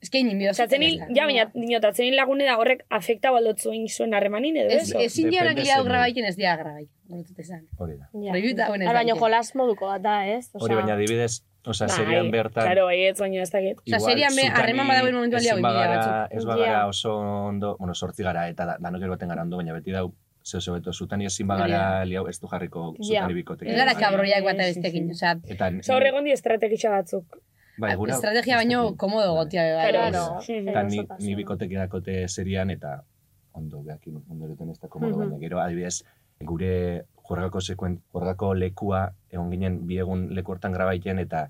Speaker 11: Ez que inin bidaz.
Speaker 9: Zatzen hil, ja, baina, dinot, atzen hil lagune da horrek afekta baldotzuin zuen harremanin, edo
Speaker 11: Ez Eh,
Speaker 9: ez?
Speaker 11: ezin dianak liau grabaiten ez dia grabaik. Horretut esan.
Speaker 10: Hori da.
Speaker 7: Ja.
Speaker 11: Rebiuta honez.
Speaker 7: Ara, baina
Speaker 11: egiten.
Speaker 7: jolas moduko bat da, ez? Osea,
Speaker 10: Hori baina adibidez, oza, serian bertan...
Speaker 9: Claro, bai, ez baina ez dakit.
Speaker 10: Igual, zutani ezin bagara- Ez bagara
Speaker 9: Ja.
Speaker 10: oso ondo, bueno, sortzi gara eta da, danok erbaten gara ondo, baina beti dau, zeo zeo beto, zutani ezin bagara liau ez du jarriko zutani bikotek.
Speaker 11: Ez gara kabroiak bat abestekin. Osa,
Speaker 10: Eta,
Speaker 9: Osa, horregon di estrategia batzuk.
Speaker 10: bai, gura,
Speaker 11: estrategia baino komodo gotia. bai,
Speaker 9: Claro.
Speaker 11: bai.
Speaker 9: Claro.
Speaker 7: eh,
Speaker 10: eta ni, ni bikotek dakote serian, eta ondo behakin, ondo eruten ez da komodo,
Speaker 11: Mhm.
Speaker 10: baina gero, adibidez, gure juergako sekuen, juergako lekua, egon ginen biegun leku hortan grabaiten, eta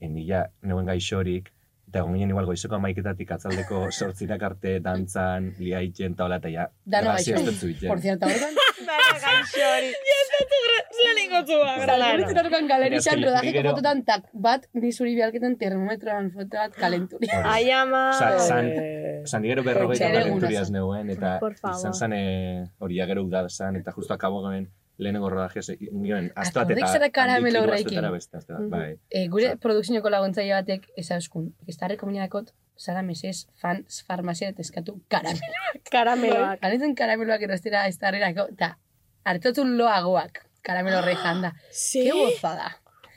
Speaker 10: enila neuen gaixorik, eta egon ginen igual goizeko amaiketatik atzaldeko sortzinak arte, dantzan, liaitzen, eta hola, eta ja,
Speaker 11: Dano
Speaker 10: grazia ez
Speaker 11: gaixo.
Speaker 10: dut zuiten.
Speaker 11: Por cierto, horretan.
Speaker 9: Dara gaixori. Ja, ez dut lehenengotu
Speaker 11: Horretan horretan
Speaker 10: Baina,
Speaker 11: galerixan
Speaker 10: azken-
Speaker 11: rodajeko
Speaker 10: gero-
Speaker 11: fototan tak bat, ni zuri bialketan termometroan foto bat kalenturi.
Speaker 10: Ai,
Speaker 9: ama.
Speaker 10: Sa, san, san digero berrogeita
Speaker 11: Etxere egunaz.
Speaker 10: kalenturiaz neuen, eta
Speaker 11: Por favor.
Speaker 10: izan zan eh, hori ja gero udal zan, eta justo akabo geben lehenengo rodajez, eh, nioen, astoat
Speaker 11: Akordek
Speaker 10: eta
Speaker 11: zara karamelo
Speaker 10: handik hiru
Speaker 11: horrekin.
Speaker 10: astoetara beste, aste bat,
Speaker 11: Mhm.
Speaker 10: bai.
Speaker 11: Eh, gure produksinoko laguntzaile batek ezauskun. Está rekomendakot, zara mesez, fans farmazia eta eskatu karameloak.
Speaker 7: Karameloak.
Speaker 11: Galetzen karameloak erostera ez tarrerako, eta hartotun loagoak. Karamelo horre janda.
Speaker 9: Sí?
Speaker 11: Ke Bai. gozada.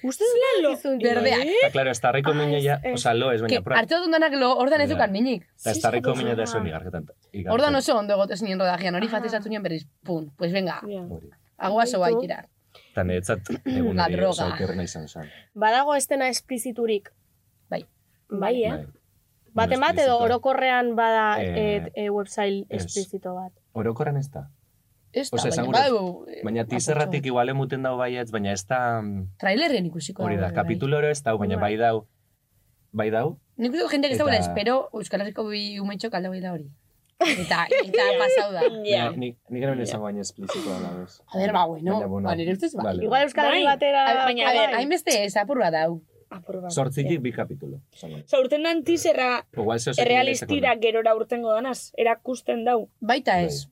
Speaker 9: Uste dela
Speaker 11: lo... Berdeak.
Speaker 10: Bai. Eta, klaro, ez tarriko mina ja,
Speaker 11: ez.
Speaker 10: oza, lo ez,
Speaker 11: Ke
Speaker 10: baina pura.
Speaker 11: hartotun danak lo, ordan ez dukan minik.
Speaker 10: Eta ez tarriko mina da zuen igarketan. igarketan.
Speaker 11: Ordan oso ondo gotez nien rodajean,
Speaker 7: Ah.
Speaker 11: hori fatezatu nien berriz, pum, pues venga, bai agua soba ikira.
Speaker 10: Eta niretzat egun
Speaker 11: La
Speaker 10: hori
Speaker 11: droga.
Speaker 10: oso okerrena izan zan.
Speaker 7: Badago estena espliziturik.
Speaker 11: Bai.
Speaker 7: Bai, eh?
Speaker 10: Bai.
Speaker 7: Baten bat edo
Speaker 10: Esplizitoa.
Speaker 7: orokorrean bada
Speaker 10: Eh,
Speaker 7: eh, eh, website
Speaker 10: ez. Bai.
Speaker 7: esplizito bat.
Speaker 10: Orokorren ez da.
Speaker 11: Ez
Speaker 10: Osa, esan gure,
Speaker 11: eh,
Speaker 10: baina tizerratik igual emuten dau baietz, baina ez da... mm,
Speaker 11: Trailerren ikusiko.
Speaker 10: Hori da,
Speaker 11: bai.
Speaker 10: kapitulo oro ez dau, baina bai dau, bai dau,
Speaker 11: Nik uste dut jendeak ez
Speaker 10: Eta-
Speaker 11: dagoela espero Euskal Herriko bi umetxo kalda bai da hori. Eta, eta pasau da.
Speaker 10: Ja. Nik nik hemen izango baina esplizito da labez.
Speaker 11: A ber, ba, bueno,
Speaker 10: Baina, bueno,
Speaker 11: ba, nire ustez, ba.
Speaker 10: vale.
Speaker 11: Igual Euskal Herri
Speaker 9: Bai.
Speaker 11: batera...
Speaker 9: A-
Speaker 11: Baina, a ber,
Speaker 7: bai.
Speaker 10: Bai.
Speaker 11: hainbeste ez, apur bat dau.
Speaker 9: Apur
Speaker 10: Sortzitik bi kapitulo.
Speaker 9: Osa, urten dan tizerra
Speaker 10: Igual zeo zekin
Speaker 9: errealistira gerora urtengo danaz, erakusten dau.
Speaker 11: Baita ez.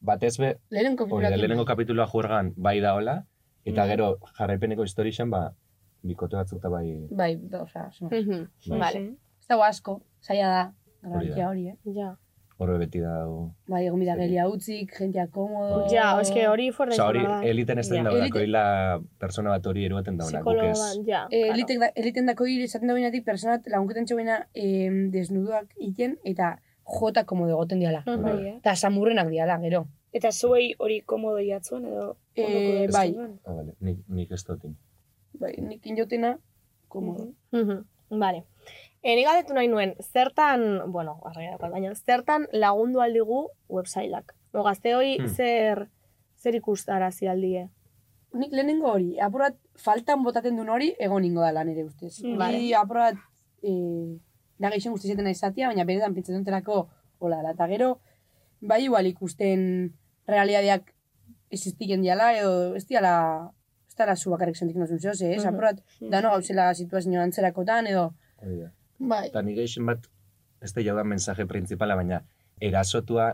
Speaker 10: Batez be,
Speaker 11: Lehenen
Speaker 10: Bai. hori da, lehenengo kapitulua juergan bai daola,
Speaker 11: Mm.
Speaker 10: eta gero jarraipeneko historixan, ba, bikote batzuk eta bai...
Speaker 11: Bai, da, osea, suma.
Speaker 10: Bai.
Speaker 11: Vale. Ez dago asko, zaila da.
Speaker 10: Hori da.
Speaker 11: Grabatia hori, eh? Ja.
Speaker 10: Horbe beti dau...
Speaker 11: Bai, egon bidagelia utzik, jentia komodo...
Speaker 7: Ja, eske hori fuerte
Speaker 10: Osa hori,
Speaker 7: izan da.
Speaker 10: eliten ez den
Speaker 7: Ja.
Speaker 10: daulako, hila persona bat hori eruaten dauna, guk
Speaker 7: Psikologo
Speaker 10: ez.
Speaker 7: bat, ja.
Speaker 11: Eh, eliten, da, eliten dako hiri esaten da bainatik personat lagunketan txobaina eh, desnuduak iten eta jota komodo egoten diala. Eta
Speaker 9: Bai, eh.
Speaker 11: samurrenak diala, gero.
Speaker 9: Eta zuei hori komodo jatzuen edo...
Speaker 11: Eh,
Speaker 9: ondoko jatzuen?
Speaker 11: bai.
Speaker 10: Ah, vale, nik, nik ez dutin.
Speaker 11: Bai, nik inotena, komodo.
Speaker 7: Mhm, Vale. Eni galdetu nahi nuen, zertan, bueno, argi daukal, baina zertan lagundu aldigu websailak. No, gazte hori
Speaker 11: Hmm.
Speaker 7: zer, zer ikustarazi aldie.
Speaker 11: Nik lehenengo hori, apurat faltan botaten duen hori egon ingo da lan ere ustez.
Speaker 7: Mm.
Speaker 11: Mm.
Speaker 7: Vale.
Speaker 11: Ni apurat eh, da gehixen guzti zaten aizatia, baina benetan pentsatzen dutelako hola da. Eta gero, bai igual ikusten realidadeak existiken diala, edo ez diala, ez dara zu bakarrik sentitzen duzun zehoz, eh?
Speaker 10: Mhm.
Speaker 11: Apurat, dano gauzela situazio antzerakotan, edo...
Speaker 10: Hori da.
Speaker 11: Bai.
Speaker 10: Eta nik gehixen bat, ez da jaudan mensaje principala, baina erasotua,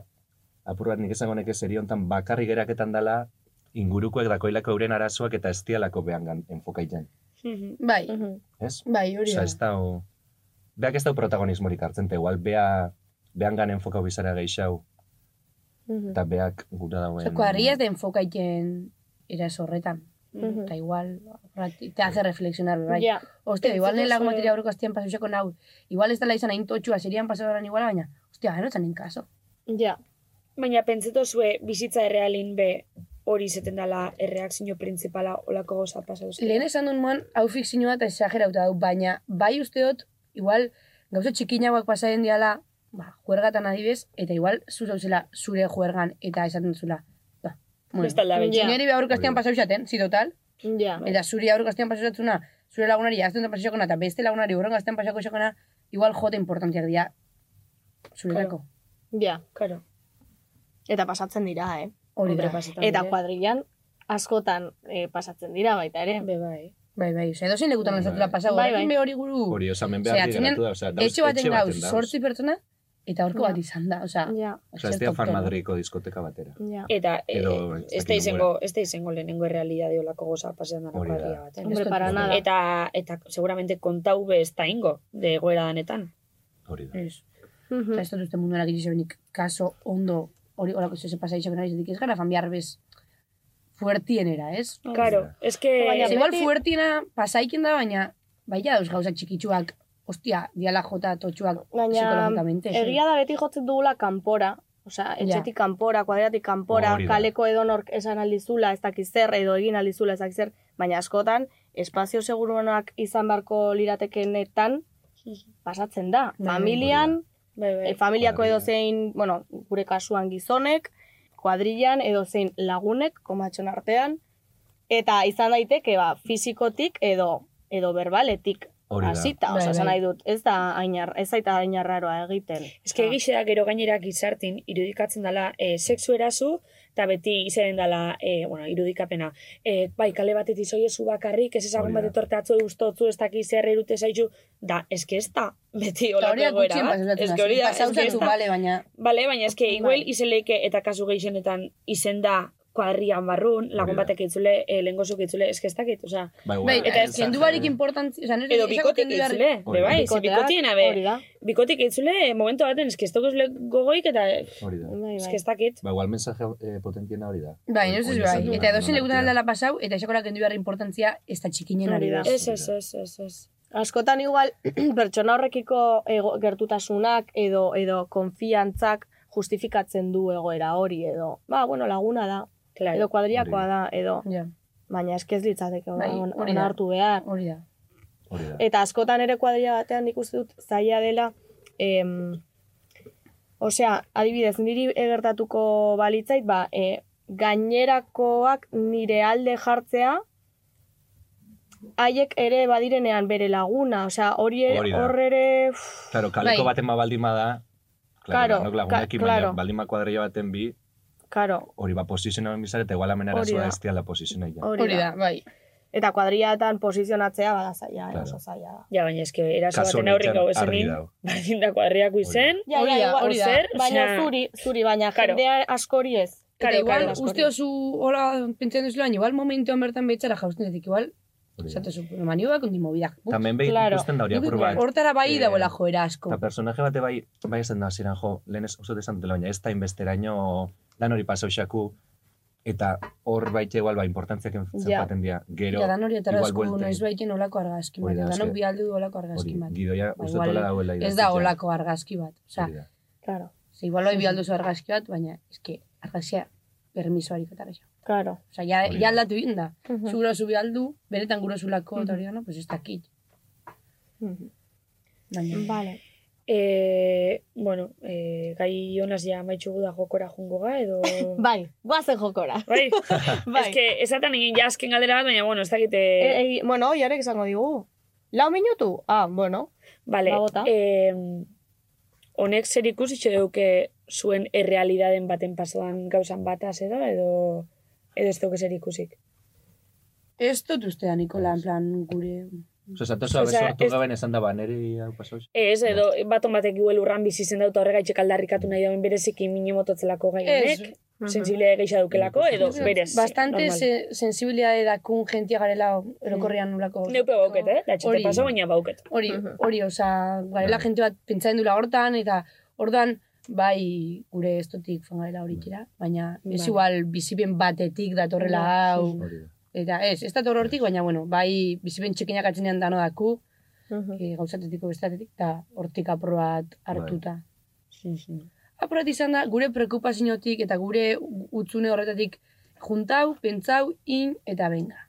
Speaker 10: apur bat nik esango neke zeri hontan bakarri geraketan dala, ingurukoek dakoilako euren arazoak eta ez dialako behangan enfokaitzen.
Speaker 11: Bai.
Speaker 10: Ez?
Speaker 11: Bai, hori
Speaker 10: Osa,
Speaker 11: da.
Speaker 10: ez da, o... Beak ez da protagonismorik hartzen, eta igual bea, behangan enfokau bizara geixau, eta beak gura dauen...
Speaker 11: Zoko harri ez den fokaiken eras horretan.
Speaker 7: Mhm.
Speaker 11: Eta igual, horrat- te hace reflexionar, bai.
Speaker 7: Ja.
Speaker 11: Hostia, igual nela
Speaker 7: Pentsatzen
Speaker 11: como
Speaker 7: zuen-
Speaker 11: materia aurreko astian pasauxeko nau. Igual ez dela izan hain totxua, serian pasadoran iguala, baina, hostia, gero txan inkaso.
Speaker 7: Ja.
Speaker 9: Baina pentseto zue bizitza errealin be hori izeten dela erreakzio principala olako goza pasatu.
Speaker 11: Lehen esan duen moan, hau fikzioa eta exagerauta dau, baina bai uste dut, igual, gauza txikinagoak pasaren diala, ba, juergatan adibidez, eta igual zu zauzela zure juergan, eta esaten zula. Ba,
Speaker 7: Ez da labe. Ja. Bai.
Speaker 11: Niri behar urkastean pasau xaten, zi total.
Speaker 7: Ja.
Speaker 11: Eta zuri aurreko astean pasatzuna, zure lagunari azten pasako xakona, eta beste lagunari urrengo astean pasako xakona, igual jote importantiak dira zuretako.
Speaker 7: Ja, karo. Eta pasatzen dira, eh?
Speaker 11: Hori
Speaker 7: Hombre,
Speaker 11: da.
Speaker 7: pasatzen Eta
Speaker 11: dira.
Speaker 7: kuadrilan askotan eh, pasatzen dira baita ere.
Speaker 11: Be, bai. Bai, bai, osea, edozein lekutan
Speaker 10: Bai,
Speaker 11: lezatula
Speaker 10: bai.
Speaker 11: pasau,
Speaker 7: Bai,
Speaker 11: bai,
Speaker 7: bai.
Speaker 11: bai. hori guru.
Speaker 10: Hori, osamen
Speaker 11: Osea,
Speaker 10: behar
Speaker 11: azkenean,
Speaker 10: geratu da, osea, dauz,
Speaker 11: etxe baten gauz, sortzi pertsona, eta
Speaker 7: Ja.
Speaker 11: horko bat izan da, osea,
Speaker 7: Ja.
Speaker 10: Osea, ez dira fan Madriko diskoteka batera.
Speaker 7: Eta eh,
Speaker 10: Edo, ez
Speaker 7: ez da
Speaker 10: dakit
Speaker 7: izango, ez da izango lehenengo errealidade olako goza pasean dana
Speaker 10: Hori da.
Speaker 7: kuadrilla bat. eh?
Speaker 11: Hombre,
Speaker 7: Esto-
Speaker 11: para nada.
Speaker 7: Eta, eta seguramente kontau be ez da ingo, de goera danetan.
Speaker 10: Hori da.
Speaker 11: Ez. Eta ez dut uste mundu eragin izabenik, kaso ondo, hori horako zese pasa izabena izatik, ez gara fan behar bez fuertienera, ez?
Speaker 7: Claro, es que...
Speaker 11: Baina, igual fuertiena pasaiken da, baina, baina dauz gauza txikitsuak, ostia, diala jota totxuak
Speaker 7: Baina,
Speaker 11: psikologikamente.
Speaker 7: egia da beti jotzen dugula kanpora. Osea, etxetik kanpora, kuadratik kanpora,
Speaker 11: Hori da.
Speaker 7: kaleko edonork esan aldizula, ez dakiz zer, edo egin aldizula, ez dakiz zer, baina askotan, espazio seguruenak izan beharko liratekenetan, pasatzen da.
Speaker 11: Bai, bai.
Speaker 7: Familian,
Speaker 11: Bai,
Speaker 7: eh, familiako edozein, bueno, gure kasuan gizonek, kuadrillan, edozein lagunek, komatxon artean, eta izan daiteke, ba, fisikotik edo edo berbaletik
Speaker 10: Hori da.
Speaker 7: hasita,
Speaker 11: Bai,
Speaker 7: osea, esan
Speaker 11: bai.
Speaker 7: nahi dut, ez da ainar, ez zaita ainarraroa egiten. Ah.
Speaker 8: Ez
Speaker 11: Ah.
Speaker 8: que egixea gero gainera gizartin irudikatzen dela e, sexu erazu, eta beti izaren dela, e, bueno, irudikapena, e, bai, kale batet izoiezu bakarrik, ez ezagun
Speaker 7: Hori da.
Speaker 8: bat etortatzu eustotzu, ez dakiz zer erute zaizu, da, ez que ez da, beti
Speaker 11: Eta
Speaker 8: olako
Speaker 11: hori da
Speaker 8: egoera
Speaker 11: gutxien
Speaker 8: bat.
Speaker 11: pasatzen
Speaker 8: Ez
Speaker 11: da.
Speaker 8: que hori da, ez
Speaker 11: Pasautzen
Speaker 8: que ez
Speaker 11: du,
Speaker 8: da.
Speaker 11: bale, baina...
Speaker 8: Bale, baina eske igual
Speaker 11: Bai.
Speaker 8: izeleike eta kasu gehienetan izen da kuadrian barrun, lagun batek itzule, e, lehengozuk itzule, eske ez dakit, osea.
Speaker 10: Bai,
Speaker 11: Bai, eta ez kendu barik importantzi... Osa, nire
Speaker 8: Edo
Speaker 11: esako
Speaker 8: bikotek
Speaker 11: kendu behar-
Speaker 8: eitzule, be bai, ze
Speaker 11: Bikoteak,
Speaker 8: bikotiena
Speaker 11: hori
Speaker 8: be.
Speaker 11: da.
Speaker 8: Bikotek eitzule, eh, momentu baten, eske ez tokozule gogoik eta...
Speaker 10: Hori da.
Speaker 7: Bai,
Speaker 8: Eske ez dakit.
Speaker 10: Ba, igual mensaje eh, potentiena hori da.
Speaker 11: Bai, no ez
Speaker 10: Hori
Speaker 11: bai.
Speaker 10: esan duen
Speaker 11: Eta edozein
Speaker 10: artean.
Speaker 11: lekutan aldala pasau, eta esakola kendu behar importantzia ez da txikinen hori da.
Speaker 7: Ez, ez, ez, ez, ez. Askotan igual, pertsona horrekiko ego, gertutasunak edo, edo konfiantzak justifikatzen du egoera hori edo. Ba, bueno, laguna da, edo kuadriakoa da, edo. Baina eske ez litzateke
Speaker 11: Bai,
Speaker 7: on,
Speaker 11: hori da.
Speaker 7: onartu behar.
Speaker 11: Hori da. Eh,
Speaker 7: Eta askotan ere kuadrilla batean nik uste dut zaila dela, em, osea, adibidez, niri egertatuko balitzait, ba, e, gainerakoak nire alde jartzea, haiek ere badirenean bere laguna, osea, hori ere,
Speaker 10: Hori da.
Speaker 7: hor ere, uf,
Speaker 10: Claro, kaleko
Speaker 7: Bai.
Speaker 10: baten ma baldin bada,
Speaker 7: Claro,
Speaker 10: claro, lanok lagunekin,
Speaker 7: ka- claro.
Speaker 10: baina baldin ba kuadrilla baten bi,
Speaker 7: karo,
Speaker 10: hori ba posizionamen bizar, eta igual hemen
Speaker 7: Hori
Speaker 10: arazoa
Speaker 7: da.
Speaker 10: ez diala posizionaia.
Speaker 7: hori, da.
Speaker 11: bai.
Speaker 7: Eta kuadriatan posizionatzea bada zaila, eh,
Speaker 10: Claro.
Speaker 7: oso zaila da.
Speaker 8: Ja, baina eske eraso
Speaker 10: Kasu
Speaker 8: baten aurrik
Speaker 10: honetan
Speaker 8: gau
Speaker 10: argi
Speaker 8: esenin,
Speaker 10: dago.
Speaker 8: berdin da kuadriako izen,
Speaker 7: Ja, ja, igual,
Speaker 8: o zer,
Speaker 7: baina
Speaker 8: osea,
Speaker 7: zuri, zuri, baina jendea askori ez.
Speaker 11: Eta igual, uste oso, hola, pentsen duzula, igual momentuan bertan behitzara jausten detik, igual, zato zu, manioak ondi mobidak. Buf,
Speaker 10: Tamen behi bai ikusten da hori
Speaker 11: Nik
Speaker 10: apur bat.
Speaker 11: Hortara bai
Speaker 10: Eh,
Speaker 11: dagoela joera asko.
Speaker 10: Eta personaje bate bai, bai esan da, ziren jo, lehen ez uste esan dutela, baina ez da inbesteraino lan hori pasau xaku, eta hor baita igual, ba, importantziak
Speaker 11: Ja.
Speaker 10: zenpaten dira. Gero,
Speaker 11: Eta dan hori atarra
Speaker 10: igual
Speaker 11: asko,
Speaker 10: buelten.
Speaker 11: noiz baiten olako argazki bat.
Speaker 10: Hori da,
Speaker 11: Eta
Speaker 10: eske-
Speaker 11: danok bialdu du olako
Speaker 10: Hori,
Speaker 11: argazki bat.
Speaker 10: gidoia
Speaker 11: Ba,
Speaker 10: uste
Speaker 11: igual
Speaker 10: tola dagoela.
Speaker 11: Ez da olako argazki bat. Osa,
Speaker 10: Hori da.
Speaker 7: Claro.
Speaker 11: Ze igual hori bialdu zu argazki bat, baina eske argazia permisoarik atarra xo.
Speaker 7: Claro.
Speaker 11: Osa, ja,
Speaker 7: Hori
Speaker 11: ja
Speaker 7: da.
Speaker 11: aldatu egin da.
Speaker 7: Mhm.
Speaker 11: Zura zu bialdu, beretan gura zulako, eta hori dana, pues ez dakit.
Speaker 7: Mhm.
Speaker 11: Baina.
Speaker 8: Ba.
Speaker 7: Vale.
Speaker 8: E, bueno, e, gai honaz ja maitxugu da jokora jungo ga, edo...
Speaker 7: Bai, guazen jokora.
Speaker 8: Bai, bai. eske esaten egin ja azken galdera bat, baina, bueno, ez eh, dakite...
Speaker 7: E, e, bueno, jarek izango digu. Lau minutu? Ah, bueno.
Speaker 8: Vale,
Speaker 7: Babota.
Speaker 8: eh, honek zer ikusi deuke zuen errealidaden baten pasoan gauzan bataz edo, edo, edo ez duke zer ikusik.
Speaker 11: Ez dut uste da, Nikola, en plan, gure...
Speaker 10: Osa, zatozu, abe
Speaker 8: Osea,
Speaker 10: sortu
Speaker 8: ez-
Speaker 10: gaben esan da, ba, neri hau pasau xaku.
Speaker 8: Ez, edo
Speaker 10: Bai.
Speaker 8: baton batek igual urran bizi zen dauta horregaitxek aldarrikatu nahi dauen bereziki minimototzelako gai
Speaker 11: Ez.
Speaker 8: honek, sensibilea geixa dukelako, edo berez.
Speaker 11: Bastante
Speaker 8: normal.
Speaker 11: se, sensibilidade dakun jentia garela erokorrean nulako.
Speaker 8: Neupe bauket, eh? Datxete
Speaker 11: Hori.
Speaker 8: paso, baina bauket.
Speaker 11: Hori, hori, oza,
Speaker 8: Bai.
Speaker 11: garela jente bat pentsatzen dula hortan, eta hortan, bai, gure estotik fan garela
Speaker 8: Bai.
Speaker 11: hori tira, baina ez
Speaker 8: Vale.
Speaker 11: igual bizipen batetik datorrela
Speaker 8: Ja,
Speaker 11: hau.
Speaker 8: sí,
Speaker 11: Eta ez, ez dator hortik, baina, bueno, bai, bizipen txekinak atzenean dano daku, e, gauzatetiko bestatetik, eta hortik aprobat
Speaker 8: Bai.
Speaker 11: hartuta. Aprobat izan da, gure prekupaziotik eta gure utzune horretatik juntau, pentsau, in, eta benga.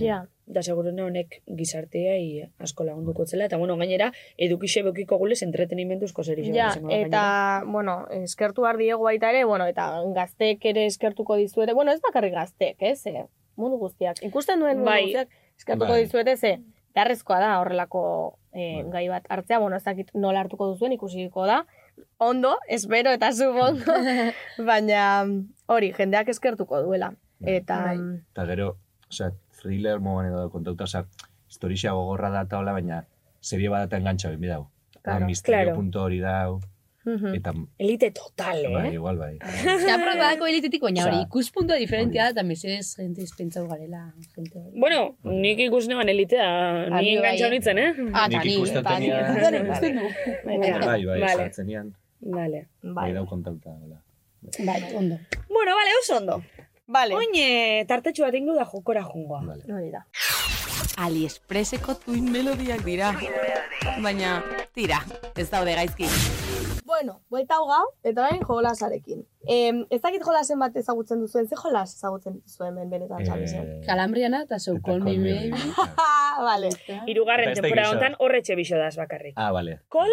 Speaker 7: Ja.
Speaker 8: da segurune honek gizarteai asko lagunduko zela, eta bueno, gainera, edukixe bokiko gulez entretenimentuzko zeri
Speaker 7: Ja, eta, bueno, eskertu behar diegu baita ere, bueno, eta gazteek ere eskertuko dizuete, bueno, ez bakarrik gazteek, ez, eh? mundu guztiak. Ikusten duen mundu
Speaker 8: Bai.
Speaker 7: guztiak eskertuko
Speaker 8: Bai.
Speaker 7: dizuete, ze, beharrezkoa da horrelako eh, gai bat hartzea, bueno, ez dakit nola hartuko duzuen, ikusiko da, ondo, espero eta supongo, baina hori, jendeak eskertuko duela. Eta,
Speaker 10: Eta gero, osea, thriller moan edo kontauta, osea, historixea gogorra da eta hola, baina serie bat eta engantxa ben bidau.
Speaker 8: Claro,
Speaker 10: Claro, misterio
Speaker 8: claro. Mm.
Speaker 10: punto hori dau,
Speaker 7: Mhm.
Speaker 10: eta
Speaker 8: Elite total,
Speaker 10: bai,
Speaker 8: eh?
Speaker 10: igual bai.
Speaker 11: Eta probadako elitetik, baina hori,
Speaker 10: Osea,
Speaker 11: ikuspuntua diferentia da, eta mesedez jente izpentzau garela. Jente hori.
Speaker 8: Bueno, nik ikusi neban elitea,
Speaker 11: Ani
Speaker 8: ni engantxa
Speaker 11: bai, eh.
Speaker 8: honitzen, eh?
Speaker 11: Ah, Nik eta ni, ikusten eta ni. tenean. Dani ikusten du.
Speaker 10: Bai, bai,
Speaker 8: Vale.
Speaker 10: osea, zenean,
Speaker 8: Vale.
Speaker 10: bai dau kontauta, hola.
Speaker 11: Bai, ondo.
Speaker 8: Bueno, vale, oso ondo.
Speaker 7: Vale.
Speaker 8: Oine, tartetxo bat ingo da jokora jungoa.
Speaker 10: Vale.
Speaker 13: Hori da. Aliexpresseko tuin melodiak dira. Baina, tira, ez daude gaizki.
Speaker 7: Bueno, buelta hau gau, eta orain jolasarekin. Eh, ez dakit jolasen bat ezagutzen duzuen, ze jolas ezagutzen duzuen hemen benetan
Speaker 11: Eh,
Speaker 7: eh,
Speaker 11: Kalambriana eta so call me baby.
Speaker 7: vale.
Speaker 8: Irugarren
Speaker 10: Eta ez da
Speaker 8: Ah. temporada
Speaker 10: inoiz,
Speaker 8: honetan horretxe biso daz bakarrik.
Speaker 10: Ah, vale.
Speaker 8: Kol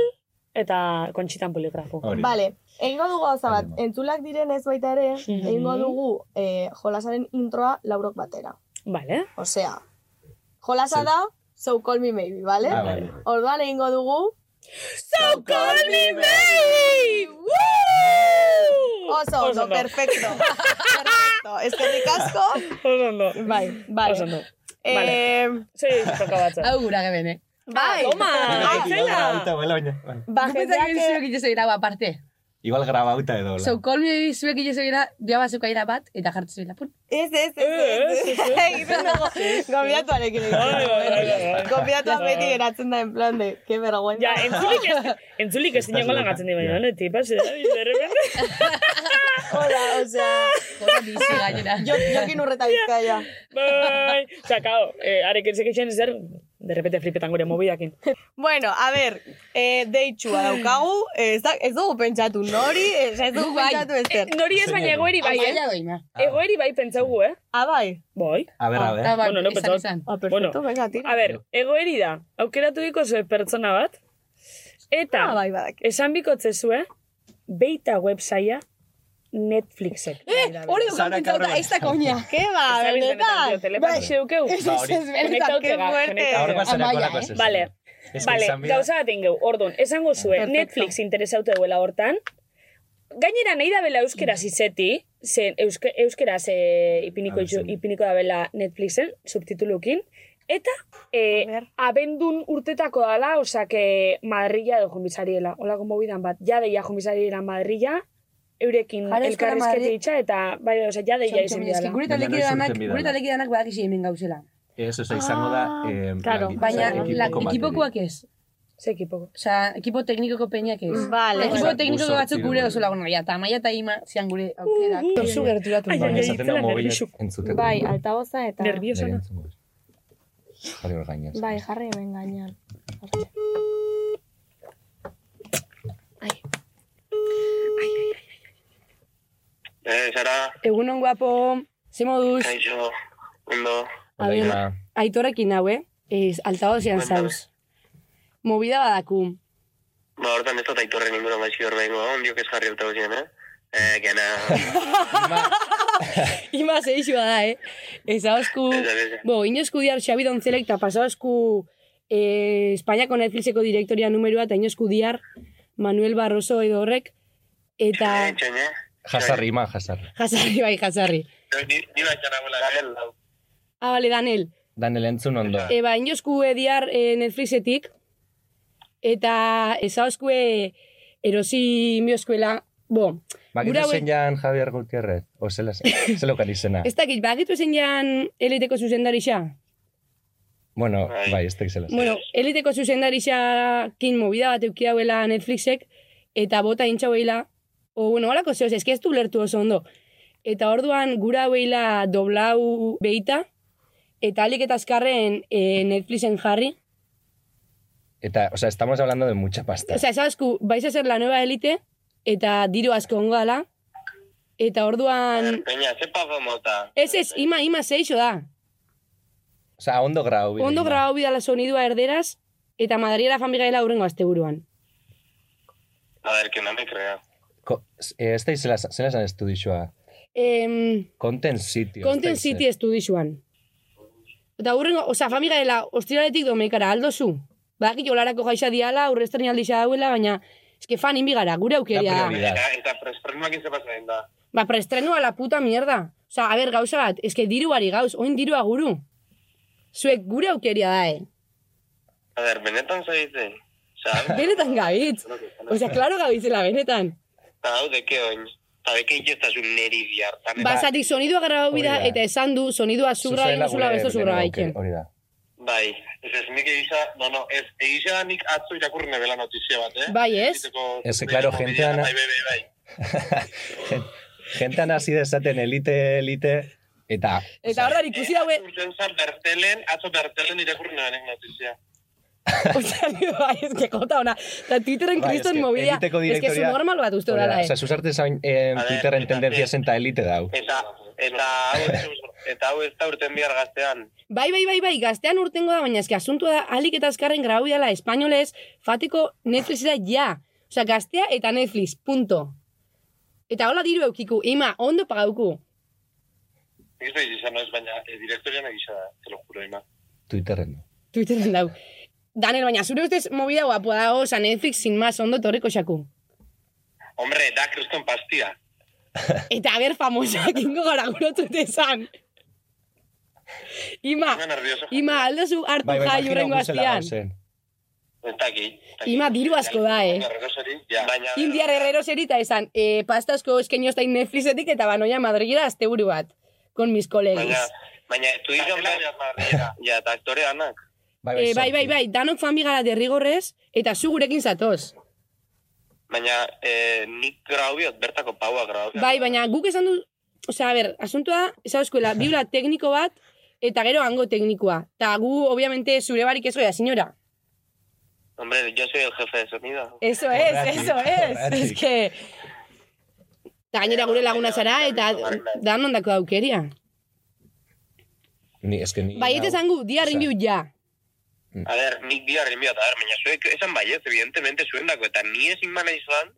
Speaker 8: eta kontxitan poligrafo.
Speaker 10: Hori.
Speaker 7: Vale, egingo dugu gauza bat, entzulak direnez baita ere,
Speaker 8: Mhm.
Speaker 7: egingo dugu eh, jolasaren introa laurok batera.
Speaker 8: Vale.
Speaker 7: Osea, jolasa da, so call me maybe, vale?
Speaker 8: Ah, vale.
Speaker 7: Orduan egingo dugu... So
Speaker 8: call me
Speaker 7: maybe! Oso,
Speaker 8: Oso
Speaker 7: oso,
Speaker 8: ondo.
Speaker 7: perfecto. perfecto, eskerrik asko.
Speaker 8: Oso ondo.
Speaker 7: Bai, vale.
Speaker 8: Oso ondo.
Speaker 7: Eh,
Speaker 8: Vale. Zei toka batza.
Speaker 11: Hau gura geben, eh?
Speaker 7: Bai,
Speaker 8: Toma! Ah,
Speaker 10: Grabauta, bai, baina, bai.
Speaker 7: Ba,
Speaker 11: jendeak... Gupetak
Speaker 8: eh,
Speaker 11: zuek itezo gira, ba, parte.
Speaker 10: Igual grabauta edo, hola.
Speaker 11: So call me baby zuek itezo gira, bia bazuka gira bat, eta jartu zuela pun.
Speaker 7: Ez,
Speaker 8: Eh,
Speaker 7: ez, ez, ez, ez. Egiten dago, gombiatuarekin
Speaker 8: Bai, bai, bai, bai.
Speaker 7: egiten. Gombiatuak beti geratzen da, en plan de, que vergüenza.
Speaker 8: Ja, entzulik ez, entzulik ez dinango
Speaker 10: loca.
Speaker 8: langatzen di baina, ne, eh, tipa, se da, de repente.
Speaker 7: Hola, o sea,
Speaker 11: Jora bizi gainera.
Speaker 7: jo, jokin urreta bizkaia.
Speaker 8: Bai, oza, kao, eh, arek ezek etxean ezer, de repente flipetan gure mobidakin.
Speaker 7: Bueno, a ber, eh, deitxua daukagu, eh, ez, da, ez dugu pentsatu nori, eh, ez, ez dugu
Speaker 11: Guk bai.
Speaker 7: pentsatu ezer.
Speaker 8: Nori ez baina egoeri bai, eh?
Speaker 11: Amaia doima.
Speaker 8: Egoeri bai pentsaugu, eh?
Speaker 7: Ah, bai.
Speaker 8: Bai.
Speaker 10: A ber, a
Speaker 11: Ah,
Speaker 10: ber.
Speaker 11: bai,
Speaker 8: Bueno, no
Speaker 11: izan,
Speaker 8: pentsau-
Speaker 11: izan.
Speaker 7: Ah, perfecto,
Speaker 8: Bueno.
Speaker 7: bueno. venga, tira.
Speaker 8: A ber, egoeri da, aukeratu diko zuen pertsona bat, eta
Speaker 7: Ah, bai, badak.
Speaker 8: esan bikotze zuen, beita websaia Netflixek.
Speaker 11: Eh, hori dukan
Speaker 10: Sara
Speaker 11: pentsauta,
Speaker 10: Cabrera.
Speaker 11: ez da koña.
Speaker 7: Ke ba,
Speaker 8: Zabiz benetan,
Speaker 7: benetan.
Speaker 8: tio, telepati zeukeu.
Speaker 10: Ba, hori.
Speaker 11: Ez benetan.
Speaker 8: Konektaute
Speaker 7: qué
Speaker 8: ga,
Speaker 7: fuerte.
Speaker 8: konektaute.
Speaker 10: Ahora pasará con
Speaker 11: Amaia,
Speaker 10: la
Speaker 11: eh.
Speaker 10: cosa.
Speaker 8: Vale,
Speaker 10: Es que
Speaker 8: Bale,
Speaker 10: izan bida-
Speaker 8: gauza bat ingeu, orduan, esango zuen,
Speaker 7: Perfecto.
Speaker 8: Netflix interesaute duela hortan, gainera nahi da bela
Speaker 7: Mm.
Speaker 8: euskera zizeti, zen euske, euskera ze ipiniko,
Speaker 10: Ah,
Speaker 8: itxu,
Speaker 10: zen.
Speaker 8: ipiniko da bela Netflixen, subtitulukin, eta e,
Speaker 7: A ber.
Speaker 8: abendun urtetako dala, osak Madrilla edo jumbizariela, olako mobidan bat, jadeia jumbizariela Madrilla, eurekin
Speaker 11: Jare, euskara
Speaker 8: elkarrizkete
Speaker 11: Madri-
Speaker 8: itxa, eta bai, bai, osa, jadeia
Speaker 11: Txontxo,
Speaker 8: izan
Speaker 11: baina eski
Speaker 8: dela.
Speaker 11: Gure taldeki
Speaker 10: Dena
Speaker 11: danak,
Speaker 10: sortzen bidala.
Speaker 11: gure taldeki danak badakizi hemen gauzela.
Speaker 10: Ez, oza, izango da... Eh,
Speaker 8: claro,
Speaker 11: Ah, Baina,
Speaker 8: Osa,
Speaker 11: la- ekipokoak ez.
Speaker 8: Ze ekipoko.
Speaker 11: Osa, ekipo teknikoko peinak ez.
Speaker 8: Bai.
Speaker 7: Vale.
Speaker 11: Ekipo
Speaker 10: Osa,
Speaker 11: teknikoko
Speaker 10: buzo,
Speaker 11: batzuk gure
Speaker 10: tiro,
Speaker 11: oso lagun nahi, eta maia eta ima zian gure
Speaker 8: Uh,
Speaker 11: aukerak. Oso gerturatu
Speaker 8: Ai,
Speaker 10: Baina
Speaker 8: ai,
Speaker 10: esaten da
Speaker 8: itzela
Speaker 10: mobilak
Speaker 8: nerviosuk.
Speaker 10: entzuteko.
Speaker 7: Bai, altaboza eta...
Speaker 8: Nerviosa
Speaker 10: Nire
Speaker 8: na.
Speaker 10: entzungo ez. Jarri hor gainez.
Speaker 7: Bai, jarri hemen gainean.
Speaker 14: Eh, Sara,
Speaker 11: Egun on guapo, ze moduz,
Speaker 14: kaixo, ondo.
Speaker 10: Hola,
Speaker 11: Adela.
Speaker 10: Ima.
Speaker 11: aitorekin haue, ez altao zean zauz. Movida badaku.
Speaker 14: Ba, hortan ez dut aitorren inguruan gaizki hor behingo, ondiok ez jarri alta guzien, eh? Eh, gana,
Speaker 11: Ima zeizua da, eh? Ez hauzku, bo, inozku diar Xabi Dontzelek eta pasauzku eh, Espainiako Netflixeko direktoria numeroa eta inozku diar Manuel Barroso edo horrek eta
Speaker 14: etxen, eh?
Speaker 10: Jasarri, ima, jasarri.
Speaker 11: jasarri bai, jasarri.
Speaker 14: Ni, ni bat jana bola gara.
Speaker 11: Ah, bale, Eh, Danel.
Speaker 10: Danel entzun ondo.
Speaker 11: Eba, inozku ediar e, Netflixetik, eta ezauzkue erosi mioskuela, bo,
Speaker 10: Bakitu
Speaker 11: gura hauek-
Speaker 10: zen Ba, jan Javier Gutierrez. O zela, zela okar izena.
Speaker 11: ez dakit, bagitu zen jan eliteko zuzendarixa?
Speaker 10: Bueno, bai, ez tek zela.
Speaker 11: Bueno, eliteko zuzendarixakin movida bat euki dauela Netflixek, eta bota intxauela, o, bueno, holako zehoz, eski ez du lertu oso ondo. Eta orduan gura hauela doblau behita, eta alik eta azkarren e, Netflixen jarri,
Speaker 10: Eta, o sea, estamos hablando de mucha pasta.
Speaker 11: O sea, sabes, ku, vais a ser la nueva elite, eta diru asko ongo dala, eta orduan...
Speaker 14: Peña, ze pago mota.
Speaker 11: Ez ez, ima, ima zeixo da.
Speaker 10: Osa, ondo grau. bidali.
Speaker 11: Ondo grabau bidala sonidua erderaz, eta madariera famigaela hurrengo asteburuan.
Speaker 14: A ver, que no me crea.
Speaker 10: Ko, eh, ez da izela, zela esan estudixoa.
Speaker 11: Em,
Speaker 10: Content City.
Speaker 11: Content City estudixuan. Eta hurrengo, oza, famigaela, ostiraletik domeikara, aldozu. Badaki jolarako Ba, jaixa diala, aurre aldisa dauela, baina, eske fan inbigara, gure
Speaker 10: Ah.
Speaker 11: aukeria.
Speaker 14: Eta, eta presprenuak izan pasain da.
Speaker 11: Ba, preestrenua la puta mierda. Osa, a ber, gauza bat, eske diruari gauz, oin dirua guru. Zuek gure aukeria da, eh?
Speaker 14: A ver, benetan zaitze. Osa,
Speaker 11: Benetan gaitz. Osa, klaro gabitzela, benetan.
Speaker 14: eta hau deke oin. Eta deke ikestasun neri biartan.
Speaker 11: Basatik sonidua grabau
Speaker 14: Hori
Speaker 11: bida,
Speaker 14: da.
Speaker 11: eta esan du, sonidua zurra
Speaker 14: Zuzela
Speaker 11: egin duzula
Speaker 14: gure
Speaker 11: besto zurra
Speaker 14: herriaren
Speaker 11: gaiken.
Speaker 10: Hori da.
Speaker 14: Bai, ez ez nik egisa, no, no, ez egisa da nik atzo irakurri nebela notizia bat, eh?
Speaker 11: Bai, ez?
Speaker 10: Ez que, claro, jentean...
Speaker 14: Bai, bai, bai, bai.
Speaker 10: Jentan hasi dezaten elite, elite, eta
Speaker 11: Eta hor da, ikusi daue...
Speaker 14: Urten zan bertelen, atzo bertelen irakurri nebenek notizia.
Speaker 11: Osa, bai, ez que jota ona. Eta Twitterren
Speaker 10: Bai,
Speaker 11: kriston
Speaker 10: eske,
Speaker 11: movida.
Speaker 10: eliteko
Speaker 11: Ez que
Speaker 10: direktoria-
Speaker 11: subnormal bat uste
Speaker 10: Hori da,
Speaker 11: horala,
Speaker 10: Osa,
Speaker 11: eh?
Speaker 10: susarte zain eh,
Speaker 14: A ver,
Speaker 10: Twitterren
Speaker 14: eta-
Speaker 10: tendenzias eta elite dau.
Speaker 14: Eta, eta, hau, ez- eta hau ez da urten bihar gaztean.
Speaker 11: Bai, bai, bai, bai, gaztean urtengo da, baina eske asuntua da, alik eta azkarren grau dela espainolez, fatiko Netflixera ja. Osa, gaztea eta Netflix, punto. Eta hola diru eukiku, ima, ondo pagauku.
Speaker 14: Nik ez da izan ez, baina eh, direktorian egisa da, te lo juro, ima.
Speaker 10: Twitterren.
Speaker 11: Twitterren dau. Daniel, baina zure ustez movida guapua da, osa, Netflix sin más, ondo torriko xaku.
Speaker 14: Hombre, da kriston pastia.
Speaker 11: Eta ber famosak ingo gara gurotut esan. Ima, ima, aldozu hartu
Speaker 14: Bai, bai,
Speaker 11: jai
Speaker 14: imagino
Speaker 11: urrengo
Speaker 14: guzela
Speaker 11: aztian.
Speaker 10: gauzen.
Speaker 14: Ez daki.
Speaker 11: Ima, diru asko da, eh.
Speaker 14: Errosari, ja. Baina,
Speaker 11: Indiar herrero zerita esan, eh, pasta asko eskenio zain Netflixetik eta banoia Madrigera asteburu bat. Con mis
Speaker 14: baina,
Speaker 11: colegas.
Speaker 14: baina, tu izan behar, ja, eta aktore anak.
Speaker 11: Eh, bai, bai, bai, danok fami gara derrigorrez, eta zu gurekin zatoz.
Speaker 14: Baina, eh, nik graubiot, bertako paua graubiot.
Speaker 11: Bai, baina guk esan du, osea, a ber, asuntua da, esan eskuela, bibla tekniko bat, eta gero hango teknikoa. Eta gu, obviamente, zure barik ez goia, senyora.
Speaker 14: Hombre, yo soy el jefe de sonido.
Speaker 11: Eso es, eso es.
Speaker 14: Horregatik.
Speaker 11: Es que... Eta gainera gure laguna zara, eta dan ondako aukeria. Bai,
Speaker 10: Ni, ez que ni...
Speaker 11: Baiet esangu, dia rindu ja.
Speaker 14: A ver, nik bihar enbiot, a ver, baina zuek esan baiet, ¿eh? evidentemente zuen dako, eta ni ez inmana izan,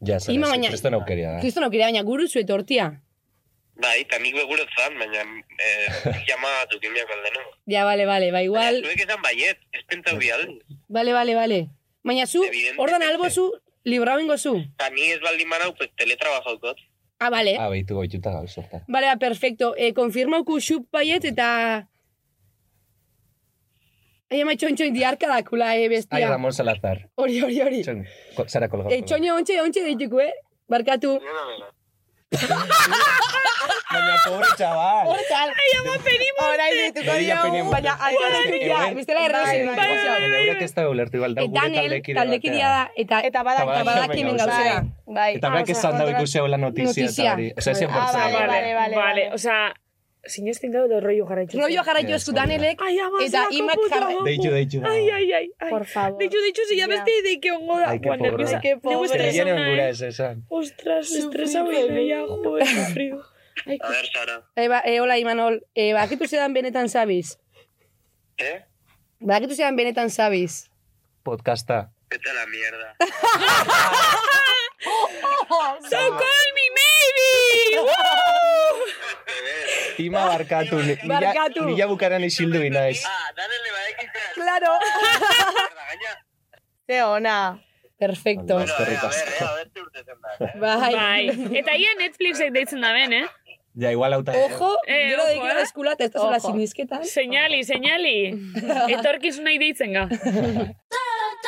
Speaker 10: Ja, zer,
Speaker 11: Ima,
Speaker 10: ez,
Speaker 11: baina-
Speaker 10: kriston aukeria da.
Speaker 11: Kristo no baina guru zue tortia.
Speaker 14: bai, eta nik begurot zan, baina eh, jama dukimiak aldeno.
Speaker 11: Ja, bale, bale, ba igual,
Speaker 14: Zuek esan baiet, ez pentau bialdi.
Speaker 11: bale, bale, bale. Baina zu, ordan albo zu, libra bengo zu.
Speaker 14: Eta ni ez baldin manau, pues teletrabajaukot.
Speaker 11: Ah, bale,
Speaker 10: Ah, behitu goituta gau, sorta.
Speaker 11: bale, ba, perfecto. E, konfirmauku xup baiet eta... Ai, ama, txoin, txoin, diarka dakula, eh,
Speaker 10: Ai,
Speaker 11: bestia.
Speaker 10: Ramon Salazar.
Speaker 11: Hori, hori, hori.
Speaker 10: Txon, ko- Zara kolgau.
Speaker 11: E, txoin, ontxe, ontxe deituko, eh? Barkatu.
Speaker 10: Baina, pobre txabal.
Speaker 11: Hor tal. Ai, ama, penimonte. Orain deituko
Speaker 10: Ella
Speaker 11: diogu,
Speaker 10: penimonte.
Speaker 11: baina alkaratu
Speaker 10: Euen-
Speaker 11: ja, bestela errosi.
Speaker 10: Baina, bai, Eurek ez da ulertu, igual, da
Speaker 11: Eta Eh,
Speaker 10: gure eh.
Speaker 11: Daniel,
Speaker 10: taldekide
Speaker 11: taldekidea
Speaker 10: batean.
Speaker 11: da, eta... Eta
Speaker 10: badaki- Eta badaki hemen gauzea.
Speaker 7: Bai.
Speaker 10: Eta berak esan dau ikusi hau la notizia
Speaker 11: Notizia.
Speaker 10: eta hori. Osa, ezin
Speaker 7: Ah,
Speaker 10: bortzen.
Speaker 7: vale, vale, vale.
Speaker 8: Vale, osea, sinesten gau edo rollo jarraitu.
Speaker 11: Rollo jarraitu esku Danielek, eta imak jarra...
Speaker 10: Deitu, deitu. da.
Speaker 8: Ai, ai, ai, ai.
Speaker 7: Por favor.
Speaker 8: Deitu, deitu, zila beste ideike ongo da.
Speaker 10: Ai, que
Speaker 8: Guau,
Speaker 10: pobre.
Speaker 8: nerviosa.
Speaker 10: Ai, que
Speaker 8: Neu
Speaker 10: pobre.
Speaker 8: estresa
Speaker 10: Se viene
Speaker 8: ona,
Speaker 10: urdura
Speaker 8: eh.
Speaker 10: ez esan.
Speaker 8: Ostras, estresa bidea, jo, he sufrido. Ai,
Speaker 14: A ver, Sara.
Speaker 11: Eh, ba, eh, hola, Imanol. Eh, bakitu zedan benetan zabiz.
Speaker 14: Eh?
Speaker 11: Bakitu zedan benetan zabiz.
Speaker 10: Podcasta.
Speaker 14: Vete a la mierda.
Speaker 8: So call me maybe! Woo!
Speaker 10: Ima barkatu. ni- nila-
Speaker 8: Barkatu.
Speaker 10: Nila bukaran isildu inaiz.
Speaker 14: Ah,
Speaker 7: Claro. Ze ona.
Speaker 11: Perfecto.
Speaker 14: eh,
Speaker 10: Eskerrik asko.
Speaker 11: Bai.
Speaker 8: Bai. Eta ia Netflixek deitzen da ben, eh?
Speaker 10: Ja, igual hauta.
Speaker 11: Ojo,
Speaker 8: Eh,
Speaker 11: gero
Speaker 8: ojo,
Speaker 11: de gero
Speaker 8: eh?
Speaker 11: eskula, eta ez da zola
Speaker 8: Ojo.
Speaker 11: sinizketan.
Speaker 8: Seinali, seinali. Etorkizunei deitzen ga.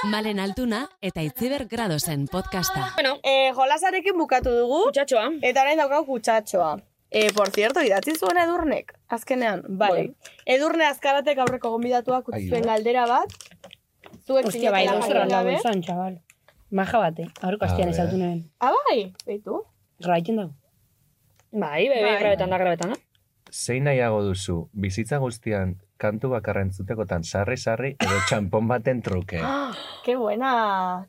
Speaker 6: Malen Altuna eta Itziber Gradosen podcasta.
Speaker 7: Bueno, eh, jolasarekin bukatu dugu.
Speaker 8: Kutsatxoa.
Speaker 7: Eta orain daukau kutsatxoa. Eh, por cierto, idatzi zuen edurnek, azkenean. Vale.
Speaker 11: Bai.
Speaker 7: Edurne azkaratek aurreko gonbidatuak utzi
Speaker 11: Ai,
Speaker 7: zuen
Speaker 11: ba.
Speaker 7: galdera bat. Zuek
Speaker 11: Hostia, bai,
Speaker 7: zinetela
Speaker 11: gauzera
Speaker 7: jakin
Speaker 11: alda
Speaker 7: gabe.
Speaker 11: gozan, txabal. Maja bate, aurreko
Speaker 8: A
Speaker 11: hastian
Speaker 8: ver.
Speaker 11: ezautu nuen.
Speaker 7: Ah, bai, beitu.
Speaker 11: Graiten dago.
Speaker 8: Bai, bebe,
Speaker 7: Bai.
Speaker 8: grabetan da, grabetan da.
Speaker 10: Zein nahiago duzu, bizitza guztian kantu bakarra entzutekotan sarri-sarri edo txampon baten truke.
Speaker 7: Ah, Qué buena.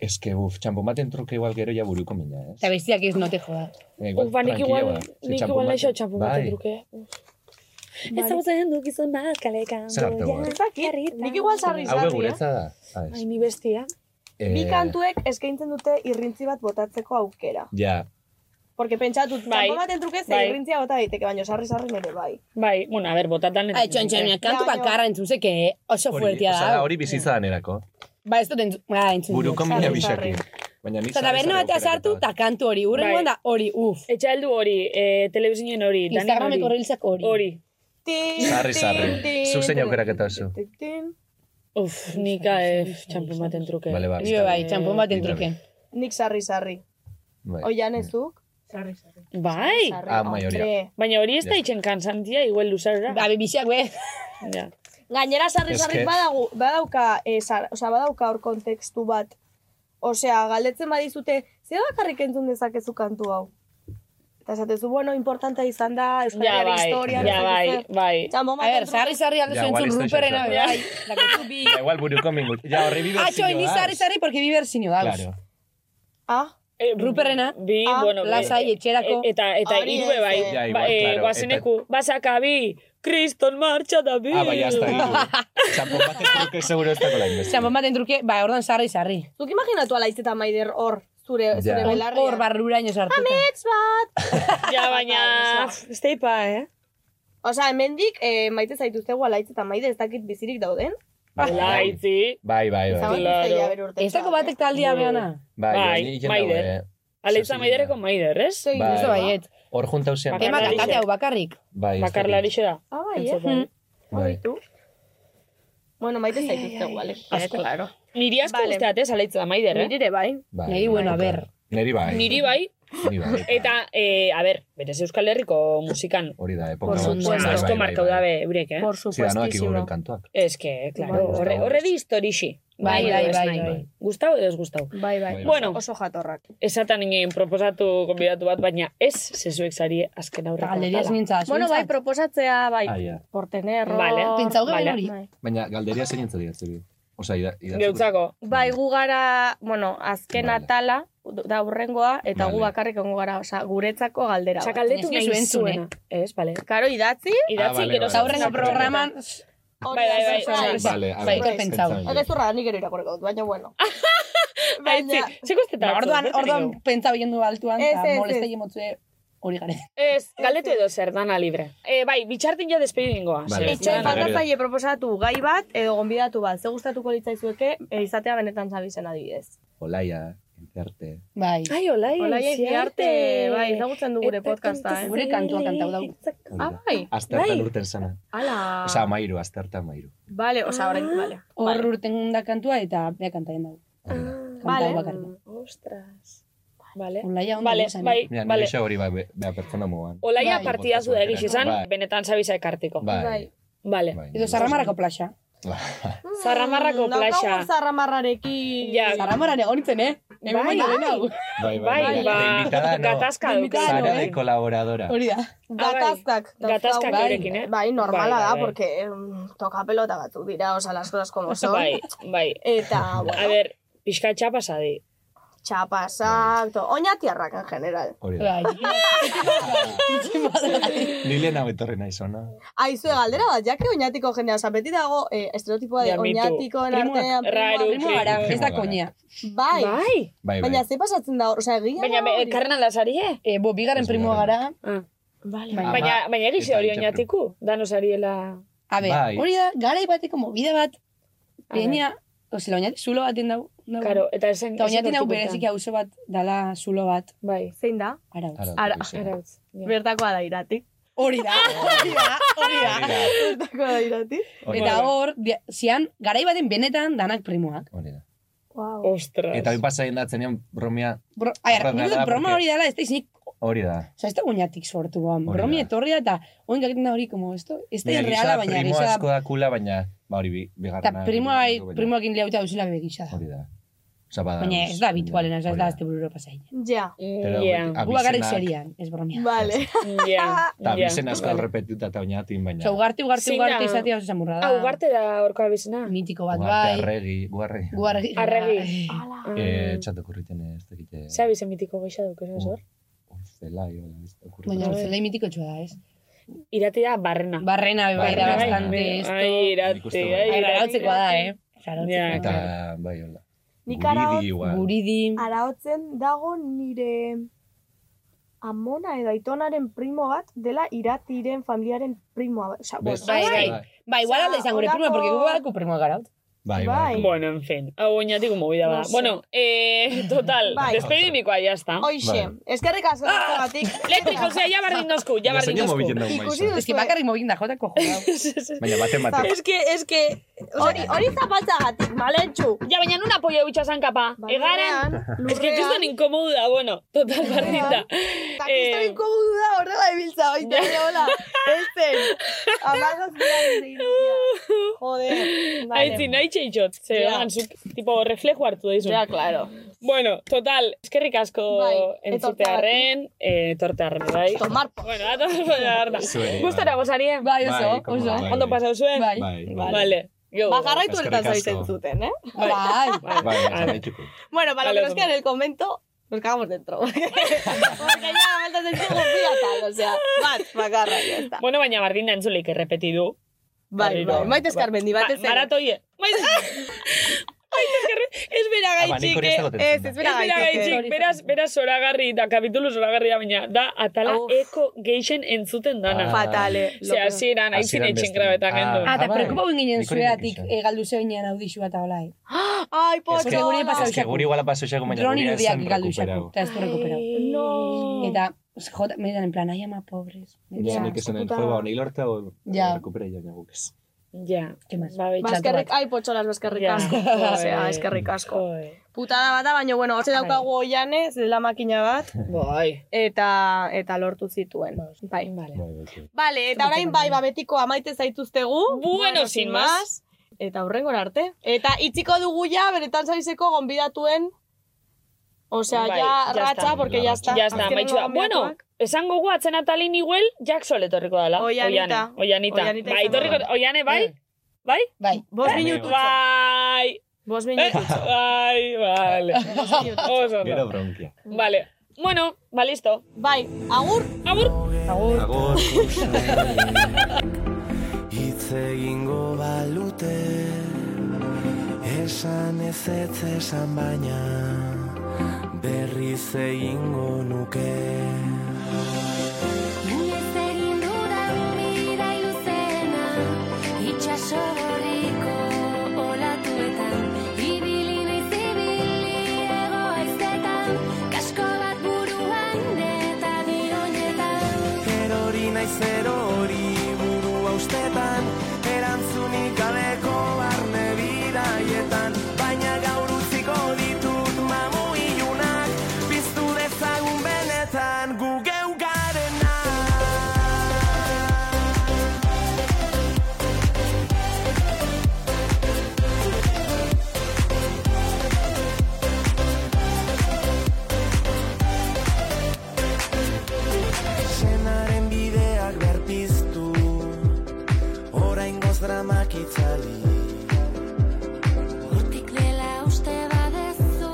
Speaker 10: Ez que, buf, txampon baten truke igual gero ja buruko mina, eh?
Speaker 11: Eta bestiak ez no te joda.
Speaker 10: Eh, igual,
Speaker 8: Uf, ba, nik
Speaker 10: tranquila
Speaker 8: igual- oh,
Speaker 10: ba. Ze
Speaker 8: nik
Speaker 10: txanpon
Speaker 8: igual
Speaker 10: baten-
Speaker 8: naixo txampon baten
Speaker 10: Bai.
Speaker 8: truke. Ezagutzen du gizon bat kalekan.
Speaker 10: Zer arte guai?
Speaker 7: Nik igual sarri
Speaker 10: Hau
Speaker 7: sarri, eh?
Speaker 10: guretza da. Ah, ez.
Speaker 8: Ai, ni bestia.
Speaker 10: Eh,
Speaker 7: Bi kantuek eskaintzen dute irrintzi bat botatzeko aukera.
Speaker 10: Ja,
Speaker 7: Porque pentsatut,
Speaker 8: Bai.
Speaker 7: bai. baten trukez
Speaker 8: Bai.
Speaker 7: irrintzia bota daiteke, baina sarri-sarri nire bai.
Speaker 8: Bai, bueno, a ber, botatan...
Speaker 11: Ai, txon, txon, mira, kantu bakarra entzuzek eh, oso
Speaker 10: hori,
Speaker 11: fuertia
Speaker 10: osea,
Speaker 11: da.
Speaker 10: hori bizitza danerako.
Speaker 11: Ba, ez dut entzun. Ba, entzun.
Speaker 10: Buruko mina bisakin. Baina nik
Speaker 11: Eta taberna batea sartu, eta kantu hori. Urrengoan da hori, uf.
Speaker 8: Etxaldu hori, eh, telebizinen hori, danen hori.
Speaker 11: Instagrameko reelsak hori.
Speaker 8: Hori.
Speaker 10: Sarri, sarri. Zuzen aukerak eta oso.
Speaker 8: Uf, nika eh, txampun baten truke.
Speaker 10: Bale, ba.
Speaker 11: Nibe bai, txampon baten truke.
Speaker 7: Nik sarri-sarri.
Speaker 10: Bai.
Speaker 7: Oian ez duk?
Speaker 11: Sarri-sarri.
Speaker 8: Bai.
Speaker 10: Ah, maioria.
Speaker 7: Hombre.
Speaker 8: Baina hori ez da
Speaker 10: Ja.
Speaker 8: itxen kansantia, igual luzarra.
Speaker 7: Bai.
Speaker 11: Ba, bebixak, be.
Speaker 8: Ja.
Speaker 7: Gainera sarri-sarri
Speaker 10: Eske-
Speaker 7: badagu, badauka, eh, sar, osea, badauka hor kontekstu bat. Osea, galdetzen badizute, ze bakarrik entzun dezakezu kantu hau? Eta esatezu, bueno, importante izan da, Euskal
Speaker 8: Ja,
Speaker 7: Herriaren
Speaker 8: bai,
Speaker 7: historia,
Speaker 8: ja, bai, bai.
Speaker 11: A ber, sarri, sarri aldo
Speaker 10: Ja,
Speaker 11: zuen
Speaker 10: igual
Speaker 11: zuen
Speaker 10: ez da
Speaker 11: ruperena,
Speaker 10: xaxar.
Speaker 11: be, bai. Dakotzu bi.
Speaker 10: Da igual buruko mingut. Ja, horri bi
Speaker 11: Atxo,
Speaker 10: berzino
Speaker 11: ni
Speaker 10: da.
Speaker 11: sarri, sarri, porque bi berzino dauz.
Speaker 10: Claro.
Speaker 7: Ah,
Speaker 8: Eh,
Speaker 11: Ruperena,
Speaker 8: Bi,
Speaker 7: Ah,
Speaker 8: bueno, bi.
Speaker 11: lasai, etxerako.
Speaker 8: E- Eta, eta
Speaker 7: Hori
Speaker 8: irue
Speaker 7: ez,
Speaker 8: bai.
Speaker 7: eh.
Speaker 10: Ja, igual,
Speaker 8: ba, eh,
Speaker 10: claro,
Speaker 8: guazeneku, bazaka bi, kriston martxa da bi.
Speaker 10: Ah, bai, hasta hiru. Txampon baten truke seguro ez dago la inbeste.
Speaker 11: Txampon baten truke, ba, ordan sarri, sarri.
Speaker 7: Zuk imaginatu ala izeta maider hor, zure,
Speaker 10: Ja.
Speaker 7: zure
Speaker 10: Hor-
Speaker 7: belarrian.
Speaker 11: Hor barruraino sartuta.
Speaker 7: Amets bat!
Speaker 8: Ja, baina,
Speaker 7: Bai, oso.
Speaker 8: ez teipa, eh?
Speaker 7: Osea, hemendik eh, maite zaituztegu alaitz eta maide ez dakit bizirik dauden.
Speaker 10: Bai, bai,
Speaker 8: Laitzi,
Speaker 10: bai, bai.
Speaker 7: Zabalik
Speaker 8: Claro.
Speaker 7: zaila bere urteetan.
Speaker 11: Ez dako batek taldea
Speaker 8: Bai.
Speaker 11: behana.
Speaker 10: Bai,
Speaker 8: Bai,
Speaker 10: hori egiten
Speaker 8: Maider.
Speaker 10: dago, eh.
Speaker 8: Aleitza
Speaker 10: Zuzena.
Speaker 8: maidereko maider, ez?
Speaker 7: Zoi
Speaker 10: Bai.
Speaker 7: duzu,
Speaker 11: Uste
Speaker 7: ba?
Speaker 11: baiet.
Speaker 10: Hor junta hausian.
Speaker 11: Ema
Speaker 8: Bakarlari.
Speaker 11: kakate hau bakarrik.
Speaker 10: Bai, ez dakit.
Speaker 8: Bakarlarixe da.
Speaker 7: Ah, bai, eh?
Speaker 8: Entzun, bai.
Speaker 10: Bai.
Speaker 7: Hori du. Bueno, maite zaituztegu, ale.
Speaker 8: Asko.
Speaker 7: Claro.
Speaker 8: Niri asko
Speaker 7: Vale.
Speaker 8: guztat, ez, aleitza maider, eh?
Speaker 7: Niri ere bai.
Speaker 10: Bai,
Speaker 11: Neri, bueno, a ber.
Speaker 10: Neri bai.
Speaker 8: Niri bai,
Speaker 10: Niri bai.
Speaker 8: eta, eh, a ber, berez Euskal Herriko musikan.
Speaker 10: Hori da, epoka.
Speaker 7: Por
Speaker 10: bat.
Speaker 7: supuesto.
Speaker 10: Bai, bai,
Speaker 8: Asko
Speaker 10: bai,
Speaker 8: markau
Speaker 10: bai.
Speaker 8: dabe eurek, eh?
Speaker 7: Por
Speaker 10: Sí, danoak
Speaker 7: supuestísimo.
Speaker 10: iguren kantuak.
Speaker 8: Ez que,
Speaker 10: Bai,
Speaker 8: claro,
Speaker 10: gustau,
Speaker 8: horre, horre di historixi.
Speaker 11: Bai, bai, bai, bai.
Speaker 8: Gustau edo ez gustau.
Speaker 7: Bai, bai.
Speaker 8: Bueno.
Speaker 7: Oso jatorrak.
Speaker 8: Esatan ingen proposatu konbidatu bat, baina ez zezuek zari azken aurreko.
Speaker 11: Galderiaz
Speaker 8: atala.
Speaker 11: mintzaz.
Speaker 7: Bueno, bai, proposatzea, bai.
Speaker 10: Ah, ja.
Speaker 7: Por tener
Speaker 8: Vale,
Speaker 7: hor.
Speaker 11: Pentsau geben
Speaker 8: Vale.
Speaker 11: hori.
Speaker 7: Bai.
Speaker 10: Baina galderia zein entzari gatzebi. Osa, ida, idatzi-
Speaker 8: Geutzako.
Speaker 7: Bai, gu gara, bueno, azken
Speaker 10: Vale.
Speaker 7: atala, da hurrengoa, eta gu
Speaker 10: Vale.
Speaker 7: bakarrik ongo gara, osea, guretzako galdera.
Speaker 8: Osa,
Speaker 7: bat.
Speaker 8: galdetu
Speaker 11: Ez
Speaker 8: nahi
Speaker 11: diozu entzun,
Speaker 8: zuena.
Speaker 11: eh? Ah,
Speaker 8: Ez, bale.
Speaker 7: Karo, idatzi,
Speaker 8: Idatzi,
Speaker 10: vale,
Speaker 8: gero
Speaker 10: vale.
Speaker 11: Zaurrengo
Speaker 10: Bai,
Speaker 11: programan...
Speaker 8: Bai, bai, bai.
Speaker 7: Surprise.
Speaker 10: Vale, a
Speaker 11: Bai,
Speaker 10: ber,
Speaker 11: ikor pentsau.
Speaker 10: pentsauen dut.
Speaker 7: Egezurra, nik gero irakurriko dut, baina bueno.
Speaker 8: Baina,
Speaker 7: Baina,
Speaker 8: zeko ez
Speaker 11: Ba,
Speaker 8: eta
Speaker 11: Orduan, orduan pentsa biendu altuan,
Speaker 7: Ez, ez,
Speaker 11: eta
Speaker 7: ez.
Speaker 11: molestei emotzue hori gare.
Speaker 8: Ez, galdetu edo zer, dana libre. Eh, bai, bitxartin ja despedi dingoa.
Speaker 10: Vale.
Speaker 7: etxean
Speaker 10: Vale.
Speaker 7: faltatzaile proposatu gai bat edo gonbidatu bat. Ze gustatuko litzaizueke e, izatea benetan zabizen adibidez.
Speaker 10: Olaia, entzerte.
Speaker 11: Bai.
Speaker 8: Ai, olai,
Speaker 7: Olaia iziarte, bai, ezagutzen du gure podcasta, eh?
Speaker 11: Gure kantua kantau dau.
Speaker 7: Ah, bai, Ah.
Speaker 10: Aztertan urten sana.
Speaker 7: ala.
Speaker 10: Osa, amairu, aztertan amairu.
Speaker 7: Vale, osa, orain,
Speaker 8: Ah.
Speaker 7: vale.
Speaker 11: Hor urten da kantua eta bea kantaren dago.
Speaker 10: Hori da.
Speaker 11: Kantau
Speaker 7: Vale.
Speaker 11: bakarrik.
Speaker 8: Ostras. Vale.
Speaker 11: Olaia ondo
Speaker 8: Vale,
Speaker 11: esan. eh?
Speaker 8: bai,
Speaker 10: Mira, nire
Speaker 8: vale.
Speaker 10: isa hori ba, be- bea pertsona moan.
Speaker 8: Olaia
Speaker 11: Bai.
Speaker 8: partidazu da egiz izan,
Speaker 10: Bai.
Speaker 8: benetan zabiza ekartiko.
Speaker 10: Bai.
Speaker 8: Vale.
Speaker 10: bai.
Speaker 11: Edo zarramarako plaxa.
Speaker 7: Mm,
Speaker 8: Zarramarrako plaxa.
Speaker 7: Zarramarrarekin.
Speaker 8: Ja,
Speaker 11: Zarramaran egon nintzen, eh? Hemen
Speaker 8: Bai,
Speaker 11: baino lehenago.
Speaker 10: Bai,
Speaker 8: bai,
Speaker 10: De invitada,
Speaker 8: ba,
Speaker 10: no.
Speaker 8: gatazka Bai.
Speaker 11: De invitada,
Speaker 8: dukazu.
Speaker 10: Zara
Speaker 11: no,
Speaker 10: de
Speaker 11: eh.
Speaker 10: colaboradora.
Speaker 11: Hori da.
Speaker 7: Ah, Gatazkak.
Speaker 8: Bai, gatazkak
Speaker 7: dauzkagu.
Speaker 8: eurekin, eh?
Speaker 7: Bai, normala
Speaker 8: Bai, bai,
Speaker 7: da,
Speaker 8: bai.
Speaker 7: porque em, toka pelota batzuk dira, osa, las cosas como son.
Speaker 8: Bai, bai.
Speaker 7: Eta,
Speaker 8: A
Speaker 7: bueno,
Speaker 8: ber, pixka txapa zadi.
Speaker 7: txapasak, to, oñatiarrak en general.
Speaker 10: Hori da.
Speaker 11: Bai. Itxi madre.
Speaker 10: Ni lehenago etorri nahi zona.
Speaker 7: Aizue galdera bat, jake oñatiko jendea, osa, beti dago eh, estereotipoa de
Speaker 8: Ja, mitu.
Speaker 7: oñatiko
Speaker 11: Primoak,
Speaker 7: artean,
Speaker 8: raro,
Speaker 7: primoak.
Speaker 11: Primo gara, ez da
Speaker 10: Primo gara.
Speaker 11: koña.
Speaker 7: Bai,
Speaker 8: Bai.
Speaker 10: Bai, bai.
Speaker 7: baina ze pasatzen da hor, osa, egia
Speaker 8: Baina,
Speaker 7: da
Speaker 11: Bai.
Speaker 8: be-
Speaker 7: hori.
Speaker 8: ekarren aldazari, eh?
Speaker 11: Eh, bo, bigarren
Speaker 10: Ez
Speaker 11: primoa
Speaker 10: bigarren.
Speaker 11: gara. Baina-
Speaker 8: Baina,
Speaker 10: Ama,
Speaker 8: baina egiz
Speaker 10: eta
Speaker 8: hori
Speaker 10: itxapru.
Speaker 8: oinatiku. Danos ariela...
Speaker 11: A ber,
Speaker 10: Bai.
Speaker 11: hori da, gara bateko movida bat,
Speaker 8: A ber.
Speaker 11: peña, ose, la oñati zulo baten dau. dau.
Speaker 8: Karo, eta esen...
Speaker 11: Bai. Eta oñati
Speaker 8: esen
Speaker 11: dau
Speaker 8: hortik
Speaker 11: berezik hauzo bat, dala zulo bat,
Speaker 8: bueltan. Bai.
Speaker 7: Zein da?
Speaker 11: arau.
Speaker 10: Ara,
Speaker 7: Ara-
Speaker 10: oso.
Speaker 8: Arautz. Ja.
Speaker 7: Bertakoa da iratik.
Speaker 11: Hori da, hori da, hori da.
Speaker 7: Bertakoa da iratik.
Speaker 10: Hori da.
Speaker 11: Eta hor, dia- zian, garai baten benetan danak primoak.
Speaker 10: Hori da.
Speaker 7: Wow.
Speaker 8: Ostras.
Speaker 10: Eta hori ba- pasa egin datzenean bromia
Speaker 11: Bro, aher,
Speaker 10: Horra
Speaker 11: nik
Speaker 10: da,
Speaker 11: dut broma
Speaker 10: porque-
Speaker 11: hori dela, ez da izinik,
Speaker 10: hori da.
Speaker 11: oza, ez da oñatik sortu, ba,
Speaker 10: da.
Speaker 11: bromi etorria eta oin gaketan da hori, como, esto, ez da
Speaker 10: Baina
Speaker 11: irreala,
Speaker 10: gisa
Speaker 11: baina
Speaker 10: Primo
Speaker 11: gisa,
Speaker 10: asko da kula, baina ba hori bi, bigarrena.
Speaker 11: eta primoa bai,
Speaker 10: baina-
Speaker 11: primoakin lehauta duzula begisa da.
Speaker 10: Hori da. Osa, bada.
Speaker 11: Baina ez da habitualena, ez da, ez da azte bururo pasaia.
Speaker 7: Ja,
Speaker 8: Ja, ja,
Speaker 11: Gu bakarrik serian, ez bromia.
Speaker 7: vale.
Speaker 10: Eta
Speaker 8: ja.
Speaker 10: bizen
Speaker 11: Bai.
Speaker 10: asko alrepetuta eta oinatin, baina.
Speaker 11: Osa, ugarte, ugarte,
Speaker 8: Zein da?
Speaker 11: ugarte izatea oso zamurra da.
Speaker 8: Hau, garte Ah, da horko abizena.
Speaker 11: Mitiko bat
Speaker 10: Ugarte,
Speaker 11: bai.
Speaker 10: arregi, guarregi.
Speaker 11: Guarregi.
Speaker 8: Arregi.
Speaker 11: Ah,
Speaker 7: Ala.
Speaker 10: Eh, txatok urriten ez dakite.
Speaker 8: Ze abizen mitiko geisha duk, ez hor?
Speaker 10: Urzela, jo, ez da
Speaker 11: Baina,
Speaker 10: kurritan.
Speaker 11: zelai mitiko txua da, ez?
Speaker 8: Irati da barrena. bai,
Speaker 11: Barrena, bai, da bastante esto.
Speaker 8: Ai, irati,
Speaker 10: bai.
Speaker 8: ai, irati.
Speaker 11: Garautzekoa da, eh?
Speaker 8: Ja,
Speaker 11: Garautzekoa da.
Speaker 10: Eta, bai, hola.
Speaker 7: Nik
Speaker 10: Guridi
Speaker 7: araut-
Speaker 10: igual.
Speaker 11: Guridi.
Speaker 7: Arautzen dago nire amona edo aitonaren primo bat dela iratiren familiaren primoa. bat. Osea, bueno,
Speaker 10: Beste.
Speaker 11: Bai, bai.
Speaker 10: Bai.
Speaker 11: Ba, igual alde izan gure prima, porque gugu badako primoa garaut.
Speaker 10: Bai,
Speaker 7: Bai.
Speaker 8: Bueno, en fin. Hau oinatik movida
Speaker 7: No
Speaker 8: bada.
Speaker 7: sé.
Speaker 8: Bueno, eh, total,
Speaker 7: Bai.
Speaker 8: despedimikoa, ya está.
Speaker 7: Hoxe,
Speaker 8: Bai.
Speaker 7: eskerrik asko gaurkoagatik.
Speaker 8: Leku, Josea, ja bardin dozku, ja
Speaker 10: Baina
Speaker 8: bardin
Speaker 10: zeina
Speaker 8: dozku.
Speaker 10: mobilen dago maizu.
Speaker 7: Ikusi duzu.
Speaker 11: Ez que bakarrik mogin da jotako jodau.
Speaker 10: Baina, baten batek.
Speaker 8: Es que, es que...
Speaker 7: Hori, hori zapaltzagatik, maletxu.
Speaker 8: Ja, baina nun apoio bitxasan kapa. Egaran, es que kriston inkomodu da, bueno, total bardita.
Speaker 7: Kriston
Speaker 8: eh,
Speaker 7: inkomodu da, horrela ibiltza, baita, ere, hola. Este, amagaz Joder, vale.
Speaker 8: Aitzi, nahi txeitxot, ze
Speaker 7: Ja.
Speaker 8: yeah. zuk, tipo, reflejo hartu daizun.
Speaker 7: Ja, claro.
Speaker 8: Bueno, total, eskerrik asko
Speaker 7: Bai,
Speaker 8: entzutearen, eh, tortearen, bai.
Speaker 7: Tomar.
Speaker 8: Bueno, ato da.
Speaker 10: Zuei,
Speaker 8: Gustora gozarie?
Speaker 11: Bai, oso,
Speaker 10: Bai, oso. bai,
Speaker 8: Ondo
Speaker 10: bai.
Speaker 8: pasau zuen?
Speaker 11: Bai.
Speaker 10: Bai, bai.
Speaker 8: Vale. Yo.
Speaker 7: Ba, jarraitu
Speaker 10: Eskerrik
Speaker 7: eltan zabiz
Speaker 10: asko.
Speaker 7: entzuten, eh?
Speaker 11: Bai.
Speaker 10: Bai, bai, jarraituko.
Speaker 7: Bueno, para lo
Speaker 8: Vale,
Speaker 7: que nos queda en el convento, nos cagamos dentro. Porque ya, falta sentido pirata, o sea, bat, bakarra, ya está.
Speaker 8: Bueno, baina bardin dantzuleik errepeti du.
Speaker 7: Bai, bai, maite eskarmendi,
Speaker 8: Ba-
Speaker 7: bat ez
Speaker 8: Maratoie. Maite eskarmendi. Bai, Ez bera gaitxik,
Speaker 10: Abaniko Ah, ba, hori ez dago
Speaker 8: eh?
Speaker 10: tentzun
Speaker 7: Ez,
Speaker 10: da.
Speaker 7: ez
Speaker 8: Ez bera gaitxik, beraz, beraz zoragarri da, kapitulu zoragarri da, baina da atala
Speaker 7: Uf.
Speaker 8: eko geixen entzuten dana.
Speaker 10: Ah.
Speaker 7: Fatale.
Speaker 8: Ze, hasieran, aitzin
Speaker 10: Hasieran
Speaker 8: etxin
Speaker 10: beste.
Speaker 8: grabetan
Speaker 10: Ah.
Speaker 8: gendu.
Speaker 11: Ah, eta
Speaker 10: bai.
Speaker 11: preocupa ginen
Speaker 10: Nik hori
Speaker 11: zueatik
Speaker 10: nekixen.
Speaker 11: egaldu zeunean audixua eta hola, eh?
Speaker 7: ¡Ah! Ay,
Speaker 10: Es que-
Speaker 7: pocho.
Speaker 11: guri pasau
Speaker 10: Es que
Speaker 11: xaku.
Speaker 10: guri iguala pasau xaku, baina
Speaker 11: Droni
Speaker 10: guria
Speaker 11: irudiak
Speaker 10: esan
Speaker 11: galdu
Speaker 10: rekuperau.
Speaker 11: xaku, eta ez du rekuperau.
Speaker 7: No.
Speaker 11: Eta, pues, jota, me dan en plan, ay, ama, pobres.
Speaker 10: Ja,
Speaker 11: Ya.
Speaker 10: nik esan den,
Speaker 7: puta.
Speaker 10: jo, ba, honi lorta, o
Speaker 11: Ja.
Speaker 10: rekupera joan guk ez.
Speaker 8: Ja.
Speaker 11: ¿Qué más?
Speaker 8: Ba, betxatu
Speaker 7: Baskerrik,
Speaker 8: bat.
Speaker 7: ai, potxolas, baskerrik
Speaker 8: Ja.
Speaker 7: asko. Osea,
Speaker 8: Oi.
Speaker 7: eskerrik asko.
Speaker 8: Oi.
Speaker 7: Putada bata, baina, bueno, hotze daukagu oiane, zela makina bat,
Speaker 8: Bai.
Speaker 7: eta, eta lortu zituen. Bai.
Speaker 8: Vale.
Speaker 10: Bai, bai, bai.
Speaker 7: Vale, eta orain bai, ba, betiko amaite zaituztegu.
Speaker 8: Bueno, sin más.
Speaker 7: Eta hurrengora arte. Eta itziko dugu ja, beretan zabizeko gonbidatuen, osea,
Speaker 8: Bai,
Speaker 7: ja,
Speaker 8: ya
Speaker 7: ratxa,
Speaker 8: está.
Speaker 7: porque ya está.
Speaker 8: Ya está,
Speaker 7: Azkenengo
Speaker 8: maitxua. Bueno,
Speaker 7: gonbidatuak.
Speaker 8: esango gu atzen atalin iguel, Jackson etorriko dela.
Speaker 7: Oianita.
Speaker 8: Oianita.
Speaker 7: Oianita
Speaker 8: Bai,
Speaker 7: izango
Speaker 8: etorriko,
Speaker 10: da.
Speaker 8: oiane, bai? Bai?
Speaker 11: Bai.
Speaker 7: Bost minutu.
Speaker 8: Bai.
Speaker 7: Bost
Speaker 8: Eh,
Speaker 7: minutu.
Speaker 8: Bai, vale. Oso
Speaker 10: Gero
Speaker 8: ondo.
Speaker 10: bronkia.
Speaker 8: Vale. Bueno, ba, listo.
Speaker 7: Bai, agur.
Speaker 8: Agur.
Speaker 11: Agur.
Speaker 10: Agur.
Speaker 14: Hitz egingo balute Esan ez ez esan baina Berriz egingo nuke
Speaker 13: Gainez egin dudan bidai luzena, itsaso horriko olatuetan, ibili naiz ibili hego haizetan, kasko bat buruan eta bironetan.
Speaker 14: Erori naiz erori buru austetan Erantzunik gabeko barne bidaietan Baina gaur utziko ditut mamu ilunak Biztu dezagun benetan gu geu garena Senaren bideak berpiztu Orain goz dramak itzali
Speaker 13: Hortik dela uste badezu,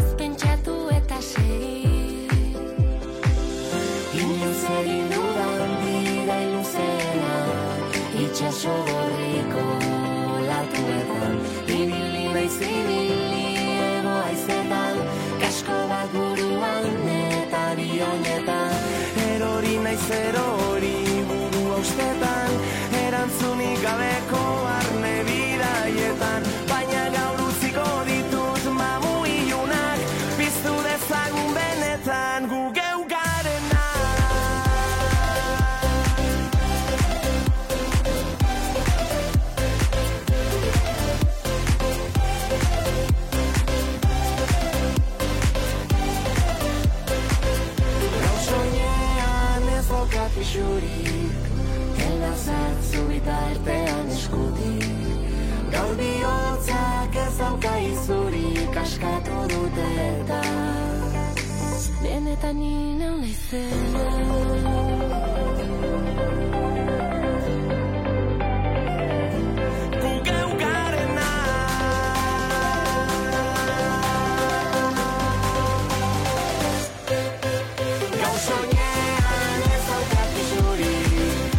Speaker 13: ez pentsatu eta segi.
Speaker 14: Inoiz egin dudan bidai luzena
Speaker 13: Itxaso gorriko olatuetan Ibili naiz ibili ego aizetan Kasko bat buruan eta bionetan
Speaker 14: Erori naiz erori buru austetan Erantzunik gabeko arne bidaietan Baina gaur utziko ditut mamu ilunak Biztu dezagun benetan gu geu garena Gauzoinean ez daukat pixurik Ela zartzu eta artean eskutik Gaur bihotzak ez dauka izurik Askatu dute eta
Speaker 13: Benetan nina naizela
Speaker 14: Gu geu garena Gauzoinean ez daukat pixurik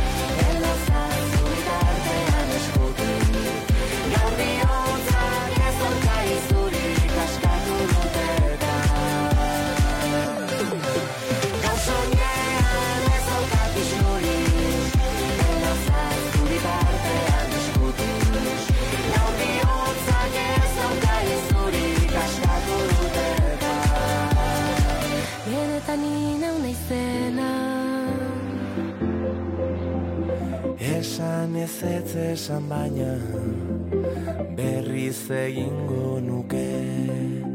Speaker 14: esan baina berriz egingo nuke